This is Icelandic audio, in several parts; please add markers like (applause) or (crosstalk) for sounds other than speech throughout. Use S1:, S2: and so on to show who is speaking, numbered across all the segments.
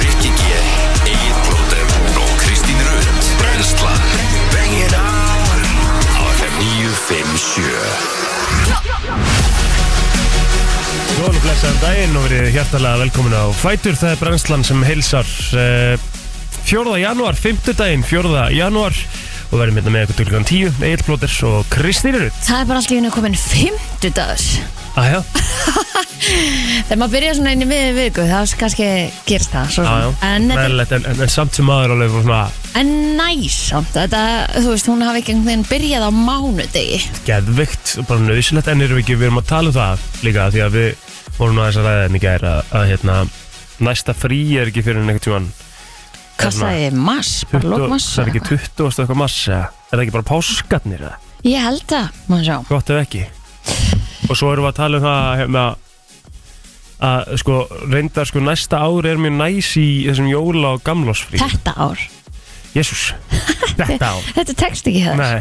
S1: Rikki G, Egil Blóter og Kristín Rund Brenslan Bengið á Á FM 957
S2: Góðan og blessaðan daginn og verið hjertalega velkomin á Fætur, það er brennslan sem heilsar eh, 4. janúar, 5. daginn, 4. janúar og verðum hérna með eitthvað til klukkan 10, Egil Plóters og Kristín Rut.
S3: Það er bara alltaf í hennu komin fimmtudagur
S2: Aðja, (laughs)
S3: Þegar maður byrja svona inn í miðið viku þá s- kannski gerst það svo sem.
S2: aðja,
S3: En, þetta-
S2: meðlætt, en, en, en samt sem aður alveg var svona
S3: en næs samt þetta, Þú veist, hún hafi ekki einhvern veginn byrjað á mánudegi
S2: geðvikt og bara nöðsilegt en erum við ekki, við erum að tala um það líka því að við vorum aðeins að ræða henni gæri að, að hérna, næsta frí er ekki fyrir en eitthvað tjúan.
S3: Kassaði mass, bara lókmass
S2: Það er ekki 20 og eitthvað massa, er það ekki bara páskarnir eða?
S3: Ég held það, maður sjá
S2: gott ef ekki og svo erum við að tala um það hérna, að sko reyndar sko næsta ár er mjög næs í þessum jóla og gamlásfrí
S3: Þetta ár,
S2: Jésús, þetta
S3: (laughs)
S2: ár
S3: þetta tekst ekki það
S2: Nei,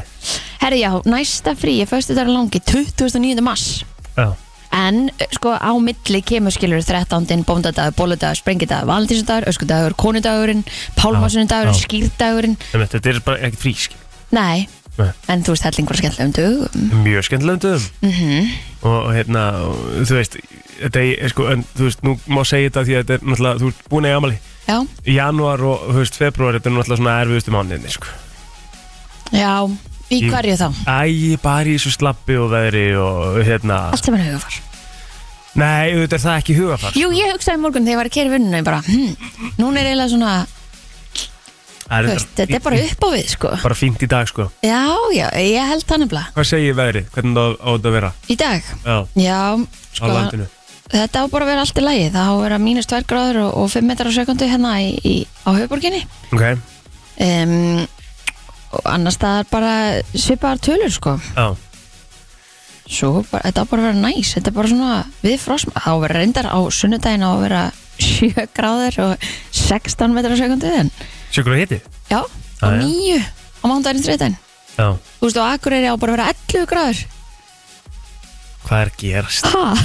S3: Herri já, næsta frí er föstu dagar langi 29. mars
S2: já,
S3: En eh, sko á milli kemur skilur 13. bóndadagur, bóludagur, sprengidagur, valentínsdagur, öskudagur, konudagurinn, pálmasunudagurinn,
S2: Já, já.
S3: skýrdagurinn.
S2: einmitt, þetta er bara ekkert frísk
S3: Nei,
S2: Nei.
S3: en þú veist hellingur að skemmtla um dögum.
S2: mjög skemmtilegum dögum
S3: Mm -hmm.
S2: og og hérna, og þú veist þetta er sko, en þú veist, nú má segja þetta því að þetta er náttúrulega, þú ert búin að jamali
S3: Já,
S2: janúar og, þú veist, februar, þetta er náttúrulega svona erfiðustu mánuðinni, sko
S3: já, í
S2: Í-
S3: hverju þá?
S2: Æ, bara í þessu slappi og veðri og hérna,
S3: Allt sem er hugafar.
S2: nei, auðvitað er það ekki hugafar
S3: Jú, ég hugsaði í morgun þegar ég var að kera vinnunum bara, hm, núna er eiginlega svona,
S2: Það
S3: þú
S2: er
S3: veist, þetta er bara upp á við, sko.
S2: bara fínt í dag sko
S3: Já, já, ég held það nefnilega.
S2: Hvað segir veðrið? Hvernig það á- á þetta að vera?
S3: Í dag,
S2: Já,
S3: já,
S2: á
S3: sko,
S2: landinu
S3: þetta á bara að vera allt í lagi. Það á að vera mínus 2 gráður og, og 5 metrar á sekundu hérna í, í, á höfuborginni.
S2: Ok,
S3: um, og annars það er bara svipaðar tölur sko
S2: já
S3: svo bara, þetta á bara að vera næs þetta er bara svona við frosma þá verður reyndar á sunnudaginn á að vera 7 gráður og 16 metrar á sekundu en
S2: Sjökur að hiti?
S3: já, á
S2: Já, já.
S3: 9 á mándaginn 13
S2: Já
S3: þú veist og Akureyri á bara að vera 11 gráður
S2: Hvað er
S3: (laughs)
S2: gerast?
S3: ha,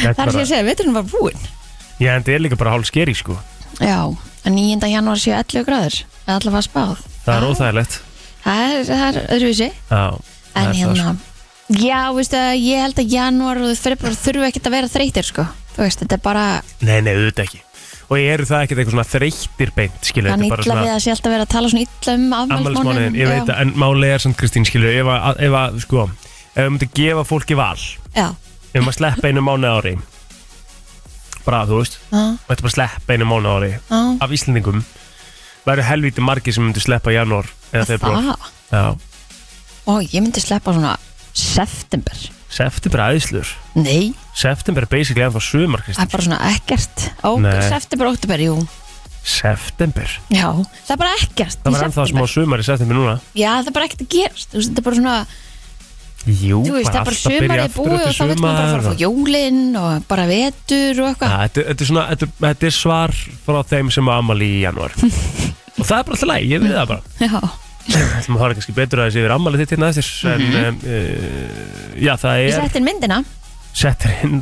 S2: Þetta
S3: það er sem
S2: bara-
S3: ég segi, veturinn var búinn
S2: Já, en þetta er líka bara hálf skeri sko
S3: já, en 9. janúar séu 11 gráður eða allavega spáð
S2: Það er óþægilegt
S3: það er, það er öðruvísi
S2: Já það
S3: En
S2: er það, sko.
S3: hérna Já, veistu að ég held að janúar og februar þurfu ekkert að vera þreytir sko Þú veist, þetta er bara
S2: Nei, nei, auðvitað ekki Og eru það ekkert eitthvað svona þreyttir beint skilur
S3: hann illa
S2: þetta er bara
S3: við
S2: svona
S3: að sé alltaf vera að tala svona illa um afmælsmánuðin
S2: Ammælismánuðin, ég veit
S3: já,
S2: það En máli er samt Kristín skilur Ef að, ef að sko Ef við myndum gefa fólki val Ef
S3: já,
S2: við maður sleppa einu mánu ári Bara, þú veist
S3: já,
S2: Þetta bara sleppa einu mánu ári
S3: já,
S2: af Íslandingum væri helvítið margir sem myndu sleppa í janúar eða februar
S3: það
S2: Já,
S3: Ó, ég myndi sleppa svona september
S2: september aðeinslur
S3: Nei,
S2: September er basically ennþá sumar
S3: það
S2: Kristi
S3: er bara svona ekkert Ó,
S2: Nei.
S3: september, óttember, jú
S2: September,
S3: Já, það er bara ekkert
S2: það
S3: í
S2: var ennþá smá
S3: september.
S2: sumar í september núna
S3: Já, það er bara ekkert að gerast Þú veist, þetta er bara svona
S2: Jú,
S3: Þú veist, það er bara sumarið búið og þá veit maður bara að fara á jólin og bara vetur og eitthvað
S2: Þetta þetta er svona, þetta er- þetta er svar frá þeim sem á ammali í
S3: (laughs)
S2: janúar Og það er bara alltaf læg, ég við það bara
S3: Já,
S2: Það maður horfði kannski betur að þessi yfir ammali þitt hérna eftir En, um, uh, já, það
S3: ég
S2: er
S3: setti inn myndina
S2: Settir inn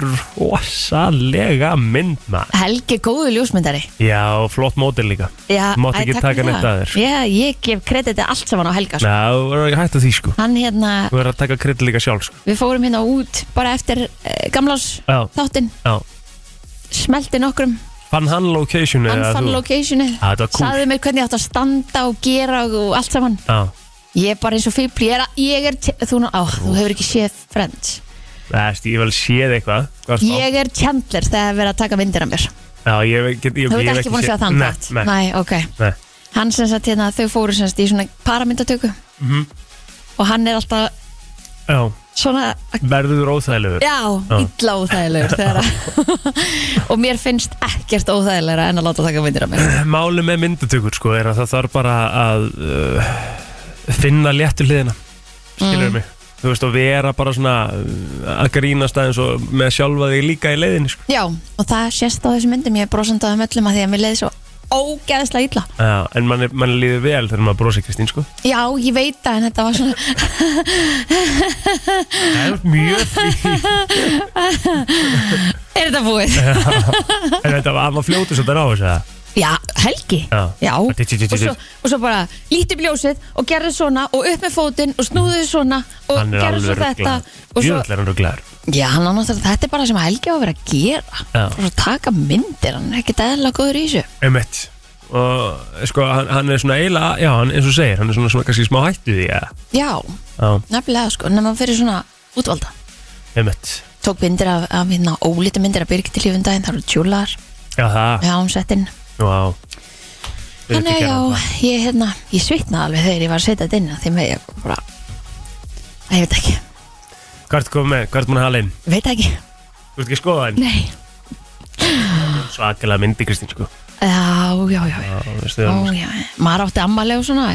S2: rosalega mynd maður
S3: Helgi góðu ljósmyndari
S2: Já, flott mótil líka
S3: Já, æ,
S2: Mátti ekki
S3: takk
S2: taka
S3: fyrir
S2: neitt
S3: það.
S2: að þér.
S3: Já, ég gef krediti allt saman á Helga sko.
S2: Nei, þú verður ekki hægt að því sko
S3: Hann hérna,
S2: Þú verður að taka krydd líka sjálf sko
S3: við fórum hérna út bara eftir uh, gamlás
S2: Já,
S3: þáttinn
S2: já
S3: Smelti nokkrum,
S2: Fann hann location
S3: hann fann locationið
S2: Já, þetta var cool
S3: Saði mér hvernig ég átt að standa og gera og, og allt saman
S2: Já,
S3: Ég er bara eins og fýbli, ég er, að- ég er te- þú, ná- á, þú hefur ekki séð Friends
S2: það veist, ég vel séð eitthvað Hvað er það?
S3: Ég er Chandler þegar það er verið að taka myndir af mér
S2: Já, ég hef ekki
S3: Þú ert ekki búin að sjá þann þátt
S2: Nei, nei,
S3: ok
S2: nei
S3: Hann sem sagt hérna, þau fóru sem sagt í svona paramyndatöku
S2: Mhm.
S3: Og hann er alltaf
S2: Já,
S3: svona að
S2: verður þú róþægilegur
S3: Já,
S2: Já.
S3: illa óþægilegur þegar að (laughs) og mér finnst ekkert óþægilegra en að láta taka myndir af mér
S2: Máli með myndatökur sko er að það þarf bara að uh, finna léttu hliðina Skilur
S3: Mm.
S2: mig Þú veist, og vera bara svona uh, að grínast aðeins og með sjálfa þig líka í leiðinni sko
S3: Já, og það sést á þessum myndum ég er brosandi á þeim öllum að því að mér leiði svo ógeðslega illa
S2: Já, en mann, mann líður vel þegar maður brosa Kristín sko
S3: Já, ég veit það en þetta var svona
S2: Það er mjög fín
S3: Er þetta búið?
S2: (laughs) En þetta var, var fljótu svo þetta ráðu þess
S3: Já, helgi
S2: Já.
S3: Og, svo, og svo bara lítið bljósið og gerðu svona og upp með fótinn og snúðu þið svona
S2: að
S3: og
S2: Hann er
S3: gerðu svo
S2: alveg
S3: þetta
S2: rugglaður
S3: og svo,
S2: Jöðl er hann rugglaður
S3: Já, hann á náttúrulega, þetta er bara sem helgi á að vera að gera
S2: Já.
S3: og svo taka myndir, hann er ekki dæðilega góður í þessu
S2: Emmett Og sko, hann, hann er svona eiginlega Já, hann, eins og þú segir, hann er svona, svona kannski smá hættu því Já,
S3: Já,
S2: já
S3: nefnilega sko, nema fyrir svona útvalda
S2: emmett
S3: Tók myndir af, af hérna, ólítu myndir af Birgit í lífum daginn, það eru tjúlar
S2: Já, það,
S3: Já, hún sett inn
S2: já
S3: Þannig að já, ég, hérna, ég svitnaði alveg þegar ég var að setja þetta inn af því með ég bara Æ, ég veit ekki,
S2: Hvað ertu komið með, hvað ertu múin að hala inn?
S3: veit ekki,
S2: Þú ert ekki að skoða hann?
S3: nei
S2: Svakalega myndi Kristín sko
S3: Já, já, já, já,
S2: Já, þú veist, þegar
S3: já,
S2: hún-
S3: já. Maður átti ammaleg og svona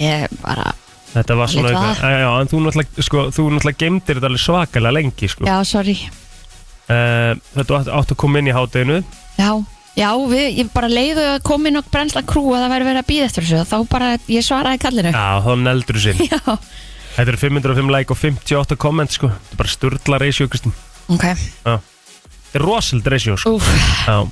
S3: Ég bara,
S2: Þetta var svona
S3: Lítið
S2: eitthvað, já, já, en þú náttúrulega, sko, þú náttúrulega gemdir þetta alveg svakalega lengi, sko.
S3: já, sorry
S2: Uh, þetta átt, átt að koma inn í hátteginu,
S3: Já, já, við, ég bara leiðu að koma inn og brennsla krú að það væri verið að býða eftir þessu þá bara, ég svaraði kallinu
S2: já, þá neldur þú sinn.
S3: Já,
S2: Þetta eru 505 like og 58 komment, sko. Þetta er bara sturdla reysjó, Kristín.
S3: ok,
S2: Þetta er rosald reysjó, sko.
S3: úf,
S2: Já.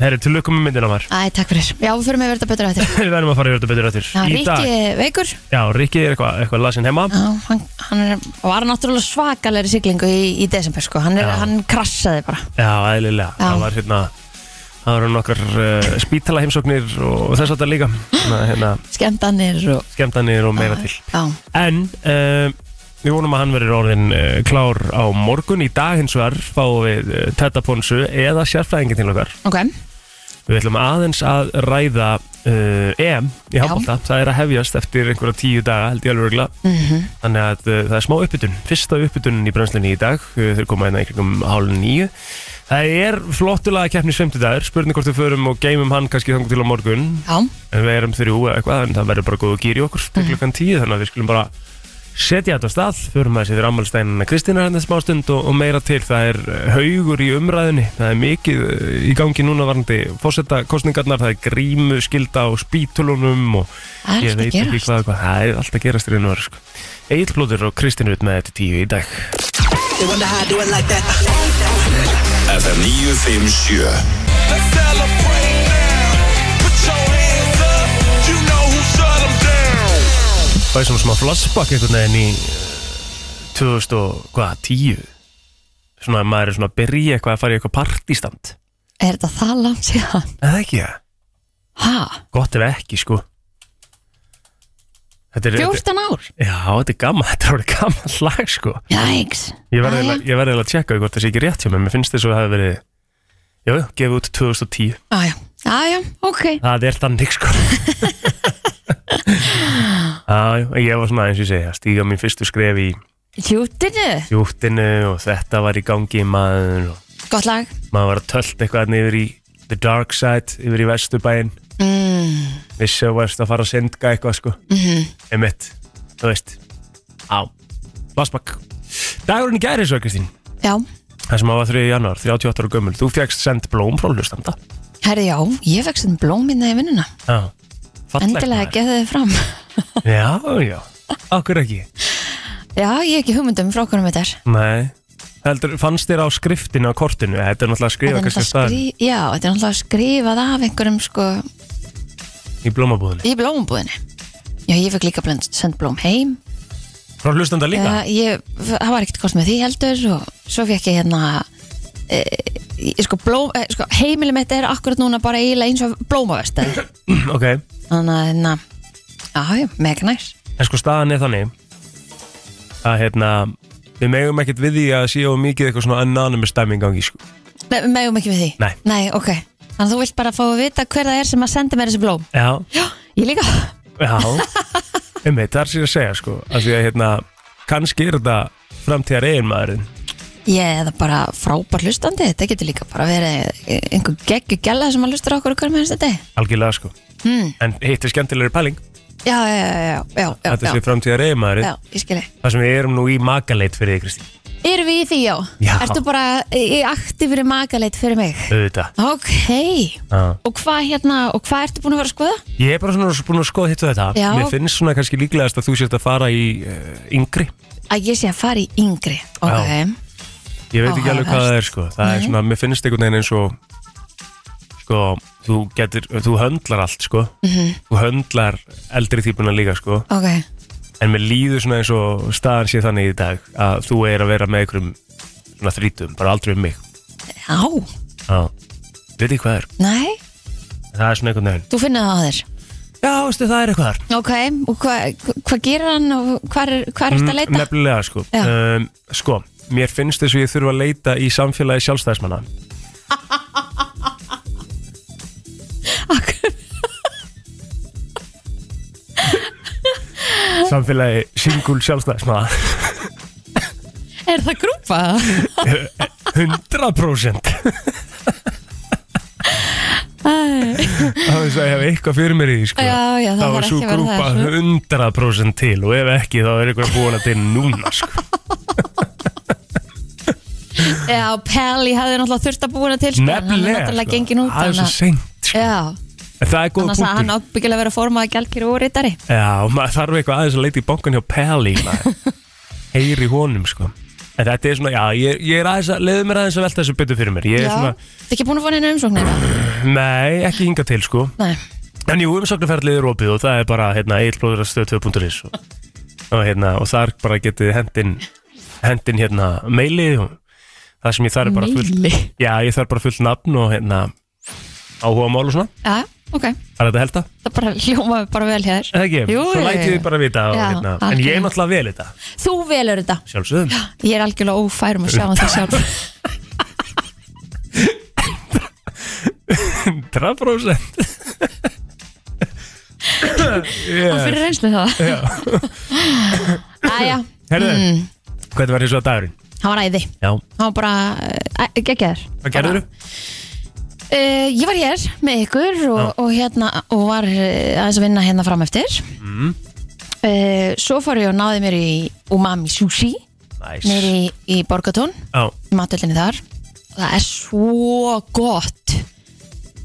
S2: Herri, til lukkum með myndina maður.
S3: æ, takk fyrir Já, við fyrir mig að vera þetta betur eftir
S2: (laughs) Við verðum að fara yfir þetta betur eftir.
S3: Já,
S2: í dag,
S3: Ríkki er veikur
S2: já, Rikki er eitthvað, eitthvað lasin heima.
S3: Já, hann, hann er, var náttúrulega svakalegri siglingu í, í desember sko, hann, er,
S2: Já.
S3: hann krassaði bara
S2: Já, eðlilega.
S3: Já.
S2: Það var hérna, það var nokkar uh, spítala heimsóknir og þess að þetta líka. Hérna, hérna,
S3: skemmtanir og
S2: skemmtanir og meira til.
S3: Já,
S2: En uh, við vonum að hann verður orðin uh, klár á morgun Í dag hins vegar fáum við uh, Tetta Ponsu eða sérfræðingin til okkar
S3: ok,
S2: Við ætlum aðeins að ræða uh, EM í handbólta Það er að hefjast eftir einhverja tíu daga held ég alveg regla
S3: mhm,
S2: Þannig að uh, það er smá uppbytun Fyrsta uppbytun í brennslunni í dag uh, Þeir koma hérna í kringum hálf nýju Það er flottulega keppnis 50 dagur Spurning hvort við förum og geymum hann kannski þangur til á morgun
S3: já
S2: En við erum þrjú eða eitthvað en það verður bara góð að gýra í okkur til klukkan tíu þannig að við skulum bara setja þetta á stað fyrir maður sér ammálstæninna Kristína hérna smá stund og, og meira til það er eh, haugur í umræðinni það er mikið eh, í gangi núna varandi fósetta kostningarnar, það er grímu skilda á spítulunum og
S3: Það er allt
S2: ég
S3: að
S2: veit ekki
S3: gerast.
S2: hvað, hvað það er alltaf gerast í raun og veru sko. Egil Plóður og Kristín út með þetta tíu í dag
S4: They wonder how I do it like that.
S1: FM 957
S5: Let's celebrate now. Put your hands up. You know who shut 'em down.
S2: Það er svona smá flashback einhvern veginn í eh, 2000 og hvað, 10 svona maður er svona að byrja eitthvað að fara í eitthvað partístand
S3: Er þetta það langt síðan?
S2: Eða ekki það?
S3: Ha,
S2: Gott ef ekki, sko Þetta er, þetta,
S3: 14 ár?
S2: já, þetta er gaman, (laughs) þetta er orðið gaman lag, sko
S3: Jæks
S2: Ég verði eiginlega- ég verði eiginlega að tjekka hvort það sé ekki rétt hjá mér Mér finnst þess að það hafi verið Jú, jú, gefið út 2010
S3: Jæja, jæja, ok
S2: Það er þannig, sko Já, já, ég var svona, eins og ég segi, að stíga mín fyrstu skref í
S3: Jútinu,
S2: júttinu og þetta var í gangi maður og
S3: gott lag
S2: maður var að tölt eitthvað þarna yfir í The Dark Side, yfir í Vesturbæinn
S3: mm, Mhm.
S2: vissi að þú varst að fara að sendga eitthvað sko mm -hmm. einmitt, þú veist á, Vassbakk dagurinn í gæri svo Kristín
S3: Já,
S2: það sem að var 3. januar, 38 ára gömul þú fjækst send blóm frá hlustanda
S3: herri já, ég vekst um blóminna í vinnuna
S2: já,
S3: Endilega
S2: maður.
S3: geðu þið fram (laughs)
S2: já, já, okkur ekki
S3: Já, ég hef ekki hugmyndum frá hvernig þetta er
S2: nei, heldur, fannst þér á skriftinu á kortinu, þetta er náttúrulega að skrifa
S3: Þetta er
S2: kannski
S3: náttúrulega
S2: staðin
S3: skri- Já, þetta er náttúrulega skrifað af einhverjum sko
S2: í blómabúðinu
S3: í blómumbúðinni Já, ég fekk líka blend, send blóm heim
S2: frá hlustanda líka,
S3: Já, Eh, ég, það var ekkert kost með því heldur og svo fekk ég hérna e, ég, sko, blóm, e, sko, heimili mitt er akkurat núna bara eiginlega eins og blómavestið
S2: (clears throat) ok
S3: þannig að hérna já, já, mega næs
S2: en sko staðan er þannig að hérna við megum ekkert við því að séu mikið eitthvað svona anonymous dæmi í gangi sko
S3: Me, við megum ekki við því?
S2: Nei.
S3: ok þannig að þú vilt bara fá að vita hver það er sem að senda mér þessi blóm
S2: já,
S3: já, ég líka
S2: Já, um veit, það er sér að segja sko af því að hérna, kannski er þetta framtíðar eiginmaðurinn
S3: ég er það bara frábær hlustandi þetta getur líka bara verið einhver geggju gæla sem að hlustur okkur okkur með þetta
S2: algjörlega sko,
S3: hmm.
S2: en hitt er skemmtilegri pæling
S3: já, já, já, já, já,
S2: þetta
S3: já,
S2: sé
S3: já,
S2: framtíðar eiginmaðurinn
S3: já, ég skilji
S2: það sem við erum nú í makaleit fyrir því Kristín
S3: Erum við í því, já?
S2: Já.
S3: Ertu bara í aktífri makaleit fyrir mig?
S2: auðvitað
S3: Ok.
S2: Já.
S3: Og hvað hérna, og hvað ertu búin að vera að skoða?
S2: Ég er bara svona búin að skoða hitt og þetta
S3: Já.
S2: Mér finnst svona kannski líklegast að þú sért að fara í uh, yngri
S3: Að ég sé að fara í yngri. Ok.
S2: Já. Ég veit ekki alveg hvað það er sko Það er
S3: Nei.
S2: svona, mér finnst einhvern veginn eins og Sko, þú getur, þú höndlar allt sko
S3: Mhm.
S2: Þú höndlar eldri típuna líka sko
S3: Ok.
S2: En mér líður svona eins og staðan sé þannig í dag Að þú er að vera með einhverjum svona þrítum Bara aldrei um mig
S3: Á.
S2: Já, veit ekki hvað er
S3: Nei,
S2: Það er svona einhvern veginn
S3: þú finnir það á þér.
S2: Já, veistu, það er eitthvað þar
S3: Ok, og hvað hva gerir hann og hvað er þetta að
S2: Mm,
S3: leita?
S2: Nefnilega sko
S3: Já.
S2: um, Sko, mér finnst þess að ég þurfa að leita í samfélagi sjálfstæðismanna Samfélagi singul sjálfstæðismanna
S3: Er það
S2: (laughs)
S3: grúpa?
S2: 100%
S3: Æ.
S2: Það er þess að ég hef eitthvað fyrir mér í því sko
S3: Já, já, það
S2: Þá
S3: þarf
S2: er
S3: ekki
S2: svo
S3: að vera
S2: grúpa
S3: það, sko.
S2: 100% til og ef ekki þá er eitthvað búin að til núna sko
S3: Já, Pelli hafði náttúrulega þurft að búina til sko, en hann er
S2: Nefnilega
S3: náttúrulega
S2: sko.
S3: gengin út
S2: Það er svo
S3: þannig að-
S2: seint sko.
S3: Já,
S2: En það er góð
S3: annars að
S2: punktur
S3: hann ábyggilega verið að forma að gjaldkýra og rítari
S2: Já, maður þarf eitthvað aðeins að leita í bankan hjá Peli
S3: (laughs)
S2: Heyri honum sko En þetta er svona, já, ég, ég er aðeins að Leðu mér aðeins að velta þessu betur fyrir mér Ég er
S3: Já,
S2: svona,
S3: það ekki búin að fá neina umsóknir
S2: nei, ekki hinga til sko
S3: Nei,
S2: En jú, umsóknarferðlið er opið og það er bara hérna, eilblóðurastöð2.is og, og, hérna, og þar bara getið hendin Hendin hérna, meilið og Það sem ég þarf er bara
S3: Meili?
S2: fullt Já, ég þarf bara fullt nafn og hérna Áhuga mál og svona,
S3: já, ok
S2: það er þetta að helta
S3: Það bara hljómaði bara vel hér
S2: Eða ekki,
S3: Jú,
S2: svo
S3: jú,
S2: lætið
S3: jú.
S2: þið bara vita og,
S3: Já,
S2: hérna, En ég er
S3: algjörlega.
S2: náttúrulega vel þetta,
S3: Þú velur þetta
S2: sjálfsögum
S3: Ég er algjörlega ófærum að sjá um það
S2: (laughs)
S3: sjálf
S2: 100%
S3: Og
S2: yeah.
S3: fyrir reynslu það (laughs)
S2: (laughs)
S3: Æja,
S2: Herðu,
S3: Mm.
S2: hvernig var þessu að dagurinn?
S3: hann var æði
S2: Já,
S3: Hann var bara, eh, geggjaður
S2: hvað gerður þú?
S3: Uh, ég var hér með ykkur og, og, hérna, og var eh, aðeins að vinna hérna fram eftir mm. Svo fór ég og náði mér í umami sushi
S2: Næs
S3: niður í, í Borgatún
S2: Já,
S3: í matöldinni þar og það er svo gott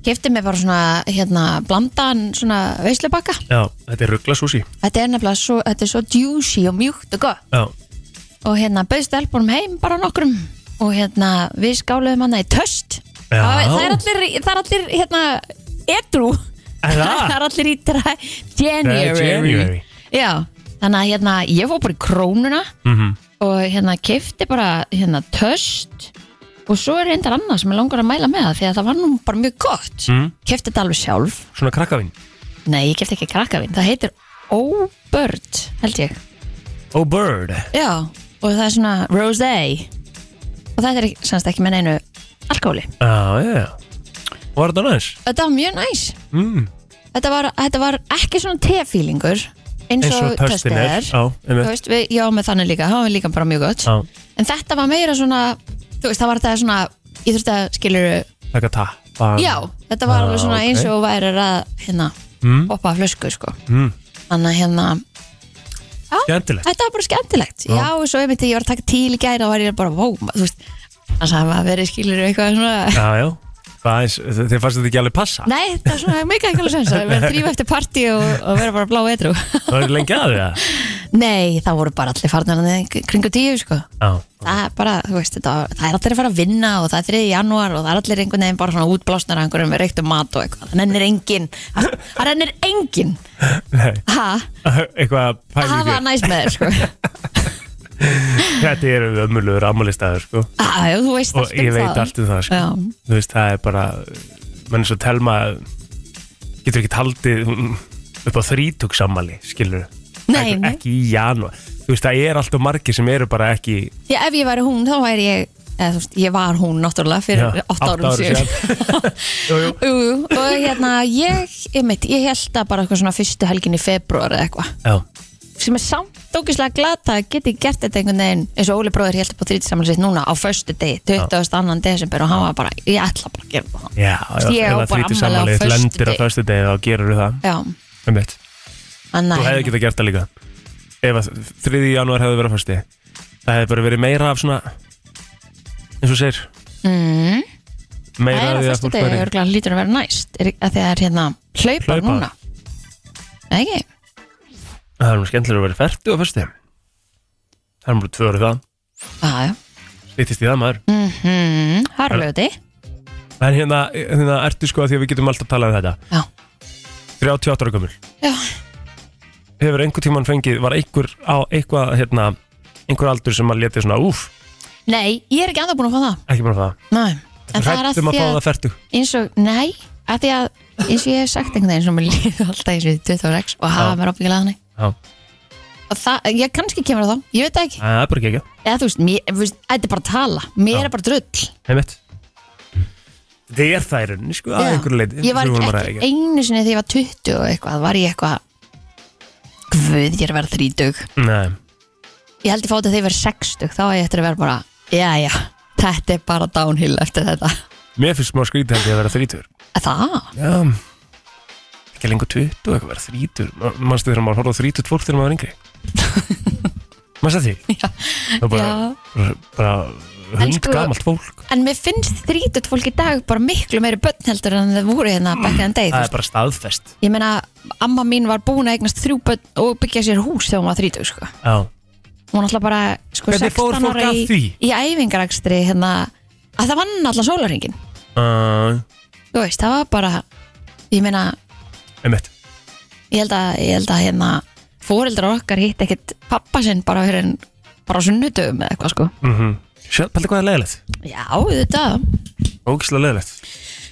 S3: Kefti mér bara svona hérna, blandan svona veislubakka
S2: já, þetta er ruggla sushi
S3: Þetta er nefnilega svo, þetta er svo juicy og mjúkt og gott
S2: Já,
S3: og hérna bauðst elbunum heim bara nokkrum og hérna við skáluðum hana í töst
S2: Já.
S3: það það er allir, það er allir hérna edru
S2: Er það?
S3: (laughs) það er allir í dra- January,
S2: January.
S3: Já, þannig að hérna ég fór bara í krónuna
S2: Mhm.
S3: og hérna kefti bara hérna töst og svo er reyndar annað sem ég langar að mæla með það því að það var nú bara mjög gott
S2: Mhm.
S3: kefti þetta alveg sjálf
S2: svona krakkavinn
S3: nei, ég kefti ekki krakkavinn, það heitir Óbörd, held ég
S2: Oh bird
S3: Já, og það er svona rosé og þetta er ekki- semst ekki með neinu alkohóli.
S2: Já, já, já Var þetta næs?
S3: Þetta var mjög næs.
S2: Mm.
S3: Þetta var, þetta var ekki svona tefílingur eins
S2: Eins og
S3: og
S2: töstin
S3: töstin
S2: er
S3: er.
S2: Já,
S3: Þú
S2: einmitt
S3: veist, við, já, með þannig líka, það var líka bara mjög gott.
S2: Já,
S3: En þetta var meira svona, þú veist, það var þetta svona, ég þurfti að skiljuru,
S2: taka tappa
S3: já, þetta var
S2: Ah,
S3: alveg svona
S2: ok.
S3: eins og væri að, hérna,
S2: Mm.
S3: poppa af flösku, sko.
S2: mm.
S3: Þannig að, hérna,
S2: Skemmtilegt
S3: Þetta var bara skemmtilegt Já, og svo ég myndi, ég var að taka til í gæri og var ég bara, vó, ma- þú veist þannig að maður verið skilur eitthvað
S2: (laughs)
S3: svona
S2: Já, já Það er, þið fannst þetta ekki alveg passa
S3: Nei, þetta var svona mega ekki alveg sens að vera þrýfa eftir partí og, og vera bara blá eitru
S2: Það er lengi að
S3: (laughs)
S2: það
S3: Nei, það voru bara allir farnar hann kringu tíu, sko
S2: Já,
S3: Það er bara, þú veist, þetta, það er allir að fara að vinna og það er 3. janúar og það er allir einhvern veginn bara svona útblásnar af einhverjum reyktum mat og eitthvað Það nennir enginn, það það nennir enginn
S2: nei
S3: Ha,
S2: Eitthvað að pæla í
S3: það
S2: því.
S3: var næs með þér,
S2: (laughs)
S3: sko
S2: Þetta eru ömulugur ammálistæður sko
S3: Ha, já, þú veist
S2: og
S3: allt um
S2: ég veit
S3: það.
S2: allt um það sko.
S3: Já.
S2: þú veist það er bara mann eins og Telma getur ekki haldið hún- upp á þrítug sammali skilur
S3: Nei, nei.
S2: ekki í janúar þú veist það er alltaf margir sem eru bara ekki
S3: Já, ef ég væri hún, þá væri ég eða, þú veist, ég var hún náttúrulega fyrir
S2: Já,
S3: 8 árum
S2: átta árum
S3: síðan
S2: jú, jú.
S3: jú, jú. og hérna ég, ég mitt, ég held að bara eitthvað svona fyrstu helgin í februar eða eitthvað
S2: já,
S3: sem er samt dókislega glata að geti gert þetta einhvern veginn eins og Óli bróður held upp á þrítisamlega sitt núna á föstu degi, 22. desember og hann var bara, ég ætla bara að gera það
S2: já, já
S3: Ég á
S2: eða
S3: bara
S2: þrítug
S3: afmæli á
S2: sammali
S3: föstudegi.
S2: lendir á föstu degi þá gerur það
S3: Já,
S2: um eitt,
S3: annað
S2: þú hefði
S3: hérna.
S2: getað gert það líka ef að 3. janúar hefði verið á föstu Það hefði bara verið meira af svona eins og segir
S3: mm.
S2: meira
S3: Það er á
S2: af því að
S3: fyrstu
S2: fólk
S3: degi
S2: væri-
S3: örgulega lítur að vera næst er, að því að það er hérna hlaupar
S2: Hlaupar.
S3: núna Nei, ekki,
S2: Það er nú skemmtilega að vera færtu á fyrstu degi Það er nú bara tvö orðið það
S3: það er
S2: Lítist í það maður
S3: mm -hmm. Harflöti
S2: En hérna, hérna ertu sko að því að við getum alltaf talað um þetta
S3: Já.
S2: 38 ára gömul
S3: Já.
S2: Hefur einhver tíman fengið, var einhver á eitthvað hérna, einhver aldur sem maður letið svona úf,
S3: Nei, ég er ekki andan búin að fá það
S2: ekki bara það
S3: Nei, en það er að
S2: Hrættum um að
S3: því
S2: fá
S3: að
S2: það færtu
S3: eins og, nei, að því að eins og ég hef sagt einhvern veginn sem mér líður alltaf eins og 26 og hafa
S2: Já.
S3: mér ábyggilega þannig
S2: Já.
S3: og það, ég kannski kemur það, ég veit það ekki
S2: Það er bara ekki ekki,
S3: eða þú veist, mér, þú veist, þetta er bara að tala mér
S2: Já.
S3: er bara drull
S2: heimitt Það er það í rauninni sko að
S3: Já.
S2: einhverju leiti
S3: ég var ekki, ekki einu sinni þegar ég var 20 og eitthvað, var ég eitthvað guð, ég er að vera 30
S2: Nei,
S3: ég held ég fáti að þegar ég verið 60 þá er ég eftir að vera bara, já já þetta er bara downhill eftir þetta
S2: mér finnst smá skrítið held ég að vera þrítur
S3: það,
S2: Já Ekki lengur 20 og eitthvað vera þrítur Manstu þegar maður horfði á þrítut fólk þegar
S3: (laughs)
S2: maður var yngri Manstu því?
S3: Já.
S2: Það var bara, bara, bara
S3: En
S2: hund
S3: sko-
S2: gamalt fólk
S3: en mér finnst 30 fólk í dag bara miklu meiri börn heldur en það voru hérna back in the day, þú
S2: Það er bara staðfest
S3: ég meina amma mín var búin að eignast þrjú börn og byggja sér hús þegar hún var 30 sko.
S2: Já
S3: hún var alltaf bara sko,
S2: Hvernig fór
S3: 16
S2: fólk
S3: ára
S2: að
S3: í,
S2: því?
S3: í æfingarakstri hérna, að það vann alltaf sólaringin
S2: uh,
S3: þú veist, það var bara ég meina,
S2: Einmitt
S3: ég held að, ég held að hérna, fóreldrar okkar hitt ekkit pappa sinn bara fyrir en bara á sunnudöfum eða eitthvað sko
S2: mm -hmm. Paldi hvað er leðilegt
S3: já, þetta
S2: Ógislega leðilegt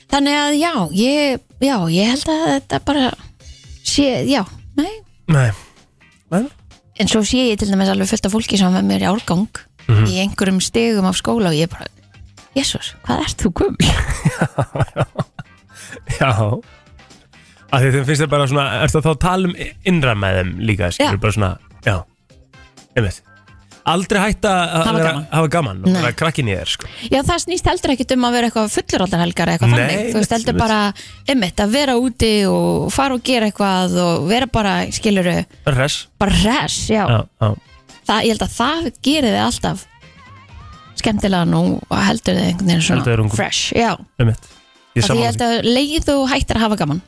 S3: þannig að já, ég, já, ég held að þetta bara sé, já, nei
S2: Nei Nei
S3: en svo sé ég til dæmis alveg fullt af fólki sem var með mér í árgang
S2: Mhm.
S3: í einhverjum stegum af skóla og ég bara Jésús, hvað ert þú gömul?
S2: Já Af því þeim finnst það bara svona Ertu að þá tala um innra með þeim líka skilur,
S3: Já.
S2: Bara svona, já Einmitt Aldrei hætta að
S3: Hafa
S2: vera-
S3: gaman.
S2: hafa gaman og
S3: Nei.
S2: vera krakkin í þér sko.
S3: Já, það snýst heldur ekkit um að vera eitthvað fulluraldarhelgar eða eitthvað
S2: Nei,
S3: þannig, þú veist,
S2: einmitt,
S3: heldur
S2: einmitt.
S3: bara einmitt, að vera úti og fara og gera eitthvað og vera bara, skiluru
S2: Bara hress
S3: bara res, já,
S2: já, já.
S3: Það, ég held að það gerir þið alltaf skemmtilega nú og heldur þið einhvern veginn
S2: Heldur þér
S3: svona
S2: ungum.
S3: fresh, já,
S2: Einmitt.
S3: Af því ég
S2: Ég sammála
S3: held að leið og hættir að hafa gaman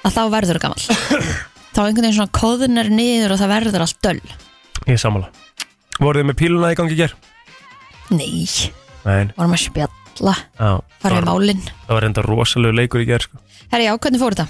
S3: að þá verður þú
S2: (coughs)
S3: gamall þá einhvern veginn svona kóðunar niður og það verður allt döl
S2: því. Ég sammála Voruð þið með píluna í gangi í ger?
S3: Nei,
S2: Nein
S3: vorum að spjalla
S2: já, það,
S3: farið í
S2: var,
S3: málinn
S2: það var enda rosalegu leikur í ger sko.
S3: Herri, já, hvernig fór þetta?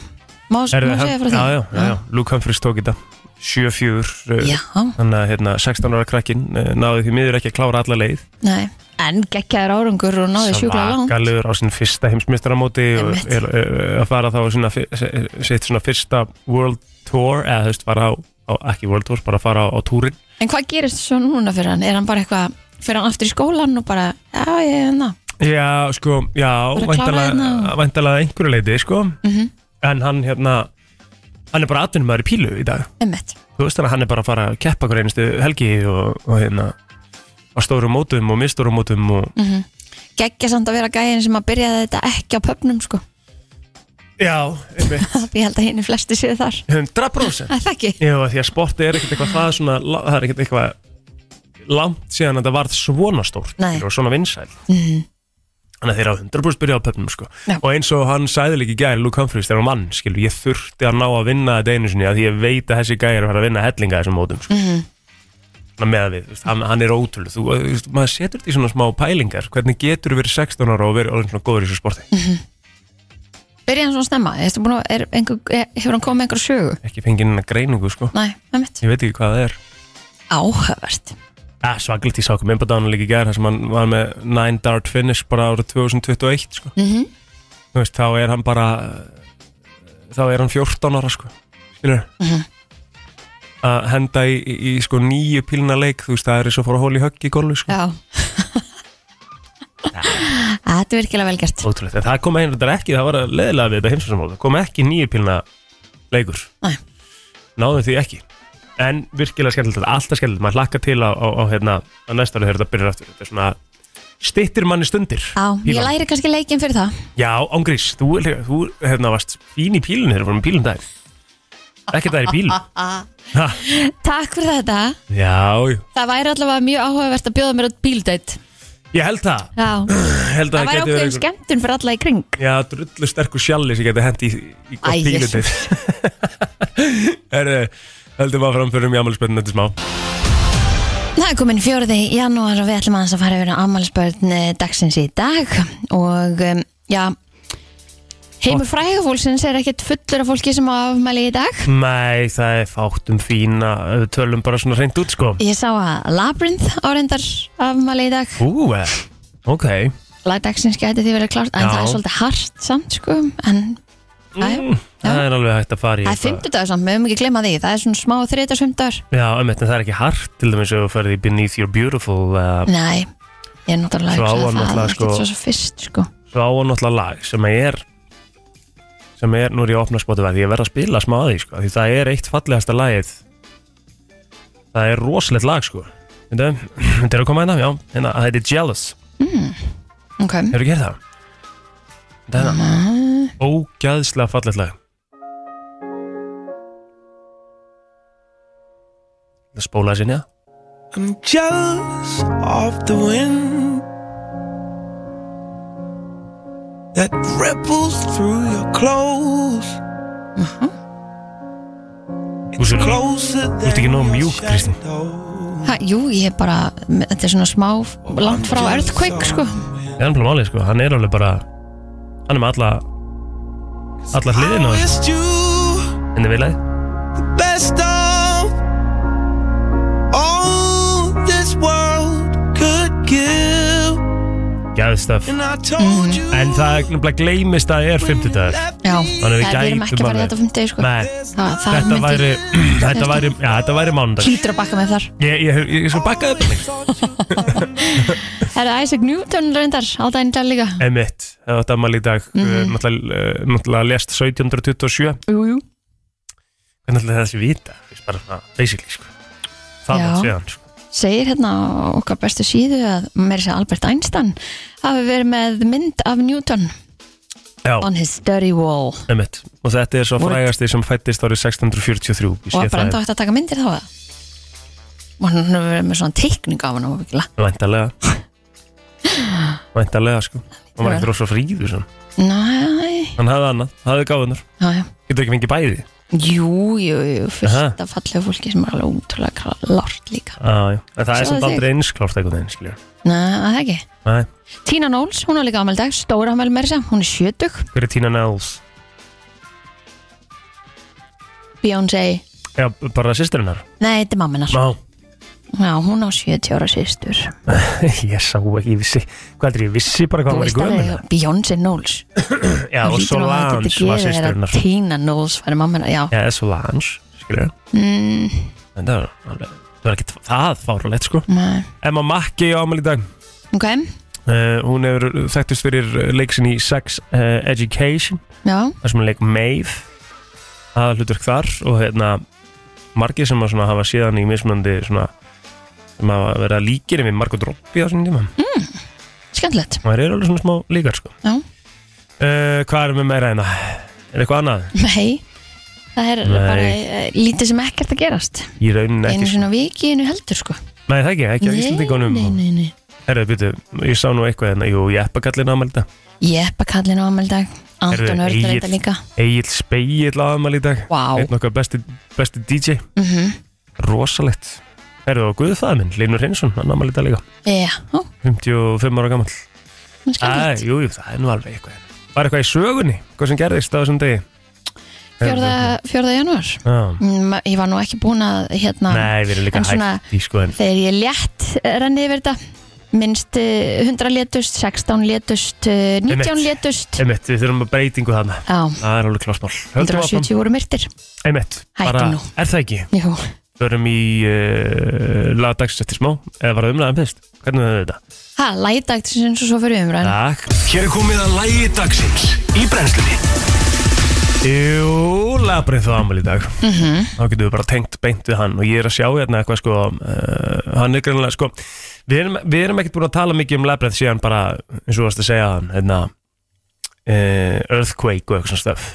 S3: Má, má
S2: Herðu,
S3: segja frá því?
S2: já, já, já, já. Luke Humphries tók þetta 7-4 uh,
S3: Já,
S2: Þannig að hérna, 16 ára krakkin uh, náði því miður ekki að klára alla leið
S3: nei En geggjaður árangur og náði sjúkla langt
S2: Svakalegur á sinni fyrsta heimsmystaramóti og
S3: Einmitt.
S2: er, er, er að fara þá á sína fi- se- sitt svona fyrsta World Tour eða þú veist, fara á, á ekki World Tour, bara fara á, á túrin
S3: En hvað gerist svo núna fyrir hann? Er hann bara eitthvað, fyrir hann aftur í skólan og bara, já, ég er hérna
S2: Já, sko, já,
S3: Bara klára hérna
S2: væntalega
S3: og-
S2: væntalega einhverju leiti, sko
S3: Mhm,
S2: en hann hérna hann er bara atvinnumæður í pílu í dag
S3: Emmett,
S2: þú veist þannig að hann er bara að fara að keppa hver einustu helgi og, og hérna á stórum mótum og mistórum mótum og
S3: Mhm. geggja samt að vera gæðin sem að byrjaði þetta ekki á pöfnum, sko (laughs)
S2: Já, einmitt,
S3: Ég held að hinn er flesti séð þar
S2: 100%
S3: Það er það ekki?
S2: Hérna, Já, af því að sporti er ekkert eitthvað það svona, la- það er ekkert eitthvað langt síðan að það varð svona stórt
S3: Nei.
S2: og svona vinsæl.
S3: Mhm.
S2: Þannig að þeir á 100% byrja á pöfnum, sko.
S3: Já.
S2: Og eins og hann sæði líka í gæri, Luke Humphreys, þegar hann vann, skilur, ég þurfti að ná að vinna þetta einu sinni, af því ég veit að þessi gæri er að fara að vinna hellinga þessum mótum, sko. Mm
S3: Mhm.
S2: -hmm. með að við, þú veist, hann, hann er ótrúlega, þú, þú veist, maður setur þetta í svona smá pælingar, hvernig getur verið 16 ára og verið orðin svona góður í þessu sporti?
S3: Mm. Byrjaði hann svona snemma? Ertu búin að- Er einhver, er, hefur hann komið með einhver sögu?
S2: Ekki fengið neina greiningu, sko.
S3: Nei, emmett
S2: Ég veit ekki hvað það er.
S3: Áhöfvert
S2: Ja, svaglit, ég sá okkur minnbáðan líka í gerð þar sem hann var með 9 dart finish bara árið 2021 sko.
S3: Mhm.
S2: Þú veist, þá er hann bara þá er hann 14 ára sko. skilur
S6: Mhm.
S2: að henda í, í, í sko, nýju pílna leik þú veist, það er eins og fór að hóla í högg í golfi sko.
S3: Já Þetta er virkilega vel gert
S2: ótrúlegt, en það kom einhvern ekki það var að leðilega við þetta heimsvæmsamóð það kom ekki nýju pílna leikur
S3: Nei.
S2: náðum því ekki en virkilega skemmtilegt, þetta er alltaf skemmtilegt maður hlakka til á, á, á, hérna, á næsta ári þegar þetta byrjar aftur, þetta er svona stittir manni stundir
S3: Já, ég
S2: Pílan.
S3: læri kannski leikinn fyrir það
S2: hérna, Já, Ángrís, þú, þú hefna varst fín í pílun þegar við varum í pílun dag Ekki það er í bíl
S3: (laughs)
S2: Ha,
S3: Takk fyrir þetta
S2: Já, jú.
S3: Það væri allavega mjög áhugavert að bjóða mér á bíldætt
S2: ég held það
S3: Já,
S2: held að
S3: það væri
S2: geti verið
S3: ákveðin
S2: einhver-
S3: skemmtun fyrir alla í kring
S2: Já, drullu sterkur sjalli sem geti hendi í, í
S3: Æ,
S2: gott
S3: Jesus.
S2: pílutið (laughs) Herðu, heldum að framförum í ammælisbönnu þetta um smá
S3: Það er komin fjóriði janúar og við ætlum aðeins að fara yfir ammálspörn dagsins í dag og um, já heimur frægafólksins er ekkert fullur af fólki sem á afmæli í dag
S2: Nei, það er fátt um fína ef við tölum bara svona reynd út sko
S3: Ég sá að Labyrinth áreindar afmæli í dag
S2: Ú, eh, ok
S3: lag dagsins gæti því verið klárt en
S2: Já.
S3: það er svolítið hart samt sko en mm.
S2: Það er alveg hægt að
S3: það
S2: fara í
S3: er
S2: eitthvað.
S3: fimmtudagur samt, við höfum ekki glemma því það er svona smá þriðdags fimmtudagur
S2: Já, einmitt, en það er ekki hart til dæmis ef þú ferði í Beneath Your Beautiful uh,
S3: Nei, ég er náttúrulega
S2: Svo á
S3: að hugsa
S2: hann
S3: það, það er
S2: náttúrulega,
S3: ekkert
S2: sko-
S3: svo svo fyrst sko
S2: svo á hann náttúrulega lag sem er sem er, nú er ég að opna spotu því ég verð að spila smá að því sko, því það er eitt fallegasta lagið það er rosalegt lag sko (clears throat) Þetta þetta er að koma hérna, já, hérna, það heitir Jealous
S3: Ok,
S2: Hefur þú gert það? Þetta er hérna, ógæðslega fallegt lag Það spólaði sinni að
S5: I'm jealous of the wind that ripples through your clothes. It's
S2: Þú ert-
S5: closer
S2: ert
S5: than
S2: ekki nógu
S5: your
S2: mjúk, Kristín.
S5: shadow.
S3: ha, jú, ég er bara þetta er svona smá langt frá earthquake sko
S2: Það er alveg málið sko, hann er alveg bara Hann er með alla Alla hliðina á
S5: I
S2: þessu,
S5: wished you
S2: henni vil að
S5: the best of all this world could give.
S2: Gæðstöf
S5: And I
S1: Mhm.
S5: told you
S2: En það er nefnilega gleymist að það er 50 dagar
S3: Já,
S5: Þannig
S2: Þannig
S3: það
S2: við
S3: við erum
S2: gætum
S3: ekki að fara í
S2: alveg-
S3: þetta á fimmtudegi sko
S2: Nei,
S3: það, það
S2: þetta
S3: myndi
S2: væri Þetta
S3: Þetta-
S2: væri, já þetta væri mánudag
S3: hlýtur að bakka með þar
S2: Ég, ég, ég, ég sko bakkaði upp mig
S3: Er það Isaac Newton reyndar á daginn í dag líka?
S2: Emitt, það átti afmæli í dag
S3: Mhm.
S2: mm náttúrulega, eh, náttúrulega lest 1727
S3: Jú, jú
S2: Hvernig ætlaði þessi vita? Ég bara svona, basically sko Það
S3: Já.
S2: var séðan sko
S3: segir hérna á okkar bestu síðu að mér sé Albert Einstein hafi verið með mynd af Newton
S2: Já,
S3: on his dirty wall
S2: emitt Og þetta er svo
S3: Voru-
S2: frægasti sem fættist árið 1643 Ég
S3: og
S2: sé
S3: að
S2: það
S3: brenda átt að taka myndir þá það og hann hefur verið með svona teikning af hann (gasps)
S2: Væntalega Væntalega sko Hann var ekkert rosa fríður svona.
S3: næ,
S2: Hann hafði annað, hafði gáðunar
S3: já, já
S2: Getur ekki fengið bæði
S3: jú, jú, jú,
S2: Aha.
S3: fyrst af fallega fólki sem er alveg útrúlega lárt líka
S2: ah, já. En það er
S3: Sjáðu
S2: samt
S3: þig.
S2: aldrei einsklárt eitthvað einn skilur
S3: næ, það ekki
S2: Nei,
S3: Tina Knowles, hún er líka ámæli dag, stóra ámæli mér sem hún er sjötug,
S2: hver er Tina Knowles?
S3: Beyoncé
S2: Já, bara sýsturinnar
S3: nei, þetta er mamminar,
S2: Má,
S3: já, hún á 70 ára sýstur
S2: (laughs) ég sá ekki, ég vissi Hvað heldur ég, ég vissi bara
S3: þú
S2: hvað hann var í
S3: veist alveg,
S2: gömur
S3: Beyoncé Knowles
S2: Já, og Solange var sýsturinnar
S3: Tina Knowles væri mamma hennar, já
S2: Já, Solange, skilur
S3: mm,
S2: En það var alveg Það var ekki það fárulegt sko
S3: nei.
S2: Emma Mackey á ámæli í dag
S3: Ok,
S2: uh, Hún hefur þekktist fyrir leiksin í Sex uh, Education
S3: já,
S2: þar sem hann leik Maeve aða hlutverk þar og hérna margir sem að svona hafa síðan í mismunandi svona sem hafa verið að líkina við Margot Robbie á sinni tíma mm.
S3: skemmtilegt
S2: og það eru alveg svona smá líkar sko
S3: Já.
S2: Eh, Hvað erum við meira hérna? Er eitthvað annað?
S3: Nei, það er
S2: Nei.
S3: bara uh, lítið sem ekkert að gerast
S2: Í rauninni
S3: Einu
S2: ekki
S3: svona viki, einu heldur sko
S2: Nei það ekki, ekki á Íslandingunum
S3: Nei, nei, nei
S2: Herðu, byrju, ég sá nú eitthvað hérna Jú, Jeppakallin ámæli í dag
S3: Jeppa kallin á ammæli dag Anton
S2: Heyrðu,
S3: Örn er
S2: Egill.
S3: þetta líka
S2: Egil Speill á ámæli í dag
S3: Vá,
S2: Einn okkar besti, besti DJ
S3: mhm,
S2: Rosalegt Herðu, og Guðfæða minn, Linur Hinsson, hann ámæli í dag líka
S3: já, ó,
S2: 55 ára gamall
S3: það er
S2: Æ,
S3: skemmtilegt
S2: jú, jú, það er nú alveg eitthvað Var eitthvað í sögunni, hvað sem gerðist á þessum degi
S3: Fjórða, fjórða janúar
S2: Já.
S3: Mm, Ég var nú ekki búin að hérna
S2: Nei, við erum líka
S3: En svona-
S2: hægt í sko en
S3: þegar ég létt eh, renni yfir þetta minnst eh, 100 létust, 16 létust eh, 19
S2: Einmitt.
S3: létust
S2: Einmitt, við þurfum að breytingu þarna
S3: já,
S2: Það er alveg klásmál
S3: 170 voru myrtir
S2: Einmitt,
S3: Hættu
S2: bara,
S3: nú.
S2: er það ekki?
S3: Jú.
S2: Förum í uh, lagdags eftir smá Eða var það umræðan fyrst? Hvernig höfum við þetta?
S3: ha, lætagt sem svo svo fyrir umræðin
S2: Takk
S1: Hér er komið að lægi dagsins í brennslunni
S2: Jú, labrið þá ámæli í dag Þá getum við bara tengt beint við hann Og ég er að sjá hérna eitthvað sko uh, Hann er greinlega sko Við erum, við erum ekkert búin að tala mikið um labrið Síðan bara, eh, eins og þú varst að segja hann hérna, uh, Earthquake og eitthvað svona stöf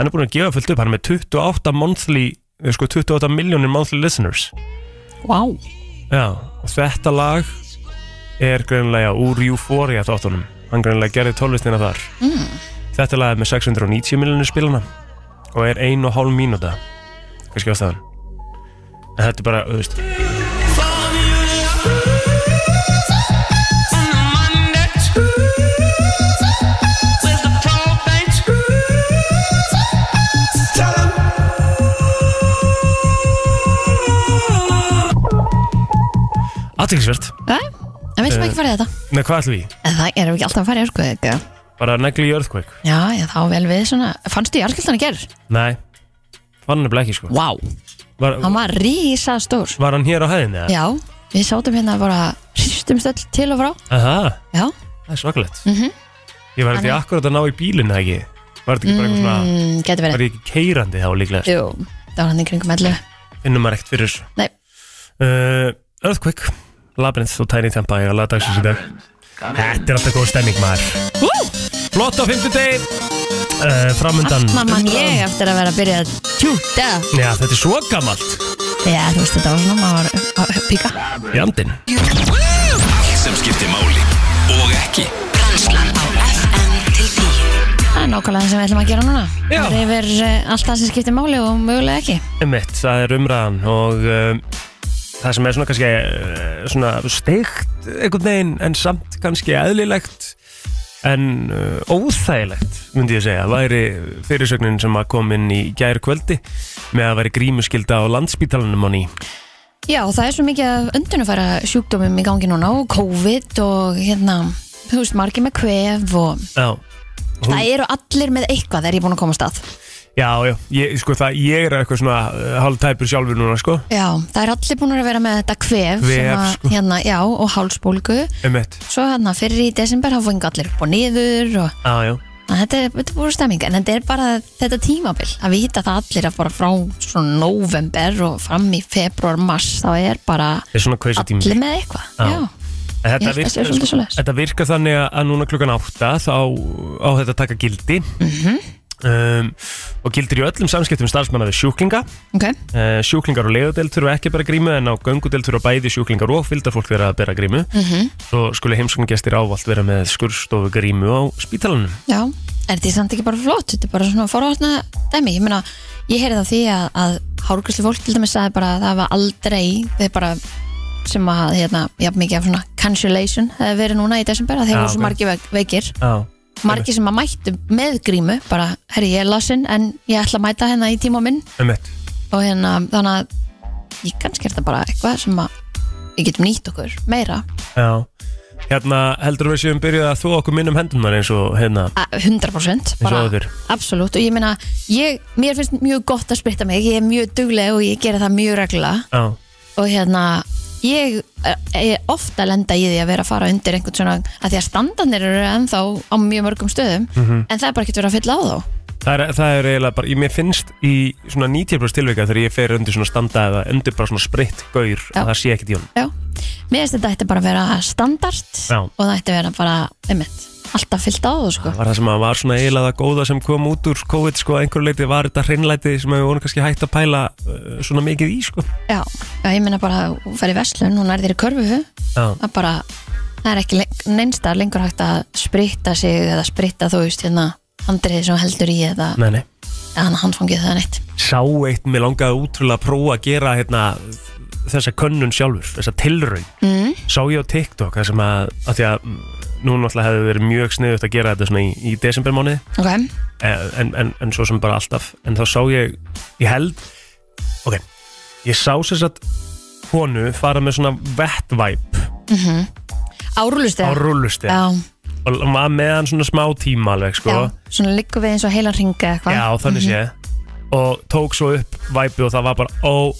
S2: hann er búin að gefa fullt upp, hann er með 28 monthly, eh, sko 28 milljónir monthly listeners
S3: Vá wow.
S2: Já, og þetta lag er greinlega úr Euphoria þáttunum hann greinlega gerði tólvistina þar mm. þetta lag er með 690 miljonir spilana og er ein og hálf mínúta kannski ástæðan en þetta er bara, þú veist aðtilsvert,
S3: Það veitum ekki farið þetta
S2: með hvað ætlum við? í?
S3: En það erum við ekki alltaf að fara í örskvöðu
S2: Bara negli í earthquake?
S3: Já, já, þá vel við svona Fannstu í arskildan að gerð?
S2: Nei, fann hann ekki sko
S3: Vá
S2: var,
S3: Hann var rísa stór
S2: var hann hér á hæðinni? eða?
S3: Já, við sátum hérna bara Hristumst öll til og frá
S2: Aha,
S3: Já, Mhm.
S2: það er svakalegt Ég var þetta akkurat að ná í bílinn eða ekki Var þetta ekki bara eitthvað svona
S3: mm, getur
S2: Var
S3: verið
S2: ég ekki keirandi þá líklega
S3: Jú, það var hann í kringum 11
S2: Finnum maður ekkert fyrir þessu
S3: Nei,
S2: uh, Earthquake, Labyrinth og Tiny Tempa Ég er að laga dagsins í dag Þetta er alltaf góð stemming maður Flott á fimmtudegi uh, Framundan
S3: allt mann mann ég eftir að vera að byrja að tjúta
S2: Já, þetta er svo gammalt
S3: Já, þú veist, þetta var svona Maður var að píka
S2: Jandinn
S1: Allt sem skiptir máli og ekki
S7: Brennslan á FM til 10
S3: Það er nákvæmlega það sem við ætlum að gera núna
S2: Já.
S3: Það er yfir eh, allt það sem skiptir máli og mögulega ekki
S2: Emmett, það er umræðan og um, það sem er svona kannski uh, svona steikt einhvern veginn en samt kannski eðlilegt en uh, óþægilegt myndi ég segja, væri fyrirsögnin sem að kom inn í gær kvöldi með að væri grímuskylda á landspítalanum á ný
S3: Já, það er svo mikið af undunufæra sjúkdómum í gangi núna og COVID og hérna, þú veist, margir með kvef og
S2: Já,
S3: það eru allir með eitthvað þegar ég er búin að koma á stað.
S2: já, já ég, sko það, ég er eitthvað svona uh, hálftæpur sjálfur núna, sko,
S3: Já, það eru allir búin að vera með þetta kvef,
S2: Kvef,
S3: sem að,
S2: sko.
S3: hérna, já, og hálsbólgu.
S2: Emmett
S3: Svo hérna fyrir í desember þá fengi allir upp og niður og
S2: Já, já,
S3: að þetta er, þetta er búin stemming, en þetta er bara þetta tímabil, að vita það allir að bara frá svona november og fram í februar, mars, þá er bara
S2: þetta er svona crazy tími
S3: allir með eitthvað.
S2: Já.
S3: Já.
S2: En
S3: Ég held
S2: Þetta
S3: að sé
S2: virkar,
S3: svolítið
S2: sko,
S3: svoleiðis.
S2: þetta virkar þannig að- að núna klukkan átta þá á þetta að taka gildi
S3: Mhm,
S2: um, og gildir í öllum samskiptum starfsmanna við sjúklinga
S3: ok,
S2: uh, sjúklingar og leiðudeld þurfa ekki að bera grímu en á göngudeld þurfa bæði sjúklingar og fylgdarfólk vera að bera grímu
S3: Mhm.
S2: svo skulle heimsóknargestir ávallt vera með skurstofu grímu á spítalanum
S3: Já, er þetta samt ekki bara flott þetta er bara svona forvartna dæmi ég meina, ég heyrði það því að, að hárgræslu fólk til dæmis sagði bara að það var aldrei þeir bara sem að hérna, jafn mikið af svona cancellation hefði verið núna í desember að þeir
S2: Já,
S3: voru svo
S2: ok.
S3: margir veik- veikir
S2: Já,
S3: margir sem að mættu með grímu bara, herri, ég er lasin en ég ætla að mæta hérna í tíma minn
S2: um
S3: og hérna, þannig að ég kannski er þetta bara eitthvað sem að við getum nýtt okkur meira
S2: Já Hérna heldur við séum byrjuð að þú okkur minnum hendunar eins og hérna
S3: A- 100%
S2: Eins og áður.
S3: bara, absolutt og ég meina, ég, mér finnst mjög gott að spritta mig, ég er mjög dugleg og ég gera það mjög regla
S2: Já,
S3: og hérna, ég er, er ofta að lenda í því að vera að fara undir einhvern svona, að því að standarnir eru ennþá á mjög mörgum stöðum
S2: Mhm.
S3: en það er bara ekkert verið að fylla á þá
S2: Það er, það er eiginlega bara, ég, mér finnst í svona 90% tilvika þegar ég fer undir svona standa eða undir bara svona spritt gaur
S3: Já.
S2: að það sé ekkert í honum.
S3: já, mér finnst þetta ætti bara að vera standard
S2: Já.
S3: og það ætti að vera bara, einmitt, alltaf fyllt á þá sko
S2: Það var það sem að var svona eiginlega það góða sem kom út úr COVID sko að einhverju leiti var þetta hreinlæti sem við vorum kannski hægt að pæla uh, svona mikið í sko.
S3: já, já ég meina bara, þú fer í verslun hún er þér í körfu
S2: Já,
S3: að bara það er ekki neinstar lengur hægt að spritta sig eða spritta þú veist hérna handriðið sem þú heldur í eða
S2: nei, nei.
S3: hann handfangið það neitt
S2: Sá eitt mér langaði útrúlega að prófa að gera hérna þessa könnun sjálfur, þessa tilraun.
S3: mm.
S2: Sá ég á TikTok það sem að, að því að mm, nú náttúrulega hefði verið mjög sniðugt að gera þetta svona í, í desembermánuði. Eh,
S3: ok,
S2: en, en, en svo sem bara alltaf en þá sá ég, ég held ok, ég sá sér satt konu fara með svona vettvæp
S3: árulust
S2: á rullusti
S3: Mhm. já,
S2: og hún var með hann svona smá tíma alveg sko,
S3: já, svona liggum við eins og heilan ringa eitthvað Mhm.
S2: Já, þannig sé og tók svo upp væpi og það var bara ó,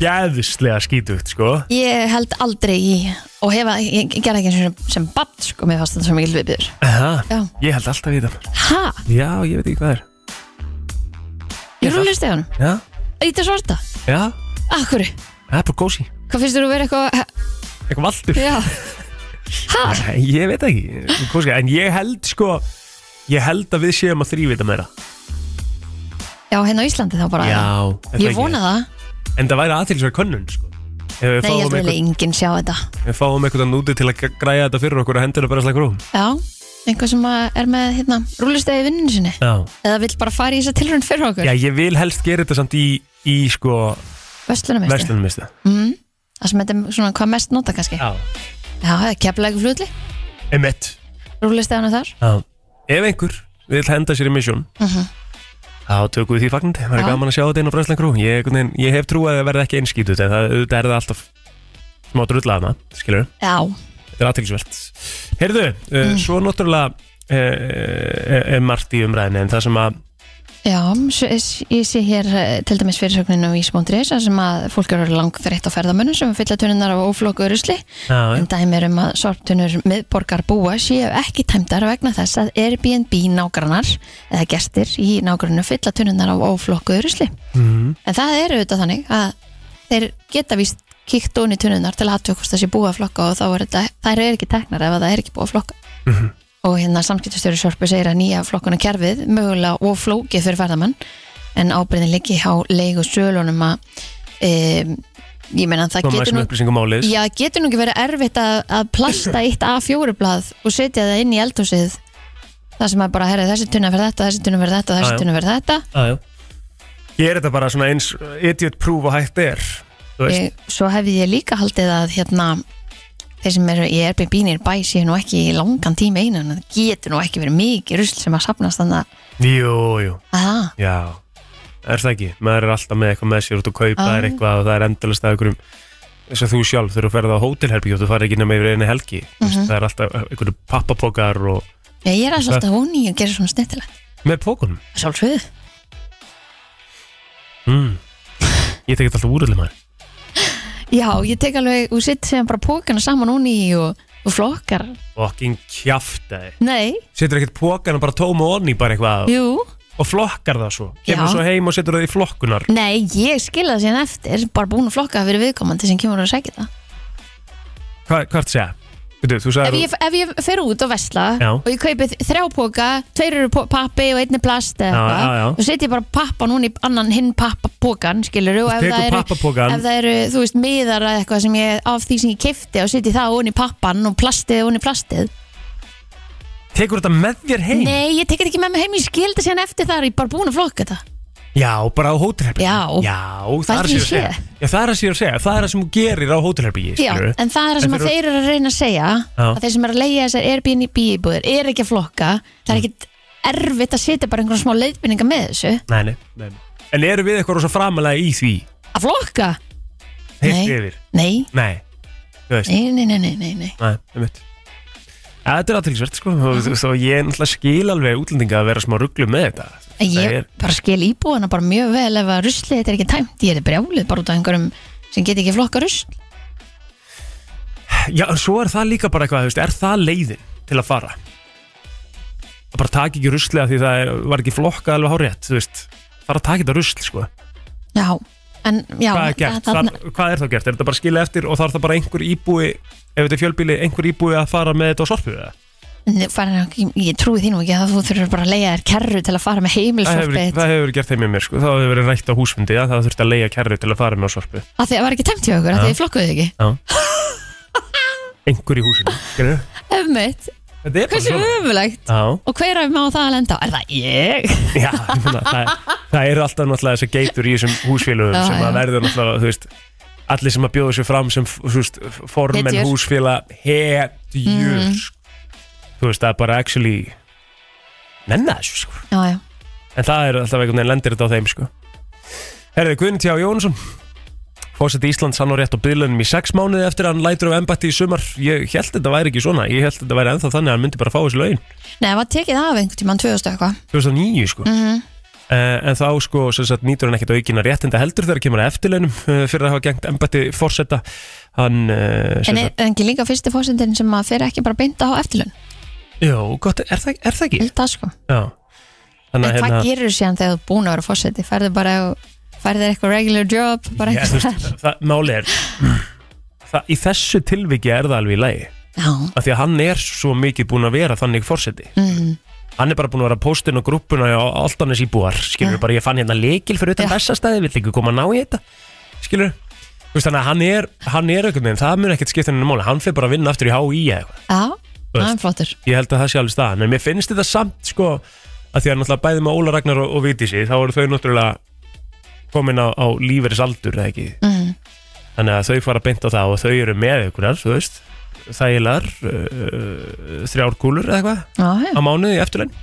S2: jæðislega skítugt sko
S3: ég held aldrei í og hefa, ég, ég gerði ekki eins og sem, sem bann sko, mér fannst þetta svo mikil viðbyrður
S2: Aha,
S3: Já.
S2: ég held alltaf í það
S3: ha,
S2: já, ég veit ekki hvað er
S3: í rúllustið honum
S2: já,
S3: ít að svarta,
S2: já,
S3: akkur
S2: það er bara gósi
S3: hvað finnst þér að vera
S2: (laughs)
S3: eitthvað
S2: eitthvað valdur
S3: já, ha,
S2: Nei, Ég veit ekki, Kóska, en ég held sko Ég held að við séum að þrývita meira
S3: á hérna á Íslandi þá bara
S2: Já, er það
S3: Ég
S2: ekki?
S3: vona það
S2: En það væri aðtilsverð könnun sko. Ef við
S3: Nei, ég
S2: fáum
S3: held að
S2: einhvern-
S3: enginn sjá þetta
S2: ef við fáum einhvern veginn úti til að græja þetta fyrir okkur og hendur það bara slagur um
S3: Já, einhver sem að er með hérna, rúlistegi í vinninu sinni
S2: Já.
S3: Eða vill bara fara í þessa tilrönd fyrir okkur
S2: Já, ég vil helst gera þetta samt í, í sko,
S3: Vestlunarmeistri
S2: verslunumistu
S3: mm. Það sem þetta er svona hvað mest nota kannski Já,
S2: Já,
S3: það er keflaðið flutli
S2: emitt
S3: Rúlistegunum þar
S2: Já. Ef einhver vil henda sér í misjón þá tökum við því fagnandi Það er
S3: Já.
S2: gaman að sjá þetta inn á Brænslan Krú ég, einhvern veginn- ég hef trú að það verði ekki einskýtut en það auðvitað er það alltaf smá drulla hana, skilur
S3: Já, Mm.
S2: Þetta er aðtilsvöld Heyrðu, uh, svo náttúrulega uh, er margt í umræðinni en það sem að
S3: já s- s- ég sé hér eh, til dæmis fyrirsögninu í Ísbóndriðis sem að fólk eru langþreytt á ferðamönnum sem fylla tununar af óflóku rusli
S2: Já,
S3: en dæmi er um að sorptunur miðborgar búa séu ekki tæmdar vegna þess að Airbnb nágrannar eða gestir í nágrannu fylla tununar af óflokku rusli
S2: Mhm.
S3: en það er auðvitað þannig að þeir geta víst kíkt ón í tununar til aðtökust þessi búa að flokka og þá er þetta, þær eru ekki teknar ef að það er ekki búa að flokka
S1: Mhm.
S3: og hérna samskiptastjóri sorpu segir að nýja flokkuna kerfið mögulega og flókið fyrir ferðamann en ábyrðin liggi hjá leigu sölunum að um, ég meina það
S2: koma
S3: getur
S2: þessum
S3: nú
S2: upplýsingum áliðs
S3: Já, getur nú ekki verið erfitt að, að plasta eitt A4-blað og setja það inn í eldhúsið það sem að bara, herri, þessi tunna verð þetta, þessi tunna verð þetta,
S2: Já, já.
S3: þessi tunna verð þetta
S2: já. Ég er þetta bara svona eins idiot proof og hægt er Þú veist,
S3: ég, Eh, Svo hefði ég líka haldið að hérna, þeir sem eru í Airbnb-nir bæ séu nú ekki í langan tíma einu en það getur nú ekki verið mikið rusl sem að sapnast þannig að-
S2: jú, jú,
S3: að það
S2: já Er það ekki? Maður er alltaf með eitthvað með sér út og kaupa
S3: Já.
S2: er eitthvað og það er endalast að einhverjum eins og þú sjálf þegar þú ferð á hótelherbyggjótt og þú farið ekki nema yfir einu helgi mm
S3: Mhm.
S2: veist, það er alltaf einhverju pappapokar og
S3: Já, Eh, ég er alltaf voni í að gera svona snittilegt
S2: með pokunum
S3: Sjálfsögðu
S2: mm. Ég tekið alltaf úröðlega maður
S3: Já, ég tek alveg, þú sitt sem bara pókana saman hún í og, og flokkar
S2: Fucking kjaftaði
S3: Nei,
S2: Setur ekkert pókan og bara tóma onni bara eitthvað
S3: jú
S2: Og flokkar það svo Kemur
S3: Já.
S2: svo heim og setur það í flokkunar
S3: Nei, ég skilja það síðan eftir, bara búin að flokka það fyrir viðkomandi sem kemur að sækja það.
S2: Hva, Hvað ertu að segja? Veitu, þú
S3: Ef
S2: sagði
S3: ég, ef ég fer út og vesla
S2: Já.
S3: og ég kaupi þrjá póka, tveir eru pó- pappi og einn er plast eða
S2: Já, já, já.
S3: eitthvað, og setja bara pappa núna í annan hinn pappa pókan, skilur og ef
S2: tekur
S3: það, eru,
S2: pappapokann.
S3: ef það eru, þú veist, miðar eða eitthvað sem ég, af því sem ég kefti og setja það onni í pappan og plastið onni í plastið.
S2: Tekur þetta með þér heim?
S3: Nei, ég tekið ekki með mig heim, ég skilja það síðan eftir það, er ég bara búin að flokka það.
S2: Já, bara á hótelherbyggi
S3: Já.
S2: það er
S3: Hvað
S2: að
S3: ætli
S2: sér
S3: ég
S2: að segja
S3: sé?
S2: Já, það er að sér að segja Það er að sem þú gerir á hótelherbyggi
S3: Já,
S2: skilurðu.
S3: en það er það sem
S2: En
S3: að
S2: þeir
S3: þeir eru að reyna að segja
S2: Já.
S3: að þeir sem eru að leiða þessar Airbnb íbúðir er ekki að flokka, það
S2: Mm.
S3: er ekkit erfitt að setja bara einhverjum smá leiðbynninga með þessu
S2: Nei, nei, nei, nei En eru við eitthvað rosa framalega í því?
S3: að flokka,
S2: Heilt
S3: Nei.
S2: yfir
S3: nei,
S2: Nei, þú veist
S3: nei, nei, nei, nei, nei, nei.
S2: Nei, einmitt Ja, þetta er aðtilsvert sko og, og, og ég náttúrulega skil alveg útlendinga að vera smá rugglu með þetta
S3: En
S2: Það
S3: ég
S2: er-
S3: bara skil íbúðana bara mjög vel ef að ruslið þetta er ekki tæmt, ég er brjálið bara út af einhverjum sem get ekki flokka rusl
S2: Já, en svo er það líka bara eitthvað, þú veist, er það leiðin til að fara? Að bara taka ekki ruslega því það er, var ekki flokkað alveg hárétt, þú veist fara að taka þetta rusl, sko
S3: Já, en já
S2: Hvað er gert?
S3: það,
S2: Þar, hvað er þá gert? Er þetta bara skilja eftir og þá er það bara einhver íbúi ef þetta er fjölbíli, einhver íbúi að fara með þetta á sorpu eða?
S3: það, það, Ég trúi þínu ekki að þú þurfur bara að leiða þér kerru til að fara með
S2: Það hefur,
S3: heimilsorpið
S2: það hefur verið gert þeim í mér, sko þá hefur verið rætt á húsfundi að það þurfti að leiga kerru til að fara með á sorpu
S3: að því að var ekki tæmt hjá okkur, að því að þið flokkuðu ekki (laughs)
S2: Já Einhver í húsinu, skilurðu?
S3: Öfmynd,
S2: Þetta er bara
S3: hversu
S2: svona.
S3: öfulegt
S2: Já,
S3: Og hver af maður það að lenda á? Er það ég?
S2: já, ég meina, það, það eru alltaf náttúrulega þessar geitur í þessum húsfélögum
S3: Já,
S2: sem að
S3: já.
S2: verður náttúrulega, þú veist allir sem að bjóða sér fram sem þú veist, formen
S3: Hetjur.
S2: húsfélag hetjur þú veist, það er bara actually nenna þessu sko
S3: Já, já.
S2: en það er alltaf einhvern veginn lendir þetta á þeim sko Herði Guðnitjá Jónsson Fórseti Íslands hann á rétt á byðlunum í sex mánuði eftir að hann lætur af embætti í sumar ég held þetta væri ekki svona, ég held þetta væri ennþá þannig að hann myndi bara fá þessi laun
S3: Nei, það var tekið af einhvern tímann 2000 og eitthvað. Mhm.
S2: 2009 sko
S3: Mm.
S2: Eh, en þá sko sem sagt nýtur hann ekkert aukina réttinda heldur þegar kemur að eftirlaunum eh, fyrir að hafa gengt embætti fórseta hann eh, sem
S3: En er
S2: sagt,
S3: er ekki líka fyrsti fósendin sem að fyrir ekki bara beinta á eftirlun?
S2: jú, gott, er það, er það ekki?
S3: Held það sko.
S2: Já, þannig
S3: En
S2: að
S3: hvað
S2: hérna
S3: gerur síðan þegar þú er búin að vera fósendi? Færðu bara, færðu þér eitthvað regular job? Bara
S2: ég, þú
S3: eitthvað
S2: veist, það, máli er það, í þessu tilviki er það alveg í lagi
S3: Já,
S2: af því að hann er svo mikið búin að vera þannig fórseti
S3: mm,
S2: hann er bara búin að vera póstinn og grúppuna á alltanis íbúar, skilur bara ég fann hérna leikil fyrir utan
S3: Já.
S2: bestastæði, vill ekki koma að ná í þetta skilur, þú veist þannig að hann er hann er einhvern veginn, það mun ekkert skipta henni máli hann fyrir bara að vinna aftur í HÍ eða eitthvað
S3: Já,
S2: Þú
S3: það
S2: veist.
S3: er flottur
S2: ég held að það sé alveg staðan, en mér finnst þetta samt sko, að því að náttúrulega bæði með Óla Ragnar og, og Vítísi, þá eru þau náttúrulega komin á, á líferis aldur eða ekki,
S3: mm.
S2: þannig að þau fara beint á það og þau eru með ykkur þú veist, þægilegar uh, þrjár kúlur eða eitthvað
S3: Já, já.
S2: á mánuði í eftirlaun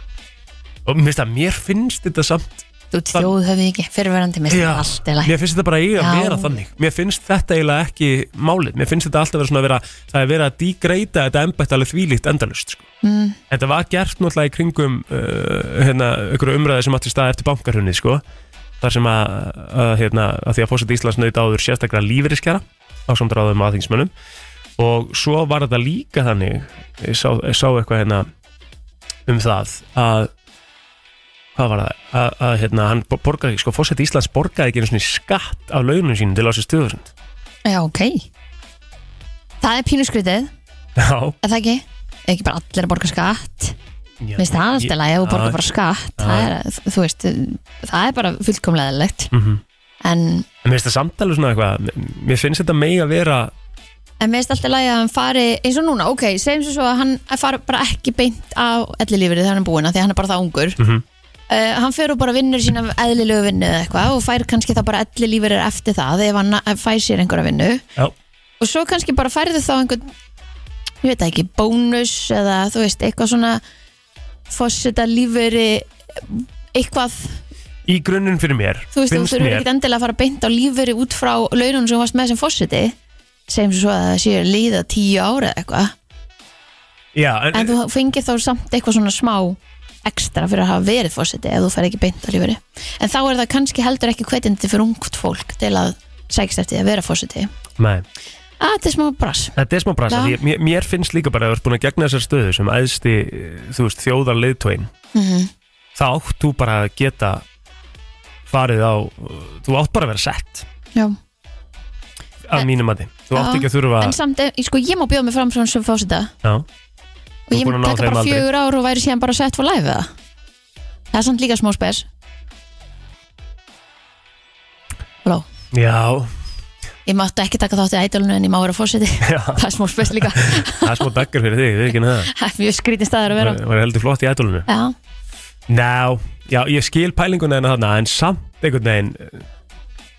S2: og mér finnst, að, mér finnst þetta samt
S3: Þú ert þjóð höfðu ekki fyrirverandi mist allt í lagi.
S2: mér finnst þetta bara eiga að
S3: Já.
S2: vera þannig mér finnst þetta eiginlega ekki málið mér finnst þetta alltaf vera svona að vera það er verið að degreita þetta embætt alveg þvílíkt endalust sko.
S3: Mm,
S2: þetta var gert náttúrulega í kringum uh, hérna, ykkur umræði sem átti stað eftir bankarhunni sko. þar sem að, að, hérna, að því að fórseti Íslands nöyta áður sérstaklega lífeyriskjara á samdráðum aðþingsmönnum og svo var þetta líka þannig ég sá, ég sá eitthvað hérna um það að hvað var það, að, að hérna, hann bo- borgaði, sko, fórseti Íslands borgaði ekki einu svona skatt af launum sínum til ásins 2000
S3: Já, ok Það er pínuskrutið,
S2: Já,
S3: er það ekki? Er ekki bara allir að borga skatt
S2: já
S3: Minnst það allt í lagi ef þú
S2: Já.
S3: borgar bara skatt
S2: Já.
S3: það er, Þú veist, það er bara fullkomlega eðlilegt
S2: mm
S3: En,
S2: En mér finnst það samtalið svona eitthvað Mér finnst þetta mega vera
S3: en minnst allt í lagi að hann fari eins og núna, ok, segjum svo svo að hann fari bara ekki beint á ellilífrið þegar hann er búin af því að hann er bara það ungur
S2: mm -hmm.
S3: uh, hann fer og bara vinnur sína eðlilegu vinnu eða eitthvað og fær kannski þá bara ellilífur eftir það ef hann eh, fær sér einhverja vinnu
S2: Já,
S3: og svo kannski bara færðu þá einhvern ég veit það ekki, bónus eða þú veist, eitthvað svona fósita lífveri eitthvað,
S2: í grunninn fyrir mér
S3: þú veist, þú
S2: finnst
S3: þurfur
S2: mér
S3: ekkert endilega að fara beint á lífveri út frá launum sem þú varst með sem fósiti segjum svo að það séu að líða tíu ára eða eitthvað,
S2: Já, en,
S3: en þú fengir þá samt eitthvað svona smá ekstra fyrir að hafa verið fósiti ef þú fer ekki beint á lífveri en þá er það kannski heldur ekki hvetjandi fyrir ungt fólk til að sækist eftir því að vera fósiti
S2: nei,
S3: að þetta er smá brass
S2: þetta er smá brasa
S3: Já.
S2: því mér, mér finnst líka bara að þú ert búin að gegna þessar stöðu sem æðsti, eh, þú veist, þjóðar leiðtóin
S3: mm
S2: þá átt þú bara að geta farið á þú átt bara að vera sett
S3: Já
S2: af
S3: En-
S2: mínum mati þú átt
S3: Eh. Já.
S2: ekki að þurfa
S3: En samt, eh, sko, ég má bjóða mig fram svona sem fósita
S2: Já,
S3: og
S2: Þú
S3: ég
S2: er búin að
S3: mun
S2: ná
S3: taka
S2: þeim
S3: bara
S2: aldrei.
S3: fjögur ár og væri síðan bara sett for life eða Það er samt líka smá spes Halló,
S2: já,
S3: ég máttu ekki taka þátt í ædolunu en ég má vera fósiti
S2: já
S3: (laughs) Það er smá spes líka (laughs)
S2: það er smá daggar fyrir þig, við ekki neða
S3: Það er Mjög skrítið staður að (laughs) vera Eh. á.
S2: það var heldur flott í ætlunum
S3: Já,
S2: Ná, já, ég skil pælinguna hennar þarna en samt einhvern veginn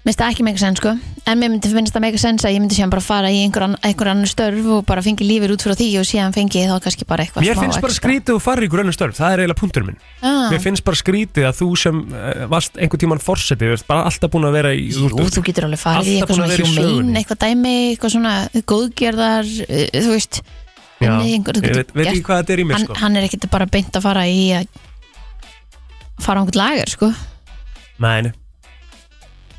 S3: minnst það ekki mega sens sko En mér myndi finnst það mega sens að ég myndi síðan bara fara í einhver, ann, einhver annar störf og bara fengi lífið út frá því og síðan fengi ég þá kannski bara eitthvað
S2: Mér finnst bara skrítið og farið í grönnu störf, það er eiginlega punktur minn Mér
S3: ah,
S2: finnst bara skrítið að þú sem uh, varst einhvern tíman forsetið, þú ert bara alltaf búin að vera í
S3: Jú, þú getur alveg farið í
S2: Alltaf
S3: eitthvað
S2: búin
S3: svona
S2: að vera í
S3: hjúmein,
S2: sögunni.
S3: eitthvað dæmi, eitthvað svona góðgerðar, uh, þú veist,
S2: Já,
S3: Nei, einhver- þú
S2: ég
S3: getur
S2: veit, veit ekki
S3: gert-
S2: hvað þetta er í mér
S3: hann,
S2: sko
S3: hann er ekkert bara beint að fara í að fara á einhvern lager, sko.
S2: Mæni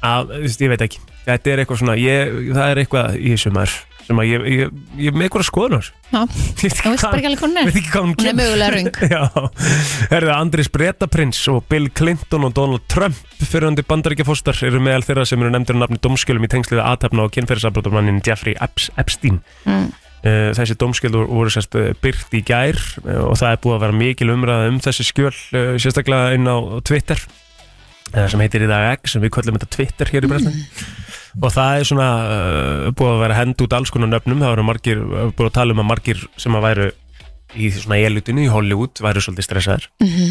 S2: að, þú veist, ég veit ekki Þetta er eitthvað svona, ég, það er eitthvað í þessu maður sem að ég, ég, ég er með eitthvað skoðunar
S3: Já,
S2: Ég veit
S3: þú
S2: ekki
S3: veist bara
S2: hvað-
S3: ekki alveg hvernig
S2: veit
S3: hún er.
S2: ekki hvað hún
S3: Hún er
S2: kemur. (laughs)
S3: mögulega röng.
S2: Já, herðu Andris Bretaprins og Bill Clinton og Donald Trump fyrirhandi bandaríkjafóstar eru meðal þeirra sem eru nefndir á nafni domskjölum í tengslið að aðtapna á kynferðisabrótumannin Jeffrey Epps, Epstein
S3: Mm.
S2: Eh, Þessi domskjöldur voru sérst eh, birt í gær eh, og það er búið að vera mikil umræða um þessi skjöl eh, sérstaklega inn á Twitter eh, sem heitir í dag X sem við köllum þetta Twitter hér í Bresna og það er svona uh, búið að vera hend út alls konar nöfnum það voru margir, uh, búið að tala um að margir sem að væru í svona elutinu í Hollywood væru svolítið stressaðir
S3: Mm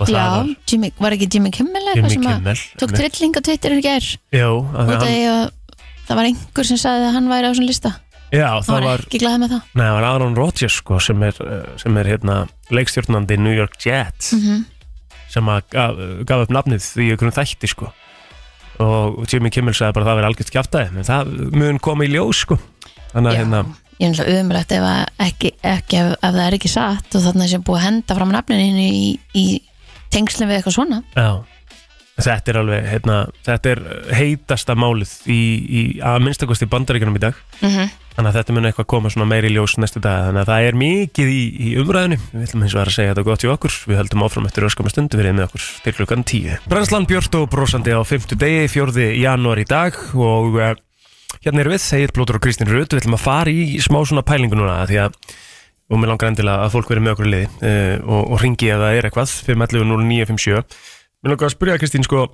S2: og það
S3: Já,
S2: var
S3: Jimmy, var ekki Jimmy Kimmel eitthvað
S2: Jimmy
S3: sem að
S2: Kimmel
S3: tók trilling á Twitter í gær
S2: já, af því
S3: út af
S2: að hann,
S3: því að það var einhver sem sagði að hann væri á svona lista.
S2: já
S3: Hann
S2: það
S3: var,
S2: var,
S3: ekki glaðið með það.
S2: nei, það var Aaron Rodgers sko, sem er, uh, sem er hérna, leikstjórnandi New York Jets
S3: Mm
S2: sem að gaf, gaf upp nafnið í einhverjum þætti sko. og Jimmy Kimmel sagði bara að það verið algjört kjáftæði en það mun koma í ljós sko. þannig að
S3: Já.
S2: hérna,
S3: Ég er náttúrulega umrætt ef, að ekki, ekki, ef, ef það er ekki satt og þarna sem búið að henda fram nafninu í, í tengslum við eitthvað svona.
S2: Já Þetta er alveg, hérna, þetta er heitasta málið í, í að minnstakosti bandaríkjunum í dag
S3: Mm
S2: þannig að þetta mun eitthvað koma svona meiri í ljós næstu dag þannig að það er mikið í, í umræðinu við ætlum hins vegar að segja þetta gott í okkur við höldum áfram eftir öskama stundu verið með okkur til klukkan 10 Brænslan Björn og brosandi á 5. degi 4. janúar í dag og uh, hérna erum við, Egil Blótur og Kristín Rut við ætlum að fara í smá svona pælingu núna því að og mér langar endilega að fólk veri með okkur í liði uh, og, og ringi ef það er eitthvað 511 0957 Mér langar að spyrja Kristín sko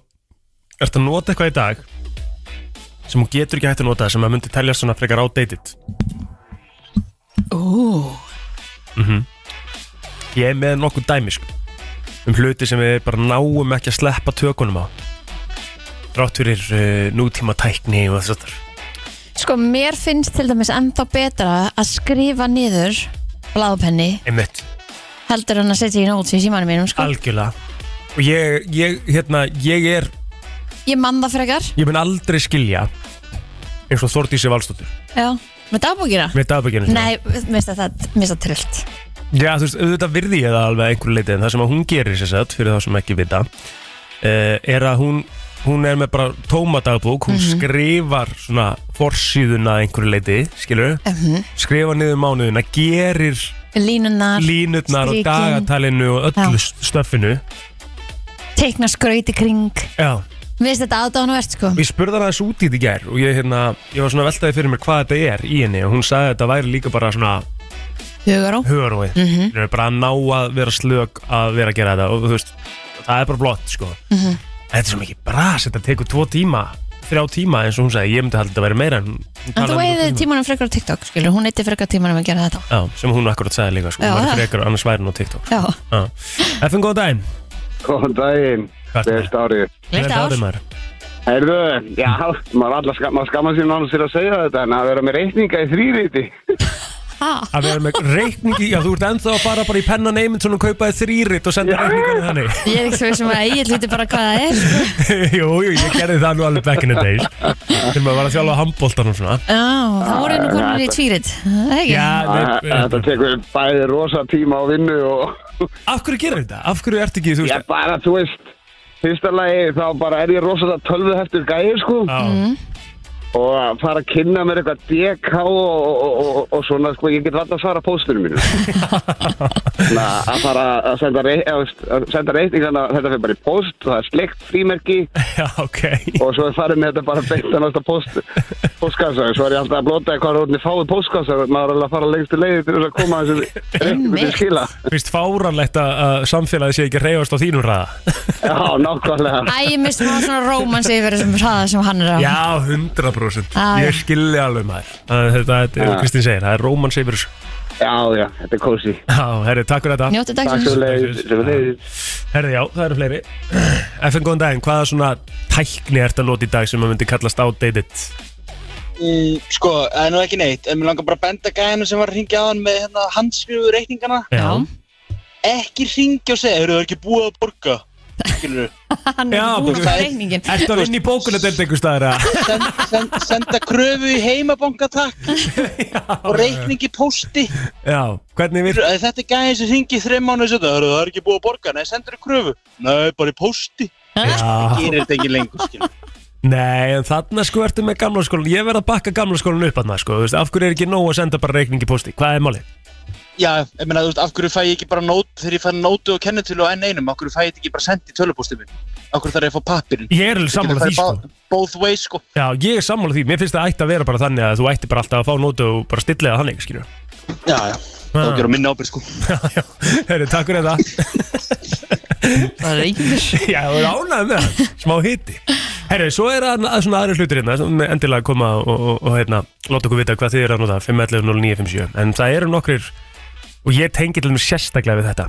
S2: Ertu að nota eitthvað í dag sem hún getur ekki hægt að nota sem að myndi telja svona frekar outdated
S3: Ú,
S2: Mhm. Ég er með nokkuð dæmi sko um hluti sem við bara náum ekki að sleppa tökunum á rátt fyrir uh, nútíma tækni og þess að
S3: sko mér finnst til dæmis ennþá betra að skrifa niður bláðpenni
S2: einmitt
S3: heldur hann að setja í nót í símanum mínum sko.
S2: Algjörlega Og ég, ég, hérna, ég er
S3: Ég man það frekar
S2: Ég mun aldrei skilja eins og Þordísi Valstóttur
S3: Já, með dagbókina
S2: með dagbækjunum
S3: Nei, mista það, mista trillt
S2: Já, þú veist, auðvitað virði ég það alveg að einhverju leiti en það sem að hún gerir sér satt, fyrir þá sem ekki vita uh, er að hún hún er með bara tóma dagbók hún skrifar svona forsíðuna að einhverju leiti, skilur
S3: uh -huh.
S2: skrifa niður mánuðina, gerir
S3: Línunar,
S2: línutnar og
S3: Strikin.
S2: dagatalinu og
S3: Já.
S2: öllu stöffinu
S3: teikna skraut í kring
S2: Já,
S3: Mista þetta aðdánuvert sko
S2: Ég spurði hann aðeins út í því gær og ég, hérna, ég var svona veltaði fyrir mér hvað þetta er í henni og hún sagði að þetta væri líka bara svona
S3: Hugaró
S2: hugaróið mm -hmm. bara að ná að vera slök að vera að gera þetta og þú veist, það er bara blott sko.
S3: Mhm.
S2: Þetta er svo mikið bras þetta tekur tvo tíma, þrjá tíma eins og hún sagði, ég myndi halda þetta væri meira en hún
S3: En
S2: talaði
S3: þú
S2: um
S3: eigði
S2: tíma.
S3: tímanum frekar á TikTok skilur Hún eitti frekar tímanum að gera þetta
S2: Já, sem hún akkurat sagði líka sko,
S3: Já,
S2: hún var
S3: það.
S2: ekki frekar annars væri nú TikTok sko.
S3: Já,
S2: Já. FN, góð daginn
S6: Góðan daginn,
S2: Hvað er
S6: best árið.
S3: glemt ár
S2: maður?
S6: Heyrðu, já, maður allar skam, maður skamma sér nánast fyrir að segja þetta, en að vera með reikninga í þrýriti.
S3: Ha,
S2: Að vera með reikningi, já þú ert ennþá að fara bara í penna neymund svona kaupaði þrýrit og senda reikninginu þannig
S3: Ég er ekki svo sem að ég hluti bara hvað það er sko.
S2: (laughs) jú, jú, ég gerði það nú alveg back in the days Þegar maður var að þjálfa handbóltan og svona
S3: Já, það voru nú konur í tvírit Það er ekki
S2: Já, við-
S6: Þetta tekur bæði rosa tíma á vinnu og
S2: af hverju gerir þetta? Af hverju ertu ekki, þú
S6: ég
S2: veist
S6: bara, þú veist, fyrsta lagi þá bara er ég rosa það tölvuð heftur gæði, sko,
S2: Já,
S6: og að fara að kynna mér eitthvað DK og, og, og, og svona, sko, ég get vant að svara póstunum mínu. Þannig að að fara að senda, rei, að, að senda reikningana, þetta fyrir bara í póst, það er sleikt frímerki,
S2: já, ok
S6: og svo er farið með þetta bara beint að násta post, postkassa svo er ég alltaf að blóta eitthvað út í fáið postkassa maður er alveg að fara lengstu leiði til þess að koma þessu reikningum til
S3: Einmitt.
S6: skila
S2: Vist fáranlegt að að samfélagið sé ekki að reyfast á þínum ræða
S6: já, nákvæmlega
S3: Æ, ég misti maður svona rómans yfir þessum hraða sem hann er á
S2: Já, 100%
S3: Já, já.
S2: Ég skilði alveg maður Það- Þetta þetta er,
S6: Já.
S2: Kristín segir, það er rómans yfir þessu.
S6: já, já, þetta er kósi
S2: Já, herri, takk fyrir þetta
S3: Njóttu
S6: takk
S3: dagsins
S6: fyrir leiðið sem er leiðið
S2: Herri, já, það eru fleiri (clears throat) FN, góðan daginn, hvaða svona tækni ert að nota í dag sem maður myndi kallast outdated?
S8: Mm, sko, það er nú ekki neitt, en mér langar bara að benda gæðinu sem var að ringja á hann með hérna, handskrifu reikningana.
S3: Já.
S8: Ekki ringja og segja, eru þau ekki búið að borga? Skilur
S3: (laughs) Hann er
S2: Já,
S3: búin
S2: bara-
S3: á reyningin
S2: Ertu að vinna í bókuna delt einhver staðar
S3: (laughs)
S2: að
S8: send, send, senda kröfu í
S2: (laughs)
S8: heimabankatakk og reikning í pósti.
S2: Já, hvernig
S8: Skilurðu,
S2: við
S8: ef Þetta er gæðin sem ringi þreim mánuði setna, eru þau ekki búið að borga? Nei, sendur þau kröfu? Nei, bara í pósti.
S2: Já,
S8: Gerir þetta ekki lengur, skilur
S2: nei, en þarna sko ertu með gamla skólan Ég verð að bakka gamla skólan upp aðna sko þú veist, Af hverju er ekki nóg að senda bara reikning í posti? Hvað er málið?
S8: Já, ég meina, þú veist, af hverju fæ ég ekki bara nót, þegar ég fæ nótu og kennitölu á N1, af hverju fæ ég þetta ekki bara sendt í tölupóstið minn? Af hverju þarf ég að fá pappirinn?
S2: Ég er alveg sammála því sko
S8: Both ways, sko.
S2: Já, ég er sammála því, mér finnst það ætti að vera bara þannig að þú ætti bara alltaf að fá nótu og bara stilla það þannig, skilju
S8: Já, já, þá
S2: Ah.
S8: gerum minna ábyrg sko
S2: Já, já, herri, takk fyrir þetta
S3: (laughs) Það er reyningin
S2: Já, þú er ánægð með það, smá hitti Herri, svo er að, að svona aðri hlutir hérna sem endilega koma og, og, og hérna láta okkur vita hvað þið er að nota 511-0957 en það eru nokkrir og ég tengi til mér sérstaklega við þetta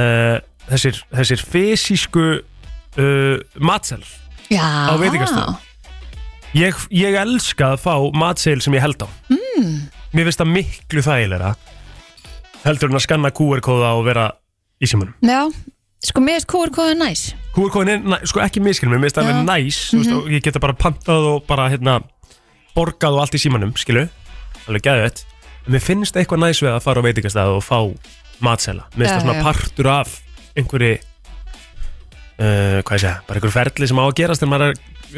S2: uh, þessir, þessir fysísku uh, matselar
S3: Já
S2: Á veitingastöðum. ég, ég elska að fá matsel sem ég held á mm. Mér finnst það miklu þægilega heldur en að skanna QR-kóða og vera í símanum
S3: Já, sko mér veist kúr hvað er næs
S2: QR-kóðin er, næ- sko ekki miskilum, mér finnst það
S3: Já. Mhm.
S2: alveg næs þú veist, og ég geta bara pantað og bara hérna, borgað og allt í símanum, skilu alveg geðvett en mér finnst eitthvað næs við að fara á veitingastæð og fá matsela mér finnst
S3: Já,
S2: það svona
S3: já.
S2: partur af einhverju uh, hvað ég segja, bara einhverju ferli sem á að gerast þegar maður er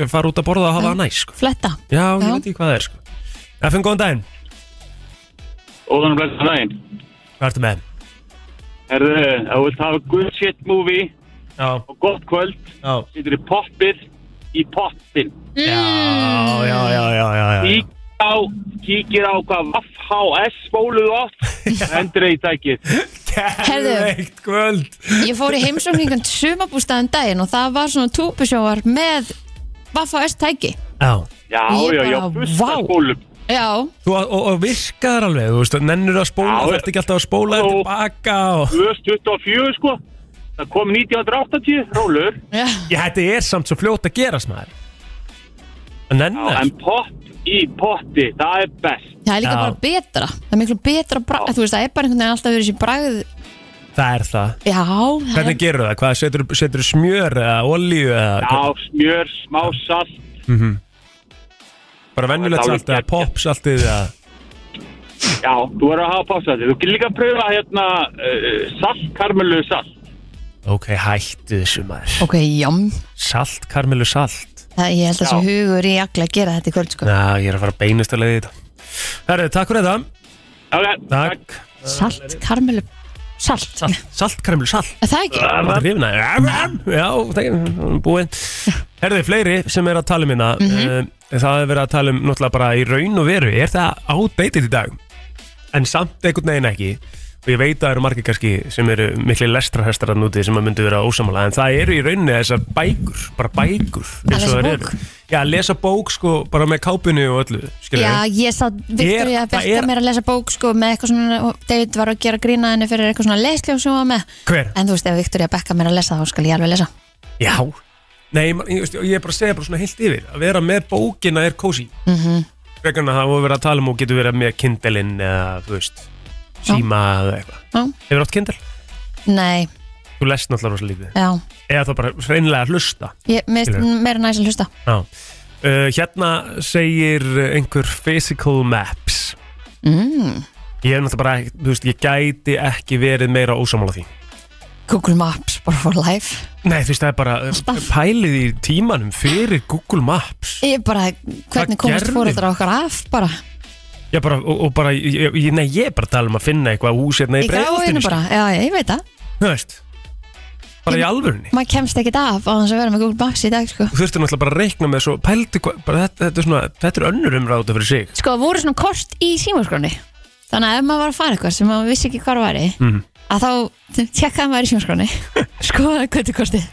S2: að fara út að borða og hafa það næs sko.
S3: Fletta
S2: Já,
S3: Já.
S2: ég veit ekki hvað það er sko. FN, góðan daginn,
S9: Óðan og blessa daginn.
S2: hvað ertu með?
S9: Herðu, ef þú vilt hafa good shit movie
S2: Já,
S9: og gott kvöld,
S2: já,
S9: setur þið poppir í poppin.
S2: já, já, já, já, já, já.
S9: Í á, kíkir á hvað VHS spóluð oft hendur í tækið
S2: Geðveikt kvöld
S3: Ég fór í heimsókningan sumabústaðan daginn og það var svona túpusjóar með Vaffa S tæki
S2: Já
S9: já,
S3: Ég
S9: já, já,
S3: bara,
S9: fullt af
S3: vá.
S9: spólum
S3: Já,
S2: Þú, og, og- og virkaðar alveg, þú veist, nennur að spóla
S9: Já,
S2: Þú ert ekki alltaf að spóla þér
S9: Ó.
S2: tilbaka og...
S9: 24 sko það kom 1980, rólur
S3: já.
S2: Já, þetta er samt svo fljótt að gerast maður Að nenna
S9: en
S2: þessu.
S9: pott í potti, það er best
S3: það er líka
S2: Já.
S3: bara betra Það er miklu betra bragð, þú veist það er bara einhvern veginn alltaf verið sér bragð
S2: Það er það
S3: Já, það
S2: Hvernig gerur það? Hvað, setur, setur smjör eða olíu eða
S9: já, smjör, smá salt
S2: bara venjulegt
S9: Það er
S2: salt eða
S9: geggjað.
S2: pop saltið eða
S9: já, þú verður að hafa pásaði þú getur líka að pröfa hérna uh, salt, karmelu salt
S2: Ok, hættu þessu maður
S3: Ok, jám
S2: Salt, karmelu, salt
S3: það, Ég held að svo
S9: Já.
S3: hugur í alla að gera þetta í kvöld sko.
S2: Já, ég er að fara beinust að leiði þetta Herri, takk fyrir þetta
S9: okay,
S2: Takk
S3: Salt, karmelu, salt, salt.
S2: Salt, karmelu, salt
S3: Það ekki
S2: Það er hrifna Já, það er búið Herði, fleiri sem er að tala um hérna
S3: Mhm.
S2: eh, Það er verið að tala um náttúrulega bara í raun og veru Er það outdated í dag? En samt einhvern veginn ekki Og ég veit að það eru margir kannski sem eru mikli lestrarhestar að núti sem að myndu vera ósamála En það eru í rauninni þessar bækur, bara bækur eins
S3: lesa
S2: og þær
S3: bók?
S2: eru. Já, að lesa bók sko bara með kápinu og öllu skilurðu.
S3: Já, ég sá Viktor ég að
S2: það
S3: velta
S2: er-
S3: mér að lesa bók sko, með eitthvað svona, og David var að gera grína henni fyrir eitthvað svona lesljóð sem hún var með
S2: Hver?
S3: En þú veist, ef Viktor ég að bekka mér að lesa þá skal ég alveg lesa
S2: Já Nei, man- ég, veist, ég er bara að segja bara svona heilt yfir að vera með bókina er kósi mm
S3: Mhm.
S2: -hmm. vegna það voru verið að tala um og getur verið með kindlinn eða þú veist síma eða eitthvað
S3: Já.
S2: Hefur átt kindl?
S3: Nei,
S2: Þú lest náttúrulega rosa lítið
S3: já,
S2: eða þá bara hreinlega að hlusta
S3: ég, mér
S2: Skilurðu?
S3: finnst meira næs að hlusta
S2: Já uh, Hérna segir einhver physical maps
S3: mm,
S2: Ég er náttúrulega bara, þú veist, ég gæti ekki verið meira ósamála því
S3: Google Maps, bara for life
S2: Nei, þú veist, það er bara uh, pælið í tímanum fyrir Google Maps
S3: Ég bara,
S2: Hvað
S3: hvernig komast
S2: gerði?
S3: fóreldrar okkar af bara
S2: Já, bara, og, og bara, ég, ég, nei, ég er bara að tala um að finna eitthvað hús hérna í
S3: Í gráinu
S2: breiðholtinu,
S3: bara, já, já, ég veit það
S2: sko. Þú veist, bara í alvörunni.
S3: Maður kemst ekkit af á þess að vera með Google Maps í dag sko
S2: Þú þurftir náttúrulega bara að reikna með svo, pældi hvað, bara þetta, þetta er svona, þetta er önnur umræðu fyrir sig.
S3: Sko, það voru svona kort í símaskroni Þannig að ef maður var að fara eitthvað sem maður vissi ekki hvað var mm. að þá tjekkaði maður í símaskroni skoðaði hvernig kortið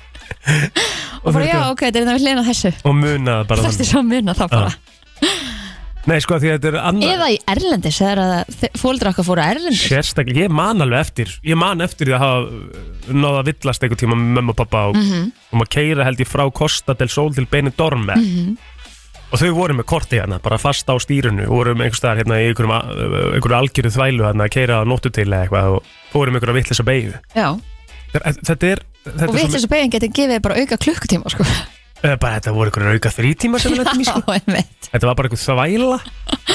S3: og bara já, ok, þetta er það við hlena þessu
S2: Og muna það bara Ah.
S3: Þetta er svo að muna það bara
S2: Nei, sko, því að þetta er annað.
S3: Eða í Erlendis, þegar fóldra okkar fóru að Erlendis
S2: Sérstaklega, ég man alveg eftir, ég man eftir því að hafa náða að villast einhvern tíma með mömmu og pappa og,
S3: Mhm.
S2: og maður keira held ég frá Costa del Sol til Benidorm mm
S3: Mhm.
S10: Mhm.
S2: og þau voru með korti hérna, bara fast á stýrunu voru með einhvers staðar hérna í einhverjum, a- einhverju algjöru þvælu hérna að keira á nóttu til eða eitthvað og fóru með einhverja vittlisa beigðu
S3: Já,
S2: Þetta er, þetta
S3: og
S2: er
S3: vitt þessu beginn getið gefið bara auka klukkutíma sko.
S2: eh, bara þetta voru einhverja auka þrítíma sem við
S3: Já,
S2: lendum
S3: (laughs)
S2: í sko
S3: einmitt
S2: Þetta var bara einhver þvæla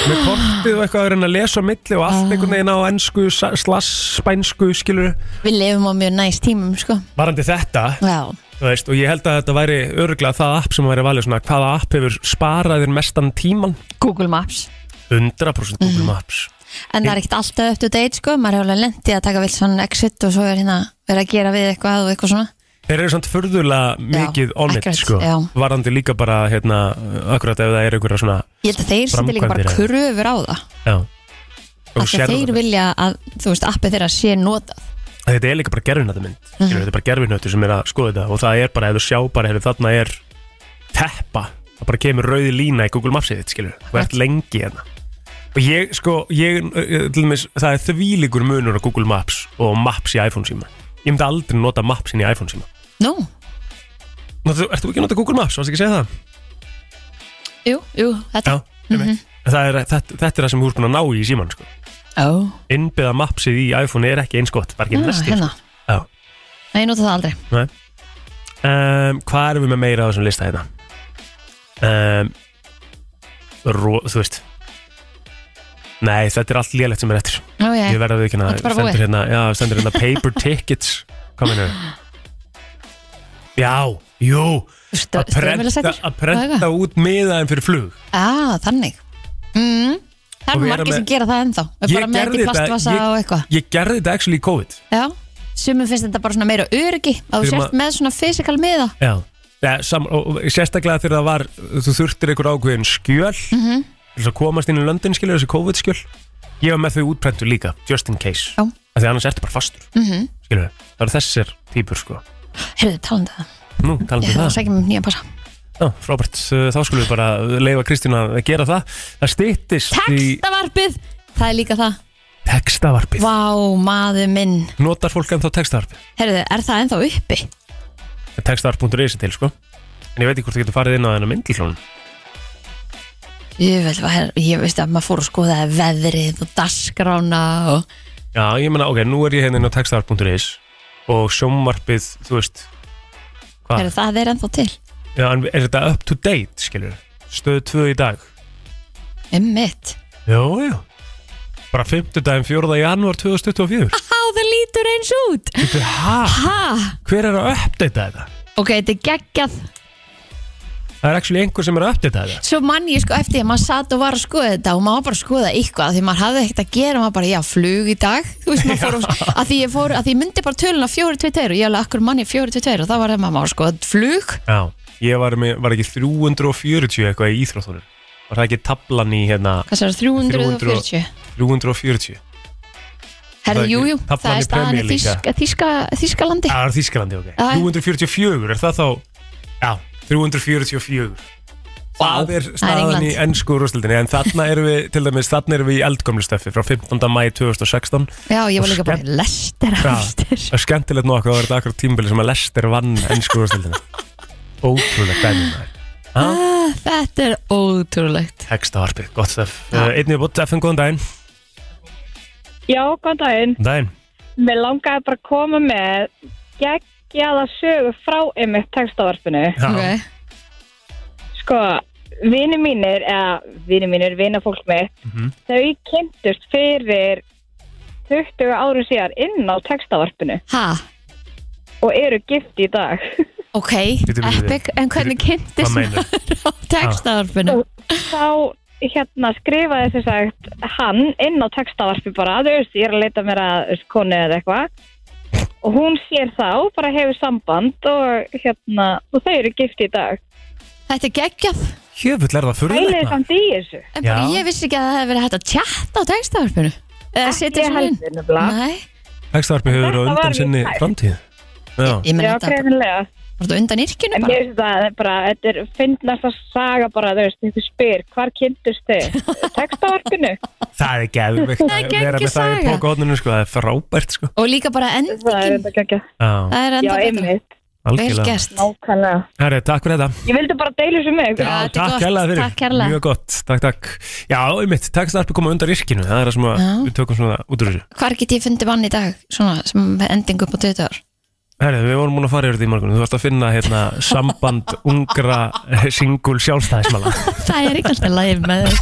S2: með kortið og eitthvað að reyna að lesa á milli og
S3: Ah.
S2: allt einhvern veginn á ennsku, slass, spænsku, skilur
S3: Við lifum á mjög næst tímum sko.
S2: Varandi þetta,
S3: Já,
S2: Þú veist, og ég held að þetta væri öruglega það app sem væri valið svona hvaða app hefur sparað þér mestan tíman
S3: Google Maps Mhm.
S2: 100% Google Maps
S3: En það er ekkert alltaf up to date sko Maður er alveg lent í að taka vilt svona exit og svo er hérna verið að gera við eitthvað og eitthvað svona
S2: Þeir eru samt furðulega mikið on it
S3: akkurat,
S2: sko,
S3: já.
S2: varandi líka bara hérna, akkurat ef það er einhverja svona
S3: Ég held að þeir setja líka bara
S2: Framkvæmdir
S3: kröfur á það
S2: já, og
S3: Af því að
S2: sérðu
S3: þeir
S2: þetta.
S3: vilja að, þú veist, appið þeirra sé notað
S2: þetta er líka bara gerfinötu mynd mm þetta er bara gerfinötu sem er að skoða þetta og það er bara, ef þú sjá bara, hefur þarna er teppa, það bara kemur rauði lína í Google Mapsið þitt, skilur, og ert lengi hérna og ég, sko, ég eh, til dæmis, það er þvílíkur munur á Google Maps og Maps í iPhone síma ég myndi aldrei nota Mapsin í iPhone síma
S3: Nú,
S2: Nú, þú, ertu ekki að nota Google Maps, varstu ekki að segja það?
S3: jú, jú, þetta
S2: mm -hmm. það er, þetta, þetta er það sem þú er búin að ná í síman sko.
S3: Ó,
S2: innbyða Mapsið í iPhone er ekki eins gott, bara ekki
S3: já,
S2: næstir
S3: hérna
S2: Já.
S3: Nei, ég nota það aldrei
S2: um, Hvað erum við með meira á þessum lista hérna? Um, ró, þú veist Nei, þetta er allt lélegt sem er eftir
S3: Nú,
S2: Ég
S3: ég,
S2: verða að viðkynna
S3: Þetta er bara
S2: Stendur
S3: búið.
S2: hérna, já, stendur hérna paper tickets Hvað meinar Já, jú
S3: stu-
S2: Að prenta,
S3: stöðmjölasettir?
S2: að prenta út miðaðin fyrir flug
S3: Á, þannig mm, Það
S2: Og
S3: er
S2: vera
S3: margir sem
S2: með-
S3: gera það ennþá
S2: Ég
S3: Bara með
S2: gerði
S3: þetta í
S2: þetta,
S3: plastvasa
S2: ég-
S3: og eitthvað
S2: Ég gerði þetta actually í COVID
S3: Já, sumum finnst þetta bara svona meira öryggi að þú
S2: Fyrir
S3: sért
S2: ma-
S3: með svona physical miða
S2: Já, ja, sam, og, og, sérstaklega þegar það var þú þurftir einhver ákveðin skjöl til þess að komast inn í löndin skilur þessi COVID-skjöl ég var með þau útprentu líka, just in case
S3: Já.
S2: af því annars ertu bara fastur,
S3: mm
S2: skilur það eru þessir típur sko
S3: Herðu, talandi um það
S2: nú,
S3: Ég
S2: talandi um
S3: þarf að
S2: það
S3: segja mér nýja passa
S2: Já, frábært, Uh, þá skulum við bara leifa Kristín að gera það það stýttist í
S3: Textavarpið, það er líka það
S2: textavarpið
S3: Vá, maður minn
S2: notar fólk ennþá textavarpið
S3: Herðu, er það ennþá uppi?
S2: textavarp.is er til sko en ég veit ekki hvort þú getur farið inn á þennan myndilónum
S3: Ég, vel, var, ég veist að maður fór að skoða veðrið og dasgrána og
S2: Já, ég meina, ok, nú er ég hérna inn á textavarp.is og sjómvarpið, þú veist hvað,
S3: Herðu, það er ennþá til
S2: já, en er þetta up to date, skilur stöð 2 í dag
S3: Emmitt
S2: Já, já bara 5. daginn 4. janúar 2024
S3: Há, það lítur eins út
S2: Þetta er hæ,
S3: Ha,
S2: hver er að uppdata þetta?
S3: ok, þetta er geggjað
S2: Það er actually einhver sem er að uppdata þetta
S3: Svo mann ég sko eftir að maður satt og var að skoða þetta og maður var bara að skoða eitthvað af því maður hafði ekkert að gera maður bara, já, flug í dag þú veist, maður fór og, að því ég fór, að því ég myndi bara töluna 422 og ég alveg akkur manni 422 og það var það maður var að skoða flug
S2: Já, ég var, með, var ekki 340 eitthvað í íþróttunum var það ekki tablan í hérna
S3: hvað sér 340
S2: 340
S3: herði,
S2: Það er
S3: jú,
S2: ekki-
S3: jú,
S2: taflan
S3: það
S2: í
S3: er staðan
S2: Premier
S3: í
S2: League,
S3: Þýska, Þýska, Þýskalandi
S2: Það er Þísklandi, ok.
S3: Já.
S2: 344, er það þá? Já, 344. Það er staðan í
S3: England.
S2: ennsku úrstildinni, en þarna erum við, til dæmis, þarna erum við í eldgömlu stöfi frá 15. mæi 2016.
S3: já, ég var líka bara,
S2: Skemmt.
S3: lester
S2: Já.
S3: aftur
S2: Það er skemmtilegt nokkuð, það var þetta akkur tímbili sem að Lester vann ennsku úrstildinni. Ótrúlega dæmið maður.
S3: Ah. þetta er ótrúlegt
S2: Hekstavarpið, gott stöf. Uh, einnig við bútt, FN, góðan daginn.
S10: Já, góðan daginn.
S2: Daginn.
S10: Mér langaði bara að koma með geggjaða sögu frá einmitt textavarpinu.
S2: Já,
S3: Ok.
S10: Sko, vini mínir, eða vini mínir, vinafólk mitt,
S2: Mhm.
S10: þau kynntust fyrir 20 árum síðar inn á textavarpinu
S3: ha,
S10: og eru gift í dag.
S3: ok,
S2: Bíddu, bíddu, bíddu.
S3: epic en hvernig
S2: hvað
S3: kynntist
S2: meinar?
S3: maður á textaðarpinu
S10: Þá hérna skrifaði þess sagt hann inn á textavarpi bara, þú veist, ég er að leita mér að þú veist, konu eða eitthvað og hún sér þá, bara hefur samband og hérna, og þau eru gift í dag.
S3: þetta er geggjað
S2: Jöfull er
S10: Pælið
S2: það fyrirleikna.
S10: samt í þessu.
S3: En bara
S2: Já.
S3: ég vissi ekki að það hefði verið hægt að tjatta á textavarpinu Eða setja
S10: Ég
S3: svona inn
S10: held þér nefnilega.
S3: Nei,
S2: Hekstavarpið hefur verið á
S10: Þetta var
S2: undan sinni
S10: í gær.
S2: framtíð.
S10: Já,
S3: ég
S2: Já,
S3: meina þetta er bara-
S10: greinilega.
S3: bara þetta undan yrkjunu
S10: En
S3: bara
S10: ég veist það, það er bara, þetta er fyndnast að saga bara, þú veist, einhver spyr, hvar kynntust
S3: (laughs)
S10: þið? Textavarpinu?
S2: það er geðvikt
S3: Það er
S2: að vera
S3: geggjuð
S2: með það í
S3: saga.
S2: pókahotninu, sko, það er frábært, sko.
S3: Og líka bara
S10: Það er
S3: endingin
S10: þetta ekki ekki.
S2: Já,
S3: Það er
S10: Já,
S3: enda betra
S10: einmitt,
S3: Vel
S2: algjörlega.
S3: gert
S10: nákvæmlega.
S2: Herri, takk fyrir þetta.
S10: Ég vildi bara deilu sem mig.
S3: Já, þetta er
S2: takk
S3: gott.
S2: kærlega fyrir.
S3: Takk kærlega.
S2: Mjög gott, takk, takk. Já, einmitt, textarpi koma undan yrkinu, það er það sem að
S3: Já.
S2: við tökum svona út úr þessu.
S3: Hvar get ég fundið mann í dag svona sem með endingu upp á 20
S2: (laughs)
S3: ár
S2: Herri, við vorum múin að fara yfir þetta í morgun, þú varst að finna hérna
S3: (laughs)
S2: samband ungra singul sjálfstæðismala.
S3: Það er ekki alltaf lægir með þér.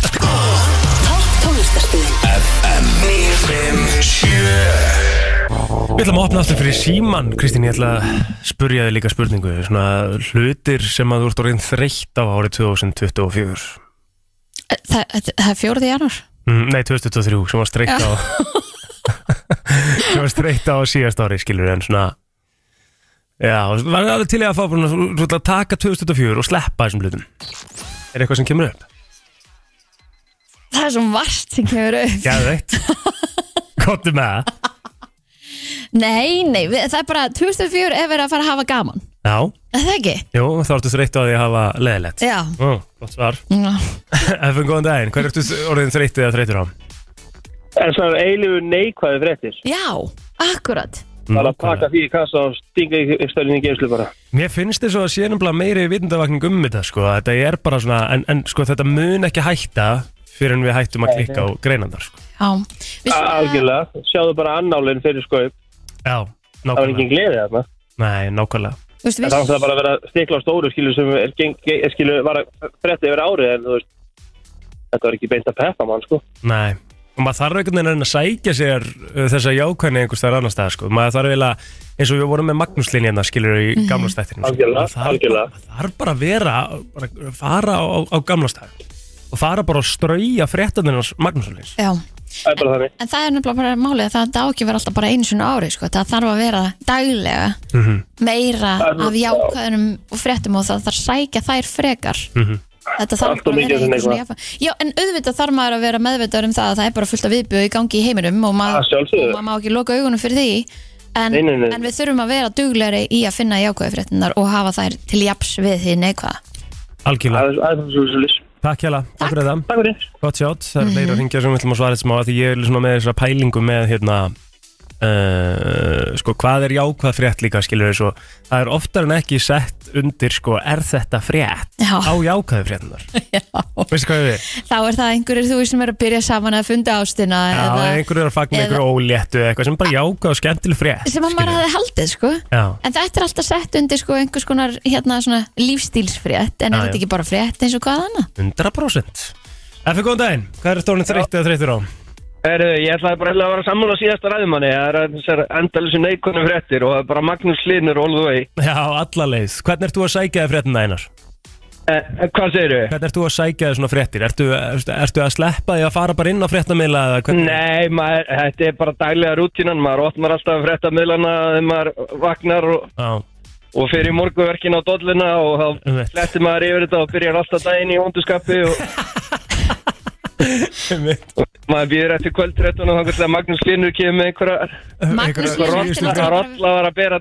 S7: Tónlistarstöðin
S2: Við ætlum að opna aftur fyrir síman, Kristín, ég ætla að spurja þig líka spurningu, svona hlutir sem að þú ert orðin þreytt á árið 2024.
S3: Það það- það er fjóruði janúar
S2: Mm, Nei, 2023, sem var streitt á sem var streitt á síðast ári, skilur en svona Já, var það alveg til í að fá búin að að taka 2024 og sleppa þessum hlutum Er eitthvað sem kemur upp?
S3: (laughs) Það er svo vart sem kemur upp
S2: Gæðveitt Kottu með það
S3: Nei, nei, við, það er bara 2004 ef við að fara að hafa gaman
S2: Já,
S3: Er Það ekki?
S2: jú, þá ertu þreytt á því að hafa leðilegt
S3: Já
S2: Ó, gott svar
S3: Já.
S2: Efum góðan daginn, hver ertu orðin þreytt eða þreytur á?
S9: Þessar eiligu neikvæði fréttir.
S3: Já, akkurat
S2: Mm.
S9: Það er að taka því í kassa og stinga í stölinni geimslu bara.
S2: Mér finnst þess að sé nefnilega meiri vitundavakning um þetta sko, að þetta er bara svona, en, en sko þetta mun ekki hætta fyrir en við hættum að klikka á greinandar sko.
S3: Já Við svona-
S9: Algjörlega, sjáðu bara annálinn fyrir skoði.
S2: Já,
S9: Það var engin
S2: nákvæmlega.
S9: gleðið þarna.
S2: Nei, nákvæmlega.
S3: Þú veist,
S9: En Það var bara að vera að stikla á stóru skilu sem er, geng, er skilu var að frétta yfir árið en þú veist, þetta var ekki beint að peppa mann sko.
S2: Nei. Og maður þarf einhvern veginn að reyna að sækja sér uh, þessa jákvæðni einhvers þar annars staðar sko. Maður þarf eiginlega, eins og við vorum með Magnús Linni hérna skilur í gamla stættinu.
S9: Mhm. Algjörlega, algjörlega.
S2: Maður þarf bara að vera, bara fara á, á gamla stæðinu og fara bara að strauja fréttanir hans Magnús Linni.
S3: já
S9: Það er bara þannig.
S3: En það er nefnilega bara málið að það dá ekki vera alltaf bara einu sinni á ári sko. það þarf að vera daglega meira
S2: Mhm,
S9: Það er nú-
S2: mhm.
S3: af jákvæðunum og fréttum og það þarf að sækja þær frekar Þetta þarf
S9: Allt of
S3: bara að
S9: mikið
S3: vera
S9: sem
S3: eitthvað svona
S9: eitthvað.
S3: jafn- Já, en auðvitað þarf maður að vera meðvitaður um það að það er bara fullt af viðbjöð í gangi í heiminum og maður, og
S9: sjálfsögðu.
S3: maður má ekki loka augunum fyrir því en,
S9: Nei, nei, nei.
S3: en við þurfum að vera duglegri í að finna jákvæðu fréttinar og hafa þær til japs við því neikvæða
S2: Algjörlega Takk hjá takk fyrir það
S9: Takk fyrir
S2: Gott sjátt,
S3: Mhm.
S2: það eru leir að ringja sem við ætlum að svara þessum á af Því ég er svona með þessar pælingu með hérna Uh, sko hvað er jákvað frétt líka skilur við svo, það er oftar en ekki sett undir sko er þetta frétt
S3: Já.
S2: á jákvæðu fréttunar
S3: (laughs)
S2: veistu hvað við,
S3: þá er það einhverjir þú veist, sem er að byrja saman að funda ástina
S2: já,
S3: eða,
S2: einhverju er að fagna
S3: eða-
S2: einhverju óléttu eða eitthvað sem er bara jákvað og skemmtileg frétt
S3: sem að maður hefði haldið sko.
S2: já,
S3: en þetta er alltaf sett undir sko, einhvers konar hérna, svona, lífstílsfrétt en
S2: Já,
S3: er
S2: já.
S3: þetta ekki bara frétt eins og hvað annað
S2: 100% Effi, góðan daginn, hvað er stórnum þreyttið að þreyttur á?
S9: Heru, ég ætlaði bara eiginlega að vera sammála síðasta ræðumanni Það er þessar endalisi neikonu fréttir og það er bara Magnús Linur all the way
S2: Já, alla leið, hvernig ert þú að sækja þið fréttina einar?
S9: eh, Hvað segirðu?
S2: Hvernig ert þú að sækja þið svona fréttir? Ertu, ertu, ertu að sleppa því að fara bara inn á fréttamiðla eða hvernig?
S9: Nei, maður, þetta er bara daglega rútínan Maður opnar alltaf fréttamiðlana þegar maður vagnar og,
S2: Já,
S9: og fyrir morguverkin á dolluna og þá
S2: Einmitt.
S9: flettir maður yfir þetta og byrjar alltaf daginn í hónduskapi og
S2: (laughs) einmitt
S9: maður býður eftir kvöldréttun og þannig að Magnús Linur kemur með einhverja
S3: Magnús
S2: Einhverja-
S3: Hlynur ætti
S9: rolla,
S3: náttúrulega bara-
S9: rolla var að bera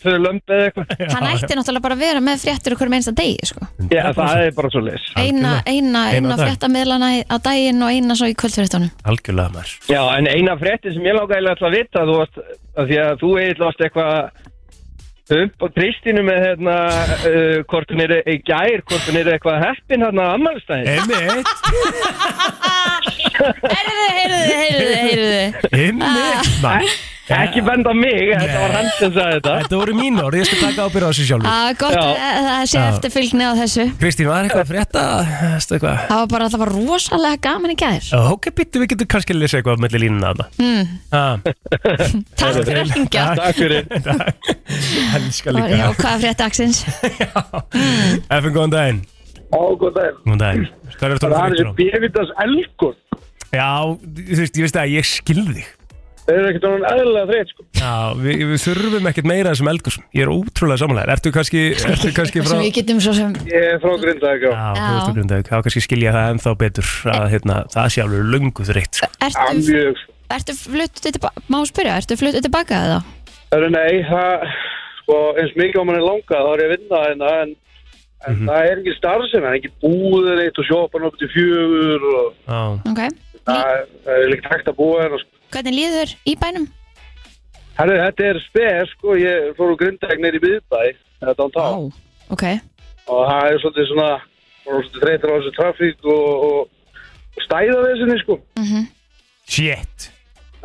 S9: tvö lömbi eða eitthvað
S3: hann ætti náttúrulega bara að vera með fréttir okkur með einsta degi sko.
S9: Já, það er bara svo leis
S3: eina, eina,
S2: Eina
S3: eina
S2: á dag.
S3: fréttamiðlana á daginn og eina svo í kvöldfréttunum
S2: Algjörlega maður
S9: Já, en eina frétti sem ég lágæðilega ætla að vita þú varst, að því að þú eiginlega varst eitthvað upp á Kristínu með hérna, uh, hvort hún er í gær, hvort hún er eitthvað heppin hérna á ammálstæðin.
S2: Einmitt,
S3: heyrðu, heyrðu, heyrðu, heyrðu
S2: einmitt maður.
S9: Ekki benda á mig, þetta var hann sem sagði þetta.
S2: Þetta voru mín orð, ég skal taka ábyrða á þessu sjálfur
S3: að Ah, gott
S9: Já.
S3: að það sé
S2: Já.
S3: eftir fylgni á þessu
S2: Kristín, var eitthvað að frétta? Ertu eitthvað?
S3: það var bara það var rosalega gaman í gæðir
S2: Ok, býttu, við getum kannski að lesa eitthvað mellir línuna þarna
S3: Hmm.
S2: mm. ah,
S3: (laughs) takk fyrir að hringja
S9: Takk
S2: (laughs)
S9: fyrir.
S2: Elskar
S3: það var
S2: líka
S3: jákvæða frétt dagsins
S2: Efin, góðan daginn
S6: Ó, góð daginn.
S2: Góðan daginn Hvað er þetta að frétta á?
S6: bívitas elgur.
S2: Já, þú veist, ég veist að ég skilði þig
S6: Það er ekkert orðin eðlilega þreytt, sko.
S2: Já, við, við þurfum ekkert meira þessum eldgóðsum Ég er ótrúlega samanlega Ertu kannski, ertu kannski frá
S3: sem við getum svo sem
S6: Ég er frá Grindavík,
S2: Já, þú veist okkur um það, þá kannski skilja það ennþá betur að hérna, það sé alveg lungu þreytt sko.
S3: ertu,
S6: Mjög.
S3: ertu fluttu tilbaka má spyrja, ertu fluttu tilbaka eða
S6: Það eru nei, það, sko, eins mikið á manni langað, þá er ég að vinna hérna, en, en
S2: Mhm.
S6: það er ekki starfsemi, það er ekki búður eitt og sjoppan upp til fjögur og
S2: Já,
S3: ok,
S6: það það er ekki hægt að búa hérna, sko.
S3: hvernig líður í bænum
S6: Herru, þetta er spes, sko, ég fór úr Grindavík neyri í miðbæ, þetta án tá,
S3: ok,
S6: og það er svolítið svona, og svolítið þreytur á þessu trafík og, og, og stæða þessinni, sko.
S3: Mhm.
S2: shit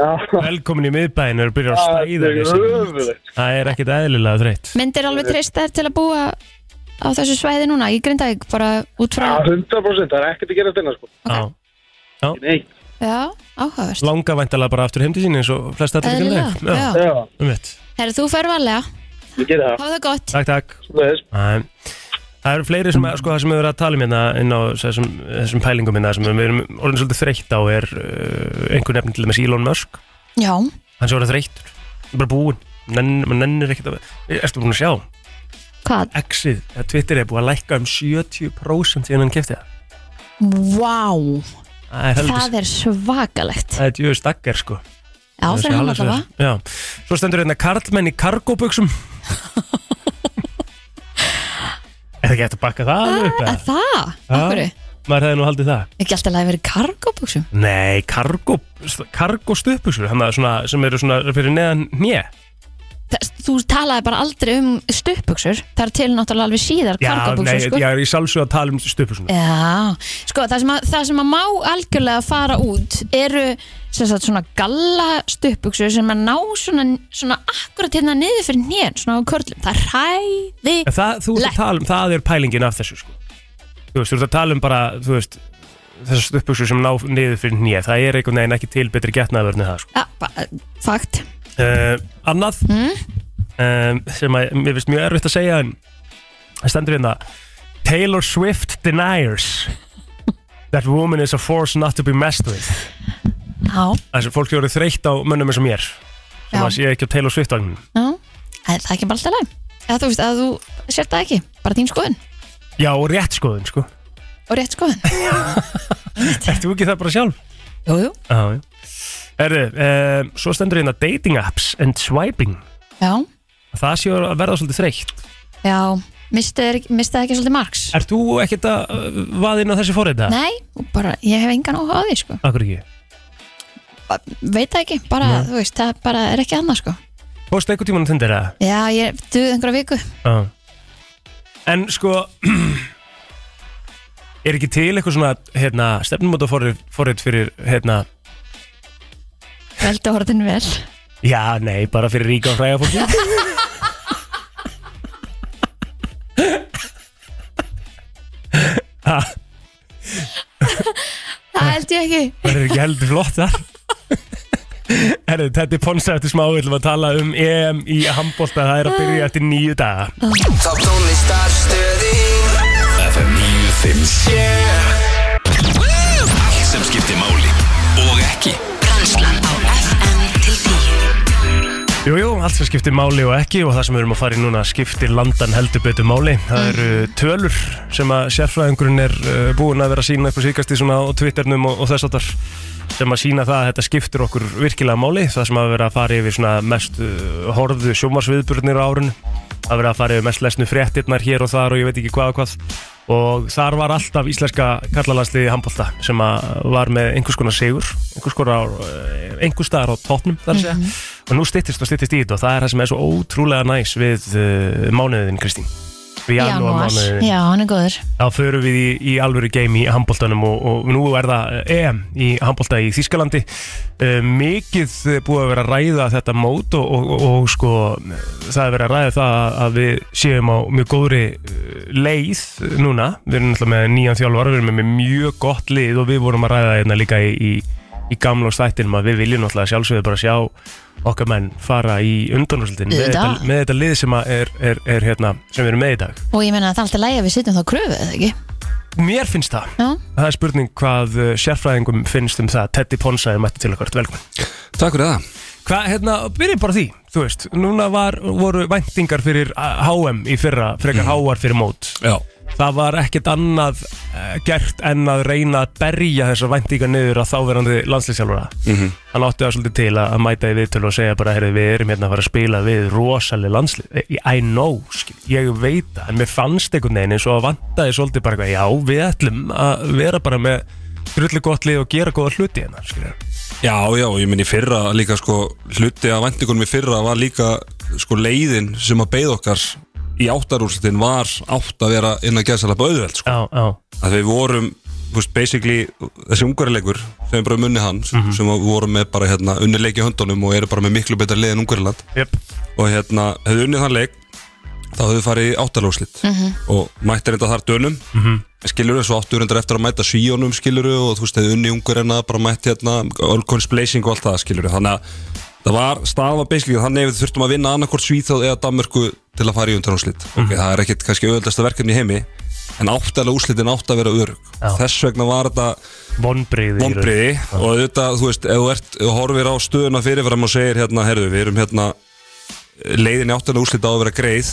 S6: Já,
S2: Velkomin í miðbæin, eru byrjað að
S6: það
S2: stæða
S6: er
S2: þessi
S6: öfulegt.
S2: Það er ekkert eðlilega þreytt
S3: myndir alveg treysta þær til að búa á þessu svæði núna í Grindavík bara út
S6: Já,
S3: frá
S6: 100%, það er ekkert að gera þetta, sko.
S2: Já,
S6: Nei,
S3: já, áhugavert
S2: langa væntalega bara aftur heim til sín eins og flest allir í Grindavík.
S3: eðlilega, já
S6: já,
S2: um mitt
S3: herru, þú fer varlega,
S6: ég gera það.
S3: hafa það gott
S2: Takk, takk
S6: Svo þess.
S2: Æ. Það eru fleiri sem, sko, það sem við verðum að tala um hérna inn á þessum, þessum pælingum hérna sem við erum orðin svolítið þreytt á er uh, einhver nefn til dæmis Elon Musk
S3: já,
S2: hann sem verður þreyttur, Hann er bara búinn Nenn, maður nennir ekkert að erstu búinn að sjá,
S3: hvað,
S2: X-ið eða Twitter er búið að lækka um 70% síðan hann kefti það
S3: wow
S2: það er helvist,
S3: það er svakalegt
S2: það er djöðu stakkar sko
S3: já, fyrir hann alltaf að
S2: Já, svo stendur hérna karlmenn í
S3: (laughs)
S2: kargóbuxum Er það ekki eftir að bakka það alveg upp eða?
S3: Ah, það, okkur,
S2: Maður hefði nú haldið það
S3: ekki alltaf að vera í kargóbuxum
S2: Nei, kargo, kargo stuðbuxur hana, svona, sem eru svona fyrir neðan njö
S3: Þess- þú talaði bara aldrei um stuppbuxur það er til náttúrulega alveg síðar kargobuxur sko.
S2: ég er í sálsög að tala um stuðbuxuna
S3: Já, sko það sem, að, það sem að má algjörlega fara út eru sem sagt, svona galla stuppbuxur sem að ná svona, svona akkurat hérna niður fyrir nén, svona á körlum það ræði
S2: það, þú ert að
S3: Lett.
S2: tala um, það er pælingin af þessu sko. Þú veist, þú ert að tala um bara þú veist, þessar stuðbuxur sem ná niður fyrir njö það er einhvern veginn ekki til betri getnaðvörni það sko.
S3: ja, ba- fakt
S2: uh, Annað
S3: Hmm?
S2: um, sem að, mér finnst mjög erfitt að segja en það stendur hérna Taylor Swift deniers that woman is a force not to be messed with
S3: Já,
S2: þess að fólk eru þreytt á mönnum eins og mér sem
S3: Já.
S2: að sé ekki á Taylor Swift vagnum
S3: já. En það er ekki bara alltaf leið eða þú veist að þú sér það ekki, bara þín skoðun
S2: Já, og rétt skoðun sko
S3: og rétt skoðun
S2: Ert þú ekki það bara sjálf?
S3: Jú, jú
S2: Já, já Herðu, um, svo stendur hérna dating apps and swiping
S3: Já,
S2: Það séu að verða svolítið þreytt
S3: já, mistaði ekki svolítið margs
S2: Ert þú ekkert að uh, vaða inn á þessi fórreita?
S3: Nei, og bara, ég hef engan áhuga á því sko
S2: Akkur ekki
S3: Veit það ekki, bara,
S2: Nei.
S3: þú veist, það bara er ekki annað sko
S2: Fórstu einhver tímann að tindir það?
S3: Já, ég duð einhverja viku
S2: Já En sko (clears throat) Er ekki til eitthvað svona hérna, stefnumóta fórreit fyrir hérna,
S3: Veldu hortin vel
S2: Já, nei, bara fyrir ríka og fræga fólki Ha,
S3: Það held ég ekki
S2: Það er ekki heldur flott þar Herru, þetta er ponsa eftir smá Við ætlum að tala um EM í handbólta Það er að byrja eftir nýju daga
S5: Þá tónlistarstöðin
S1: FM 957 Allt sem skiptir máli og ekki
S7: Brennslan á FM til 10
S2: Jú, jú, allt sem skiptir máli og ekki og það sem við erum að fara í núna skiptir landan heldur betur máli. Það eru tölur sem að sérfræðingurinn er uh, búin að vera að sína upp á síkast í svona á Twitternum og, og þess að sem að sína það að þetta skiptir okkur virkilega máli. Það sem að vera að fara yfir svona mest uh, horfðu sjómasviðburnir á árun, að vera að fara yfir mest lesnu fréttirnar hér og þar og ég veit ekki hvað og hvað. Og þar var alltaf íslenska karlalandsliði handbólta sem að var með einhvers konar sigur, einhvers konar, uh, einhvers staðar á toppnum þar að segja og nú styttist og styttist í þetta og það er það sem er svo ótrúlega næs við uh, mánuðin Kristín við janúar mánuðin
S3: Já, hann er góður
S2: þá förum við í, í alvöru game í handbóltanum og, og nú er það eh, EM í handbólta í Þískalandi uh, mikið eh, búið að vera að ræða þetta mót og, og, og, og sko það er verið að ræða það að- að við séum á mjög góðri eh, leið núna, við erum náttúrulega með nýjan þjálfar við erum með mjög gott lið og við vorum að ræða hérna líka í, í, í gamla stættinum að við viljum náttúrulega sjálfsögðu bara sjá okkar menn fara í undanúrslutin með,
S3: Auðvitað.
S2: þetta- með þetta lið sem, að er, er, er, hérna, sem við erum með í dag
S3: Og ég meina að það er alltaf lægi að við sitjum þá kröfu, eða ekki?
S2: Mér finnst það
S3: Já.
S2: Það er spurning hvað uh, sérfræðingum finnst um það Teddy Ponsa er mætti til okkur, velkomin
S11: Takk fyrir það
S2: Hvað, hérna, byrjum bara því, þú veist Núna var, voru væntingar fyrir uh, HM í fyrra, frekar háar fyrir mót
S11: Mhm. Já
S2: Það var ekkert annað uh, gert en að reyna að berja þessar væntingar niður að þáverandi landslýsjálfara
S11: Mhm.
S2: Hann átti það svolítið til að, að mæta í viðtölu og segja bara, heyrðu, við erum hérna að fara að spila við rosaleg landslið, I, I know skil, ég veit það, en mér fannst einhvern veginn eins og vantaði svolítið bara eitthvað, já, við ætlum að vera bara með drullu gott lið og gera góða hluti hérna, skilja
S11: Já, já, ég minn í fyrra líka sko hluti af vendingunum í fyrra var líka sko leiðin sem að beið okkar í áttarúrslutin var átt að vera inn að geða sérlega bauðveld sko.
S2: Já, já.
S11: Að við vorum, þú veist, basically þessi ungarilegur sem er bara munni hann
S2: Mhm.
S11: sem að við vorum með bara hérna unnileik í höndunum og eru bara með miklu betra leið en ungariland
S2: yep.
S11: og hérna, hefðu unnið þann leik þá hefðu farið í áttarúrslut
S5: Mhm.
S11: og mættir þetta þar dönum
S5: Mhm.
S11: skilur þau svo áttu reyndar eftir að mæta svíjónum skilur þau og þú veist þau unni ungur en að bara mætti hérna Allcoins Blazing og allt það skilur þau þannig að það var staðan var basically þannig að við þurftum að vinna annarkort Svíþjóð eða Danmörku til að fara í undanúslit mm það er ekkit kannski auðveldasta verkefni í heimi en áttalega úslitin átt að vera örug þess vegna var þetta
S2: vonbriði
S11: vonbriði og þetta þú veist ef þú ert ef þú horfir á stöðuna fyrirfram og segir hérna herðu við erum hérna leiðin áttalega úslit á að vera greið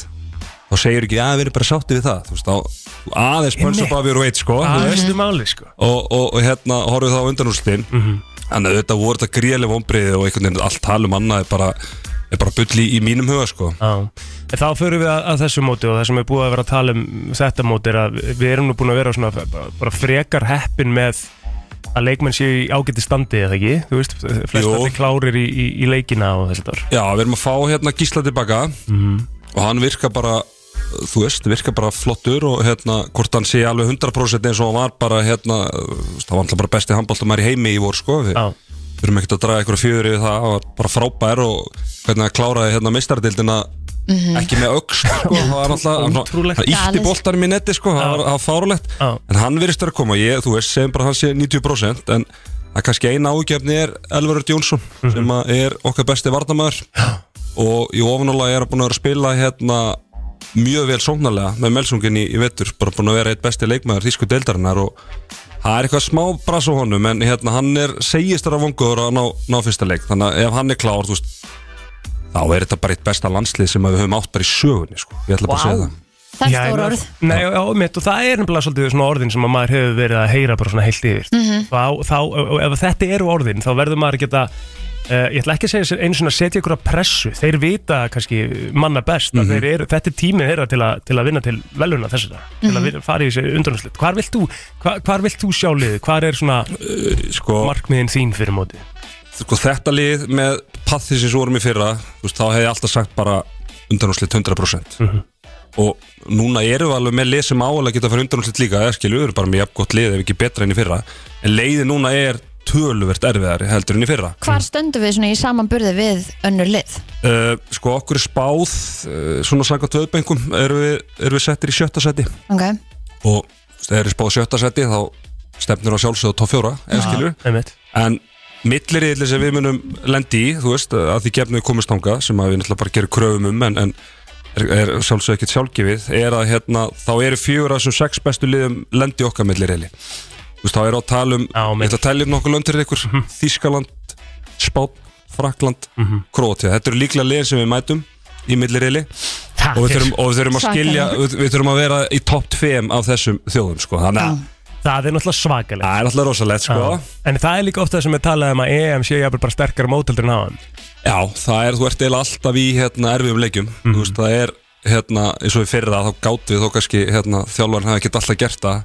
S11: þá segir ekki að við erum bara sátti við það þú veist, þá, aðeins pönsa
S2: Einmitt.
S11: bara við erum veit sko, þú
S2: Það
S11: veist
S2: veistu máli, sko Mhm.
S11: og, og, og hérna horfum við þá á undanúrslitin þannig að þetta voru þetta gríðlega vonbriði og einhvern veginn allt talum annað er bara, er bara bull í, í mínum huga sko
S2: Já, en þá förum við að, að þessu móti og það sem er búið að vera að tala um þetta móti er að við erum nú búin að vera svona bara, bara frekar heppin með að leikmenn séu í ágæti standi eða ekki, þú veist, flest allir klárir í, í, í leikina og þess að þar
S11: Já, við erum að fá hérna Gísla tilbaka og hann virka bara þú veist, virka bara flottur og hérna, hvort hann sé alveg 100% eins og hann var bara hérna, þú veist, það var alltaf bara besti handbóltamæri í heimi í vor sko við, við erum ekkert að draga einhverja fjöður yfir það, hann var bara frábær og hvernig hann kláraði hérna meistardildina
S5: Mhm.
S11: ekki með ögst sko, það var alltaf, hann, hann ítti boltanum í netti sko, það var, það var fárulegt en hann virðist vera að koma, ég, þú veist, segjum bara að hann sé 90% en að kannski eina ágefni er Elvarur Jónsson sem að er okkar besti varnamæður og í ofanála er hann búin að vera að spila hérna mjög vel sóknarlega með melsungin í, í vettur, bara búin að vera eitt besti leikmæður þísku deildarinnar og það er eitthvað smá brasa á honum en hérna hann er segist að vonguður að ná, ná fyrsta leik þannig að ef hann er klár, þú veist þá er þetta bara eitt besta landslið sem að við höfum átt bara í sögunni sko. ég ætla bara að segja það
S3: það er stór orð
S2: Nei, já, já, mitt, og það er nefnilega svolítið svona orðin sem að maður hefur verið að heyra bara svona heilt yfir
S3: Mhm.
S2: þá, þá, og ef þetta eru orðin þá verður maður að geta uh, ég ætla ekki að segja einu svona að setja ykkur að pressu þeir vita kannski manna best
S11: Mhm.
S2: mm þeir eru, þetta er tímið þeirra til, að- til að vinna til veluna þess að til að
S11: Mhm.
S2: vinna, fara í þessi undanúslit hvar vilt þú, hvar, hvar vilt þú sjá liðið hvar er svona
S11: sko,
S2: Eh, markmiðin þín fyrir móti
S11: sko, þetta lið með pathið sem svo vorum í fyrra þú veist, þá hefði ég alltaf sagt bara undanúslit 100%
S2: Mhm.
S11: og núna erum við alveg með lið sem áalega geta að fara undanúslit líka eða skilju, við erum bara með jafn gott lið ef ekki betra enn í fyrra en leiði núna er töluvert erfiðari heldur enn í fyrra
S3: Hvar stöndum við svona í samanburði við önnur lið?
S11: uh, sko okkur er spáð uh, svona sanga tvöðbengum erum við, erum við settir í sjötta seti
S3: Ok,
S11: og þegar þeir eru spáð sjötta seti þá stefnir á sjálfsögðu topp fjóra eða
S2: Já,
S11: skilur
S2: einmitt.
S11: en milliriðli sem við munum lendi í, þú veist, að því gefnum við komist þangað sem að við náttúrulega bara gerum kröfum um en, en er, er sjálfsögðu ekkert sjálfgefið er að hérna, þá eru fjóra sem sex bestu liðum lendi í okkar milliriðli þú veist, þá er á talum Já, ég ætla að tala um nokkuð löndir ykkur
S2: Mhm.
S11: Þískaland, Spán, Frakland mm Krótja, þetta eru líklega liðin sem við mætum í milliriðli og við
S2: er
S11: þurfum, og við þurfum að skilja
S2: svakalegt.
S11: við, við þurfum að vera í topp 5 af þessum þjóðum sko. þannig að
S2: það er náttúrulega svakalegt
S11: það er alltaf rosalegt sko.
S2: en það er líka ofta það sem er talað um að EM sé jafnvel bara sterkara móteldur en áðan
S11: já, það er, þú ert eiginlega alltaf í hérna, erfiðum leikjum Þú veist, það er hérna, eins og við fyrra þá gátum við þó kannski hérna, þjálfarinn hafa ekkert alltaf gert það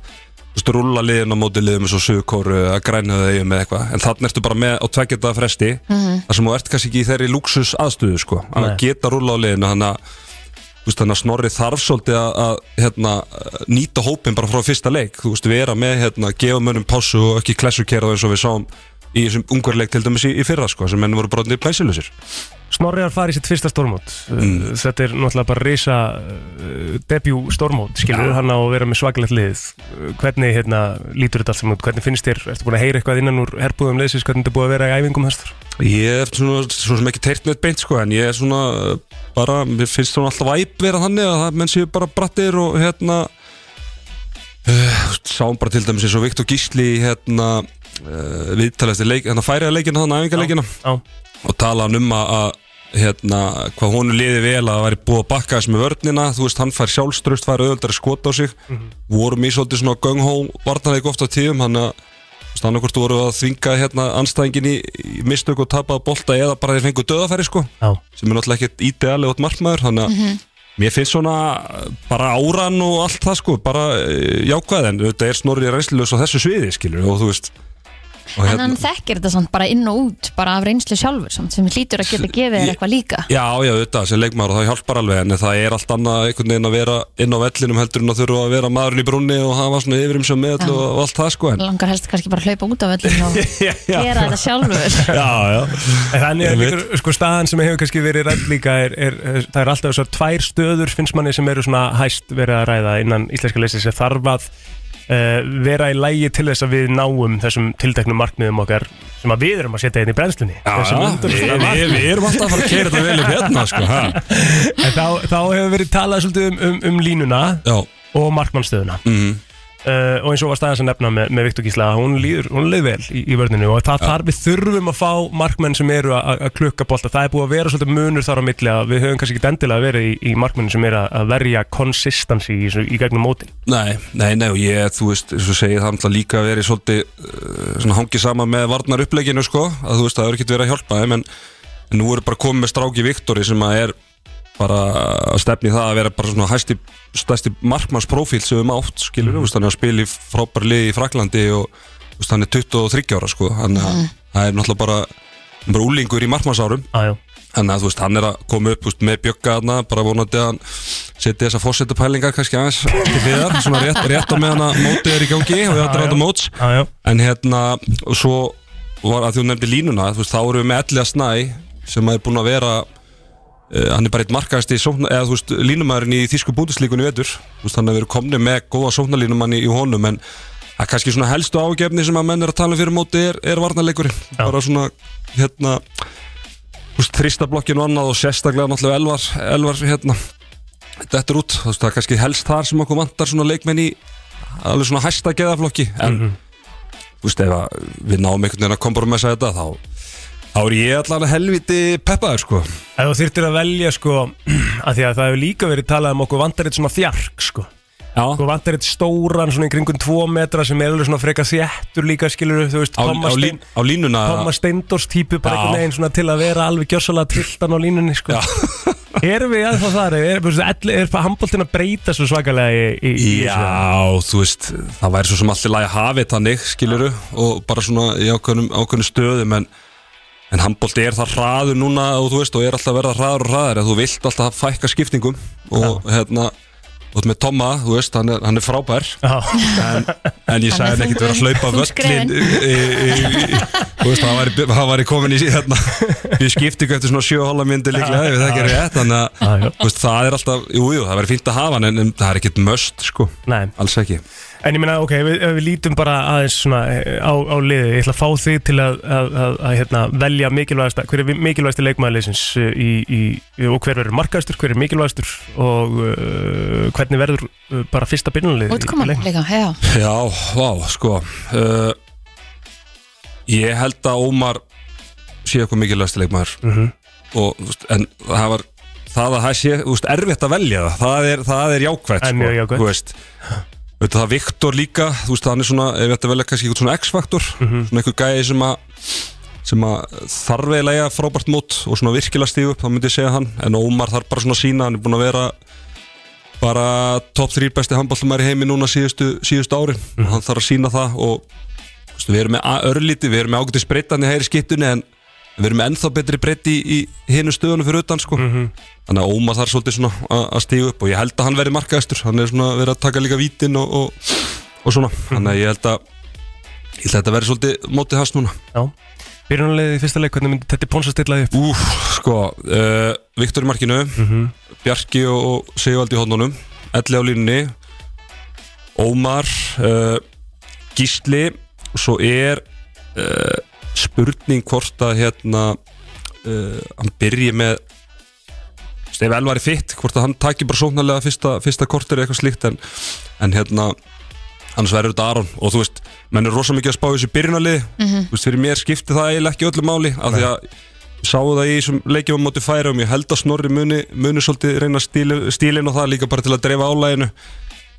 S11: Þú veist, rúlla liðin á móti liðum eins og suðkóru að græna þau eigum eða eitthvað en þannig ertu bara með á tveggjönda fresti
S2: Mhm.
S11: þar sem þú ert kannski ekki í þeirri luxus aðstöðu sko, að
S2: Nei.
S11: geta rúlla á liðinu þannig að þú veist, þannig að snorri þarf svolítið að, að hérna, nýta hópin bara frá fyrsta leik þú veist, vera með, hérna, gefa mönnum pásu og ekki klessukera eins og við sáum í þessum ungverleik til dæmis í, í fyrra sko, sem menn voru brotnið plæsilusir
S2: Snorriðar farið sitt fyrsta stórmót mm. Þetta er náttúrulega bara risa uh, debut stórmót, skilur ja. hann á að vera með svakalegt lið Uh, Hvernig hérna, lítur þetta allt saman út, hvernig finnst þér Ertu búin að heyra eitthvað innan úr herbúðum liðsins Hvernig þetta búið að vera í æfingum hestur
S11: Ég er svona, svona sem ekki teirt neitt beint sko, en ég er svona uh, bara, mér finnst svona alltaf væp vera þannig að það menn séu bara brattir og hérna uh, sáum bara til dæmis eins og Viktor Gísli í, hérna uh, viðtalæsti leik, hérna færiða leikina þannig æfingaleikina
S2: já.
S11: og tala hann um að, að hérna, hvað honum liði vel að það væri búið að bakka þess með vörnina, þú veist, hann fær sjálfströst fær auðvöldar að skota á sig
S2: Mhm.
S11: vorum í svolítið svona gung-hó vartanleik ofta tíðum, hann að Þannig hvort voru að þvinga hérna anstæðingin í, í mistök og tapaða bolta eða bara þeir fengu döðafæri sko
S2: Já.
S11: sem er náttúrulega ekkert ídeali átt markmaður þannig að
S2: Mhm.
S11: mér finnst svona bara áran og allt það sko bara e, jákvæð en þetta er snorrið reynsluðs á þessu sviði skilur og þú veist og hérna-
S3: en hann þekkir þetta samt bara inn og út bara af reynslu sjálfur samt sem hlýtur að geta gefið þér
S11: Ég-
S3: eitthvað líka
S11: Já, já, auðvitað, sem leikmaður og það hjálpar alveg en það er allt annað einhvern veginn að vera inn á vellinum heldur en að þurfa að vera maðurinn í brunni og hafa svona yfirum sem meðall
S3: Já.
S11: og allt það sko en
S3: langar helst kannski bara að hlaupa út af öllum
S11: (laughs)
S3: og gera þetta sjálfur
S11: (laughs) Já, já
S2: Þannig er líka, sko, staðan sem hefur kannski verið rætt líka er, er, er, það er alltaf þessar tvær stöður finnst manni sem eru svona hæst verið að ræða innan íslenska leysins sem þarf að uh, vera í lægi til þess að við náum þessum tilteknum markmiðum okkar sem að við erum að setja inn í brennslunni
S11: Já,
S2: Þessum
S11: já,
S2: undanúrslita-
S11: við- við- við erum alltaf að fara að keyra þetta vel upp hérna, sko, ha.
S2: En þá, þá hefur verið talað svolítið um, um, um línuna
S11: já.
S2: og markmannstöðuna
S11: mm.
S2: og eins og var staðans að nefna með, með Viktor Gísla að hún líður, hún leið vel í, í vörninu og það
S11: Já.
S2: þarf við þurfum að fá markmenn sem eru að- að að klukka bolta, það er búið að vera svolítið munur þar á milli að við höfum kannski ekki endilega verið í, í markmenn sem eru að- að verja konsistansi í, þessu- í gegnum mótin
S11: Nei, nei, nei, og ég, þú veist, eins og segið það er náttúrulega líka að vera í svolítið uh, svona hangið sama með varnar uppleikinu, sko að þú veist, það er ekkert verið að hjálpa þeim en, en nú eru bara komið með stráki Viktori sem að er bara að stefni það að vera bara svona hæsti, stæsti markmannsprófíl sem við mátt, skilur þú veist, hann er að spila í frábær lið í Fraklandi og þú veist, hann er 23 ára, sko þannig að
S2: Mhm.
S11: það er náttúrulega bara, bara úlingur í markmannsárum
S2: Aðjó
S11: Þannig að þú veist, hann er að koma upp þú veist, með bjögga þarna, bara vonandi að hann setja þessar fósettupælingar kannski aðeins til hliðar, svona rétt, rétt á meðan að mótið er í gangi og við ætlum að móts
S2: já, já.
S11: en hérna, og svo var að þú nefndi línuna, þú veist, þá erum við með Ellia Snæ sem er búin að vera uh, hann er bara eitt markaðist í sókna, eða þú veist, línumæðurinn í Þísku búndislíkunni vetur, þú veist, hann er verið komni með góða sóknarlínumanni í honum en að kannski svona helstu ágefni sem að menn er að tala um fyrir móti er, er varnarleikurinn bara svona, hérna þú veist, þristablokkin og annað og sérstaklega náttúrulega Elvar, Elvar hérna þetta er út, þú veist, það er kannski helst þar sem okkur vantar svona leikmenn í alveg svona hæsta geðaflokki en þú veist, ef að við náum einhvern veginn að kompromessa þetta þá, þá er ég allan helviti peppaður sko
S12: (clears throat)
S2: Ef þú þyrtir að velja sko
S12: að því að það hefur líka verið talað um okkur vantar eitt svona þjark sko
S11: Já.
S12: Okkur vantar eitt stóran svona í kringum 2 metra sem er alveg svona freka þjættur líka skilur þú veist
S11: Á- á lín- á línuna-
S12: Thomas Steindors típu bara
S11: Já.
S12: einhvern veginn svona til að vera alveg gjössalega tiltan á línunni sko (laughs) Erum við aðeins þar? Er, er, er, er handbóltin að breyta svo svakalega í, í, í þessu?
S11: Já, þú veist, það væri svo sem allir lagi að hafa þetta þannig, skiluru, og bara svona í ákveðnum, ákveðnum stöðum, en, en handbólti er það hraður núna og þú veist, og er alltaf að verða hraður og hraður, en þú vilt alltaf fækka skiptingum og hérna, þú veist, með Tomma, þú veist, hann er, hann er frábær, en, en ég
S12: Hann er
S11: sagði hann ekkert vera að
S12: þungur-
S11: hlaupa
S12: þungskrefin.
S11: völlin, þú veist, hann væri, hann væri komin í hérna, við skiptingu eftir svona sjöhóla myndi líklega, ef það ekki er rétt, þannig að, þú veist, það er alltaf, jú, jú, það verður fínt að hafa hann en, en það er ekkert möst, sko,
S12: Nei.
S11: alls ekki
S2: En ég meina, ok, ef við, ef við lítum bara aðeins svona eh, á, á liðið, ég ætla að fá þig til að, að, að, að hérna, velja mikilvægasta, hver er mikilvægasti leikmaður liðsins eh, í, í, og hver verður markaðastur, hver er mikilvægastur og uh, hvernig verður uh, bara fyrsta byrjunalið
S3: Útkoman líka, já
S11: Já, vá, sko uh, Ég held að Ómar sé eitthvað mikilvægst leikmaður
S2: Mhm.
S11: og, þú veist, en það var það að það sé, þú veist, erfitt að velja það það er, það er jákvætt,
S2: Það er
S11: sko,
S2: mjög jákvætt.
S11: þú veist Veitu, það Viktor líka, þú veist, hann er svona ef þetta velja kannski eitthvað svona X-faktor
S2: Mhm.
S11: svona einhver gæði sem að sem að þarf eiginlega eiga frábært mót og svona virkilega stíð upp, þá myndi ég segja hann en Ómar þarf bara svona sína, hann er búin að vera bara top 3 besti handbóltumæri heimi núna síðustu, síðustu ári og hann þarf að sína það og þú veist, við erum með a- örlítið, við erum með ágætis breytan í hægri skiptunni en við erum með ennþá betri breytti í, í hinu stöðunum fyrir utan sko. þannig að Ómar þarf svolítið svona a- að stíga upp og ég held að hann verði markaðistur hann er svona verið að taka líka vítin og, og, og svona, þannig að ég held að ég held að þetta verði svolítið mótið hans núna
S2: Já, byrjunalið í fyrsta leik, hvernig myndi þetta bóns að stilla því upp?
S11: Úf, sko, uh, Viktor í markinu Bjarki og, og Sigvaldi í hodnunum Elli á línunni Ómar uh, Gísli og svo er uh, spurning hvort að hérna uh, hann byrji með þú veist, ef Elvar er fitt, hvort að hann taki bara sóknarlega fyrsta, fyrsta kortir eða eitthvað slíkt en, en hérna annars verður þetta Aron og þú veist, menn er rosa mikið að spá í þessu byrjunalið
S5: Mhm.
S11: þú veist, fyrir mér skipti það eiginlega ekki öllu máli af því að ég sá það í þessum leikjum á móti færum, ég held að snorri muni, muni svolítið reyna stílin, stílin og það líka bara til að dreifa álæginu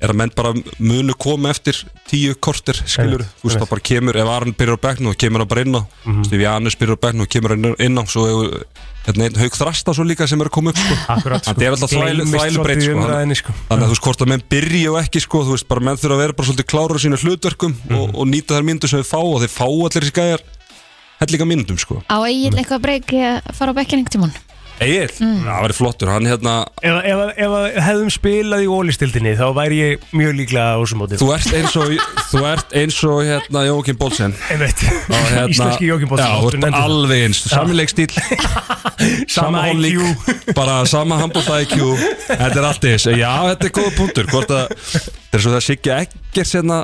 S11: er að menn bara munu koma eftir tíu kortir, skilur, þú
S2: Einmitt,
S11: veist,
S2: einmitt. Mhm.
S11: það bara kemur, ef Aron byrjar á bekknu og kemur hann bara inn á þú veist, ef Janus byrjar á bekknu og kemur hann inn á svo hefur hérna einn haug þrasta svo líka sem er að koma upp, sko,
S2: Akkurat, sko.
S11: þetta er alltaf þvælu,
S2: Gleymist
S11: þvælu breyt,
S2: svolítið í
S11: sko,
S2: umræðinni,
S11: Þannig-
S2: sko.
S11: þannig að þú veist hvort að menn byrja og ekki sko, þú veist, bara menn þurfa að vera bara svolítið klára á sínu hlutverkum og, og nýta þær myndu sem þau fá og þeir fá allir þessi gæjar hellinga myndum sko
S3: Á eigin eitthvað breyk að fara á bekkinn einhvern tímann
S11: Egil, það væri flottur, hann hérna
S2: Ef, ef, ef að hefðum spilað í ólistildinni þá væri ég mjög líklega á þessum móti
S11: þú ert eins og, þú ert eins og hérna Jókin Bólsen
S2: Einmitt.
S11: hérna,
S2: Íslenski Jókin Bótsson,
S11: Já,
S2: þú
S11: þú ert
S2: nefndir það.
S11: alveg eins, saminleik stíl
S2: (laughs) Sama IQ.
S11: Bara sama handbólta IQ Þetta er allt eins, já þetta er góða punktur Hvort að, þetta er svo það Siggi Eggers hérna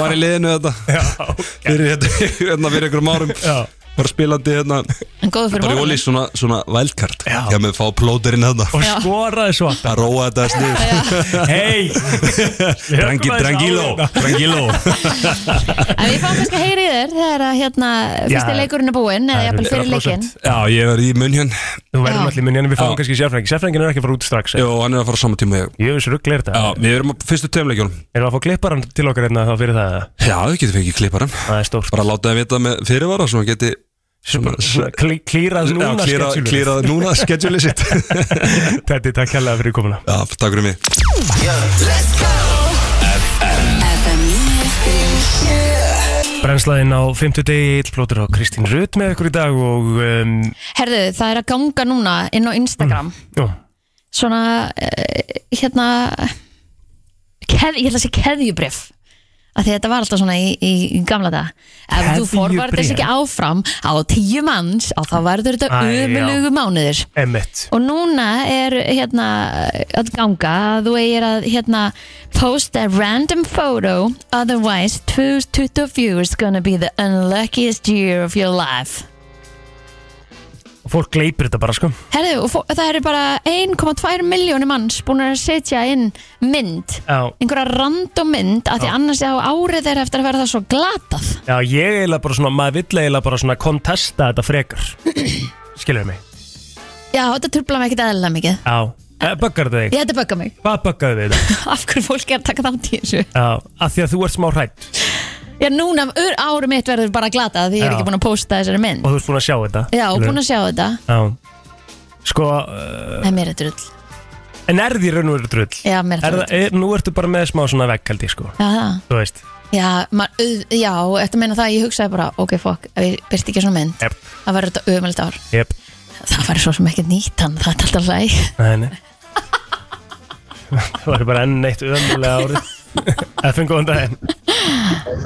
S11: var í liðinu þetta Fyrir hérna, hérna fyrir einhverjum árum já. Bara spilandi hérna
S3: En góður fyrir
S11: Bara í
S3: morgun.
S11: ólís svona, svona vældkart Já, með fá plóterinn hérna
S2: og skoraði svo
S11: Að róa þetta snið (laughs)
S2: Hei
S11: Drangi, drangiló Drangiló
S2: (laughs)
S3: En við fáum kannski að heyra í þér þegar að hérna fyrsti
S11: Já.
S3: leikurinn er búinn eða jafnvel fyrir leikinn
S11: Já, ég verði í hérna. munhjön
S2: Þú verður náttúrulega í munhjön, við fáum
S11: kannski sérfræðing Sérfræðingin er ekki að fara út strax
S2: eh?
S11: Jó, hann er að fara á sama tíma og ég Ég veist rugglega þetta Já, við erum á fyrstu tveimleikjónum
S2: Erum við að fá klipparan til okkar hérna þá fyrir það?
S11: Já, við getum fengið klipparan
S2: Það er stórt
S11: Bara láta það vita með fyrirvara Svo hann geti
S2: Svona klí- klírað núna
S11: Já, klíra-
S2: schedule-ið.
S11: klírað núna schedule-ið sitt.
S2: Teddi, (laughs) takk hérlega fyrir komuna
S11: Já, takk fyrir mig
S2: Brennslaðinn á 50 degi, Plótur og Kristín Rutt með ykkur í dag og um,
S3: Herðu, það er að ganga núna inn á Instagram
S2: já.
S3: Svona, uh, hérna keð, Ég ætla að segja keðjubrif að því þetta var alltaf svona í, í, í gamla dag Ef þú
S2: Keðjubréf?
S3: forvarð þess ekki áfram á tíu manns og þá verður þetta
S2: Æ, já.
S3: umulugu mánuðir
S2: Emmett
S3: Og núna er hérna að ganga að þú eigir að hérna post a random photo otherwise 2024 is gonna be the unluckiest year of your life
S2: og fólk gleipir þetta bara sko
S3: Herðu, og fó- það eru bara 1,2 miljónu manns búin að setja inn mynd
S2: Já.
S3: einhverja random mynd af því
S2: Já.
S3: annars á árið er eftir að vera það svo glatað
S2: Já, ég eiginlega bara svona, maður vill eiginlega bara svona
S3: (clears throat)
S2: kontesta þetta frekar Skilur mig
S3: Já, þetta trubla mig ekkert eðlilega mikið
S2: Já, Eh, Böggar þig?
S3: Ég þetta bögga mig (laughs)
S2: Hvað böggaði við þetta?
S3: Af hverju fólk er að taka þátt í þessu
S2: Já, af því að þú ert smá hrætt
S3: Já, núna ur, árum mitt verður bara glata Því ég er
S2: Já. Eh.
S3: ekki búin að posta þessari mynd
S2: og þú ert búin að sjá þetta
S3: Já, búin að sjá þetta
S2: Já Sko uh,
S3: Nei, mér er drull
S2: En er því raun og veru drull?
S3: Já, mér er
S2: er,
S3: drull.
S2: það- er, Nú ertu bara með smá svona vegg held ég sko
S3: Já, það
S2: Þú veist
S3: Já, maður, auð, já, eftir að meina það Ég hugsaði bara, ok, fokk, ef ég byrst ekki svona mynd
S2: Jep.
S3: Það verður þetta ömulegt ár
S2: Jep
S3: Það var svo sem ekkert nýtt hann, það er alltaf læg (laughs)
S2: Nei, (laughs) nei Það var bara enn eitt ömulega
S3: (laughs)
S2: árið Efum góðan daginn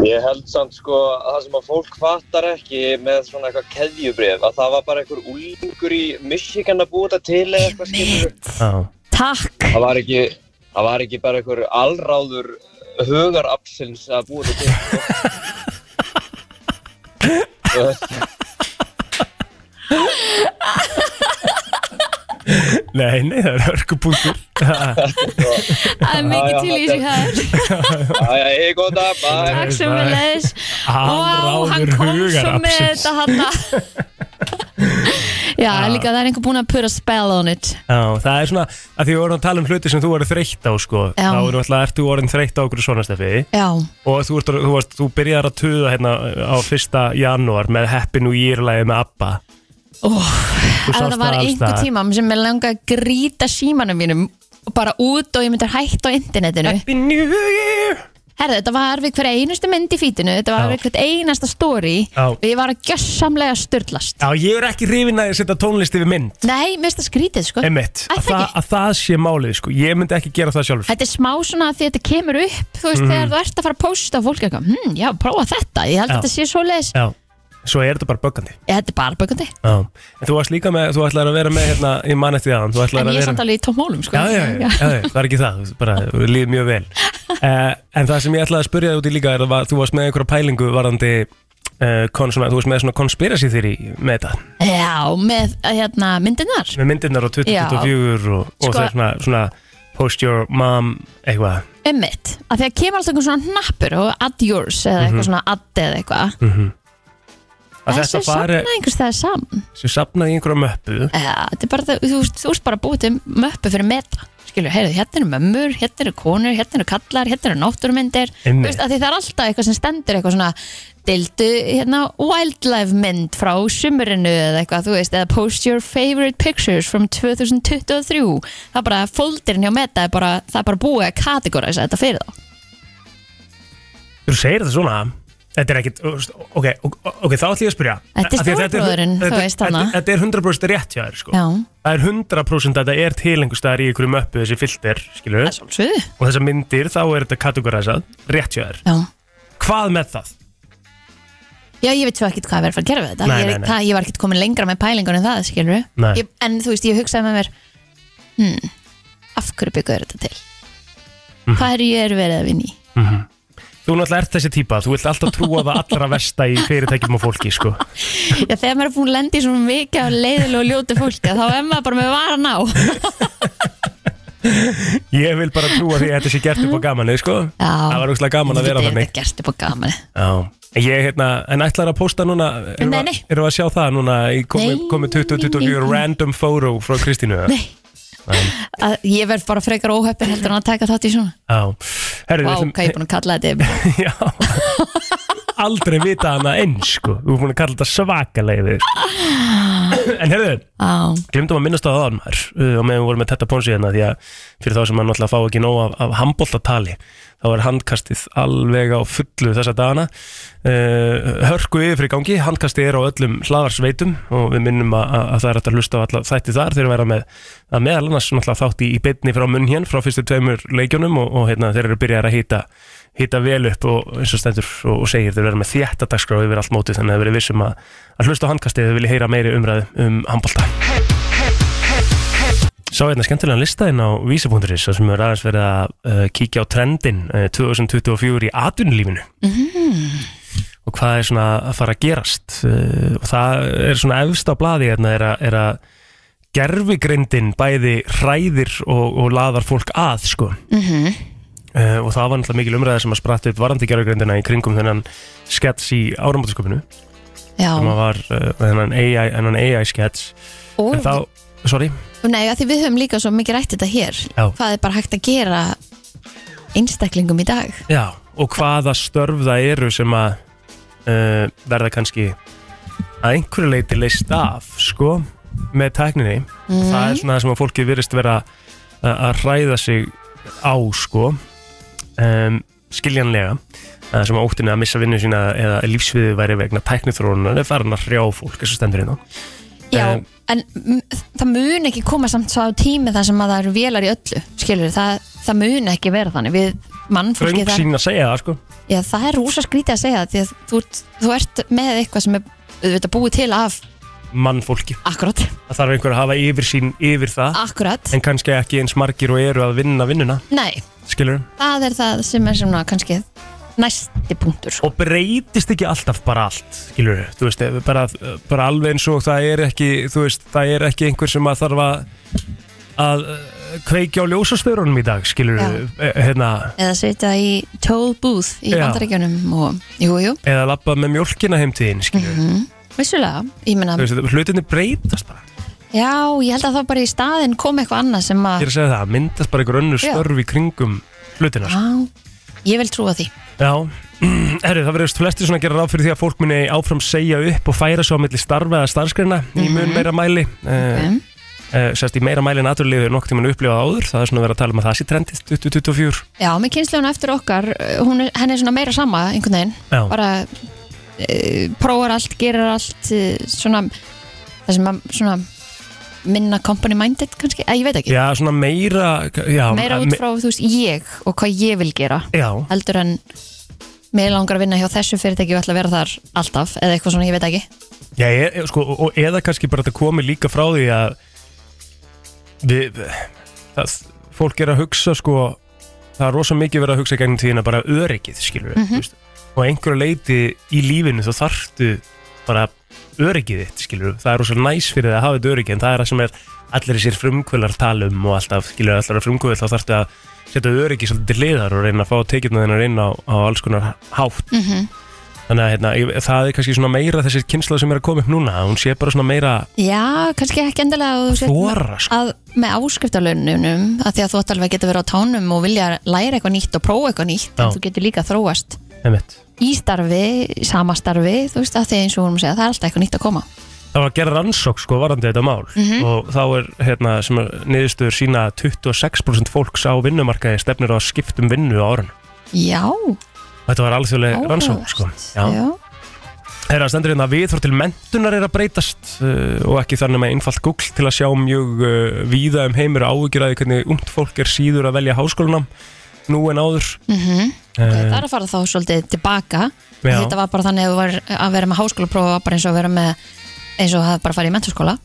S13: Ég held samt sko að það sem að fólk fattar ekki með svona eitthvað keðjubrif að það var bara einhver úlingur í Michigan að búa þetta til eða eitthvað skilur.
S2: Já
S3: Takk
S13: Það var ekki, það var ekki bara einhver allráður hugarabsins að búa þetta til. sko.
S2: Nei, nei, það er
S3: (laughs)
S2: örkupunktur
S3: Það er mikið til í sig hér
S2: (laughs)
S13: Æja, ég góð dag, bæ.
S3: Takk sem við
S2: (laughs)
S3: leðis
S13: Alráður
S3: hann kom svo með
S13: hugaraflsins.
S3: þetta hann
S2: (laughs)
S3: Já, líka það er einhver búin að put a spell on it
S2: Já, það er svona að því við vorum að tala um hluti sem þú eru þreytt á sko
S3: Já.
S2: Þá erum alltaf, ert þú orðin þreytt á okkur svona stefi
S3: Já,
S2: Og þú, ert, þú, varst, þú byrjar að tuða hérna á 1. janúar með Happy New Year-lægi með ABBA
S3: óh
S2: Þú
S3: Ef
S2: sást
S3: það var
S2: alls
S3: einhver
S2: staðar.
S3: tíma sem mér langaði að grýta símanum mínum og bara út og ég myndi hægt á internetinu
S2: Happy New Year
S3: Herðu, þetta var við hver einustu mynd í fítinu þetta var
S2: Já.
S3: við hvert einasta story
S2: Já.
S3: og ég var að gjössamlega störtlast
S2: Já, ég er ekki hrifin að ég setja tónlist yfir mynd
S3: Nei, mér finnst það skrítið sko
S2: Einmitt,
S3: Æ,
S2: að,
S3: það
S2: það,
S3: ekki.
S2: að það sé málið sko Ég myndi ekki gera það sjálfur
S3: Þetta er smá svona að því að þetta kemur upp þú veist,
S2: Mhm.
S3: þegar þú ert að fara að posta og fólk er eitthvað, hm, já, prófa þetta, ég held að
S2: Já.
S3: þetta sé svo leiðis
S2: Já, svo er þetta bara böggandi
S3: Þetta er bara bökandi,
S2: Já, en þú varst líka með, þú ætlar að vera með hérna, ég man eftir það Þú ætlar
S3: en ég er
S2: að vera
S3: samt alveg í tómhólum sko.
S2: Já, já, já, já, já, það er ekki það, þú- bara þú líður mjög
S3: (laughs)
S2: vel uh, En það sem ég ætlaði að spyrja þig út í líka er að var- þú varst með einhverja pælingu varðandi uh, kon, svona, þú varst með svona conspiracy theory með þetta,
S3: Já, með hérna, myndinar
S2: með myndirnar á 2024 og, og
S3: Sko-
S2: sko, svona, svona post your mom eitthvað
S3: Ummitt, að því að kemur alltaf einhver svona hnappur og add yours eða
S2: Mhm.
S3: eitthvað svona add eða eitthvað
S2: mm -hmm. Að
S3: Það sé
S2: þetta fari,
S3: safna einhvers það saman
S2: sem safnaði í einhverja möppu
S3: Já, þetta er bara, það- þú, veist, þú ert bara búið til möppu fyrir meta Skilur, heyrðu, hérna eru mömmur, hérna eru konur, hérna eru kallar, hérna eru náttúrumyndir Þú
S2: Einmitt.
S3: veist, að því það er alltaf eitthvað sem stendur eitthvað svona Dildu, hérna, wildlife mynd frá sumurinu eða eitthvað, þú veist Eða post your favorite pictures from 2023 Það er bara, folderinn hjá meta er bara, það er bara búið að kategoræsa þetta fyrir þá
S2: Þú segir þetta svona Þetta er ekkit, þú veist, ok, ok, ok, þá ætlum ég að spyrja
S3: Þetta er
S2: Af því að
S3: stóribróðirinn, þú
S2: þetta-
S3: veist,
S2: þetta-
S3: hana.
S2: Þetta er 100% rétt hjá þér, sko
S3: Já,
S2: Það er 100% að þetta er til einhver staðar í einhverju möppu þessi filter, skilur við?
S3: Sviði.
S2: Og þessar myndir, þá er þetta kategoræsað rétt hjá þér.
S3: Já.
S2: Hvað með það?
S3: Já, ég veit svo ekkert hvað að vera að fara að gera við þetta
S2: Nei,
S3: ég, er-
S2: nei, nei.
S3: Það, ég var ekkert komin lengra með pælingar en það, skilur
S2: Nei.
S3: ég, En þú veist, ég hugsaði með mér hmm, Af hverju byggur þetta til?
S2: Mhm.
S3: Hvað er ég er verið að
S2: (laughs)
S3: vinni?
S2: Þú náttúrulega ert þessi típa, þú vilt alltaf trúa það allra versta í fyrirtækjum og fólki, sko.
S3: Já, þegar maður er búin að lenda í svona mikið af leiðilegu og ljótu fólki þá er maður bara með varan á
S2: Ég vil bara trúa því að þetta sé gert upp á gamanið, sko.
S3: Mhm. Já.
S2: Það var úrslega gaman að vera
S3: Þetta er
S2: þannig.
S3: þetta gert upp á gaman
S2: Já. En Ég, hérna, en ætlar að posta núna, erum
S3: Nei,
S2: við
S3: nei.
S2: að- erum við að sjá það núna í komið
S3: Nei,
S2: komi
S3: nei,
S2: 2024
S3: nei.
S2: random photo frá Kristínu? eða?
S3: Nei. að Ég verð bara frekar óhöppin heldur en að taka þátt í svona
S2: Já. Herru,
S3: Vá,
S2: við ætlum-
S3: hvað ég er búin að kalla
S2: (laughs)
S3: þetta
S2: aldrei vita hana eins sko. Þú er búin að kalla þetta svakalega við sko. En herðu,
S3: Á.
S2: glemdum að minnast á það maður uh, og meðan við vorum með Tetta Ponsi hérna því að fyrir þá sem hann náttúrulega fá ekki nóg af, af handbóltatali þá er handkastið alveg á fullu þessa dagana uh, Hörku yfir í gangi, handkastið er á öllum hlaðarsveitum og við minnum að, að, að það er hægt að hlusta á alla þætti þar þeir eru að vera með að meðal annars náttúrulega þátt í, í beinni frá munn hér frá fyrstu tveimur leikjunum og, og hérna, þeir eru byrjar að hýta hýta vel upp og eins og stendur og, og segir þeir vera með þjætta dagskrá yfir allt mótið þannig að þeir verið vissum að, að hlusta á handkastið þeir vilja heyra meiri umræðu um handbólta Sá hérna skemmtilegan lista inn á vísa.is þar sem er aðeins verið að uh, kíkja á trendin uh, 2024 í atvinnulífinu Mhm.
S3: mm.
S2: og hvað er svona að fara að gerast uh, og það er svona efst á blaði hérna er að, er að gerfigrindin bæði hræðir og, og laðar fólk að sko
S3: mm -hmm.
S2: uh, og það var náttúrulega mikil umræða sem að spratt upp varandi gerfigrindina í kringum þennan skets í áramótaskopinu
S3: Já,
S2: sem að var uh, þennan AI, þennan AI skets
S3: Og-
S2: en þá, sorry
S3: Nei, að því við höfum líka svo mikið rætt þetta hér
S2: Já.
S3: Hvað er bara hægt að gera einstaklingum í dag
S2: Já, og hvaða störf það eru sem að uh, verða kannski að einhverju leiti leist af, sko, með tækninni.
S12: Mhm.
S2: Það er svona það sem að fólki virðist vera uh, að hræða sig á, sko, um, skiljanlega. Það sem að óttinu að missa vinnu sína eða lífsviðu væri vegna tæknithrónunar er farin að hrjá fólk, þessu stendur hérna.
S3: Já,
S2: Um,
S3: en m- það mun ekki koma samt svo á tími þar sem að það eru vélar í öllu Skilur, það, það mun ekki vera þannig Við mannfólki
S2: Fröng
S3: það,
S2: sín að segja það, sko.
S3: já, það er rúsa skrítið að segja það Því að þú, ert- þú ert með eitthvað sem er auðvitað, búið til af
S2: mannfólki
S3: Akkurat
S2: Það þarf einhver að hafa yfirsýn yfir það
S3: Akkurat.
S2: En kannski ekki eins margir og eru að vinna vinnuna
S3: Nei,
S2: Skilur
S3: það er það sem er svona kannski næsti punktur
S2: Og breytist ekki alltaf bara allt Skilur Þú veist, ef bara, bara alveg eins og það er ekki Þú veist, það er ekki einhver sem að þarf að Að eh, kveikja á ljósastörunum í dag Skilur Hérna
S3: Eða setja í toll booth í
S2: Já.
S3: bandaríkjunum og, jú, jú,
S2: Eða labba með mjólkina heimtíðin Skilur
S3: vissulega Ég meina,
S2: Þú veist, hlutinni breytast bara
S3: já, ég held að það bara í staðinn kom eitthvað annað sem
S2: Ég
S3: að
S2: er að segja það, myndast bara einhver önnur
S3: Já.
S2: störf í kringum hlutina sko.
S3: Já, ég vil trúa því
S2: Já, (clears throat) herru, það verður flestir svona að gera ráð fyrir því að fólk muni áfram segja upp og færa svo á milli starfa eða starfskreina í
S3: Mhm.
S2: mun meira mæli okay. Sérst, í meira mæli en aðurlífið er nokkuð tímann upplifað áður það er svona að vera að tala um að það sé trendið 2024
S3: Já, með kynsluðun eftir okkar, eh, hún er, henni er svona meira sama einhvern veginn,
S2: Já.
S3: bara e, prófar allt, gerir allt eh, svona, það sem að svona minna company minded kannski, eða ég veit ekki,
S2: Já, svona meira já,
S3: meira
S2: að-
S3: út frá þú veist ég og hvað ég vil gera
S2: Já,
S3: heldur en mér langar að vinna hjá þessu fyrirtæki og ætla að vera þar alltaf eða eitthvað svona, ég veit ekki
S2: já ég, ég- sko, og, og eða kannski bara þetta komi líka frá því að við, það, fólk er að hugsa sko, það er rosa mikið verið að hugsa í gegnum tíðina bara öryggið, skilur
S12: Mhm.
S2: -hmm. og að einhverju leiti í lífinu þá þarftu bara öryggið þitt skilur, það er rosalega næs fyrir það að hafa þetta öryggi en það er það sem er allir þessir frumkvölar tala um og alltaf, skilur, allar að frumkvölar þá þarftu að setja öryggi svolítið til hliðar og reyna að fá tekjurna þennar inn á, á alls konar hátt
S3: Mhm.
S2: þannig að hérna, ég- það er kannski svona meira þessi kynsla sem er að koma upp núna, að hún sé bara svona meira
S3: Já, kannski ekki endilega að þú sért
S2: Þora, sko.
S3: með- að, með áskriftalönunum að því að þú ætti alveg að geta verið á tánum og vilja læra eitthvað nýtt og prófa eitthvað nýtt
S2: Já.
S3: en þú getur líka að þróast
S2: einmitt.
S3: í starfi, í sama starfi þú veist, að því eins og hún segja, það er alltaf eitthvað nýtt að koma
S2: það var að gera rannsók sko varandi þetta mál
S3: Mhm.
S2: og þá er hérna sem er niðurstöður sína að 26% fólks á vinnumarkaði stefnir á að skiptum vinnu á árun
S3: Já,
S2: Þetta var alþjóðleg Eh, rannsókn sko.
S3: já.
S2: Herra, stendur hérna að viðhorf til mentunar er að breytast uh, og ekki þannig með einfalt Google til að sjá mjög uh, víða um heimur áhyggjur að því hvernig ungt fólk er síður að velja háskólanam nú en áður
S3: mm það er
S2: uh,
S3: að fara þá svolítið tilbaka
S2: Eh, Já.
S3: þetta var bara þannig að, þú var, að vera með háskólaprófa var bara eins og að vera með eins og að bara fara í mentaskóla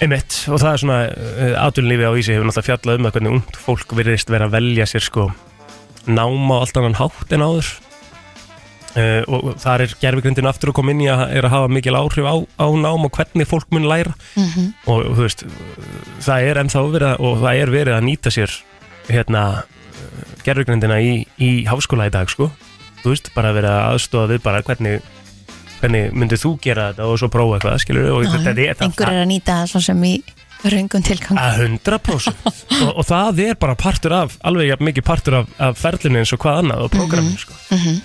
S2: Einmitt, og það er svona uh, atvinnlífi á Ísi hefur náttúrulega fjallað um það hvernig ungt fólk virðist vera að velja sér sko náma á allt annan hátt en áður uh, og og þar er gerfugrindin aftur að koma inn í að er að hafa mikil áhrif á, á nám og hvernig fólk mun læra
S5: Mhm.
S2: og, og þú veist það er ennþá verið að, og það er verið að nýta sér hérna gerfugrindina í, í háskóla í dag sko þú veist, bara verið að aðstofa við bara hvernig hvernig myndir þú gera þetta og svo prófa eitthvað skilur og
S3: Já,
S2: þetta er
S3: einhver er að nýta það svo sem í röngum tilgang
S2: Að 100% og, og það er bara partur af, alveg jafn mikið partur af, af ferlinu eins og hvað annað og prógraminu sko.
S3: Mhm.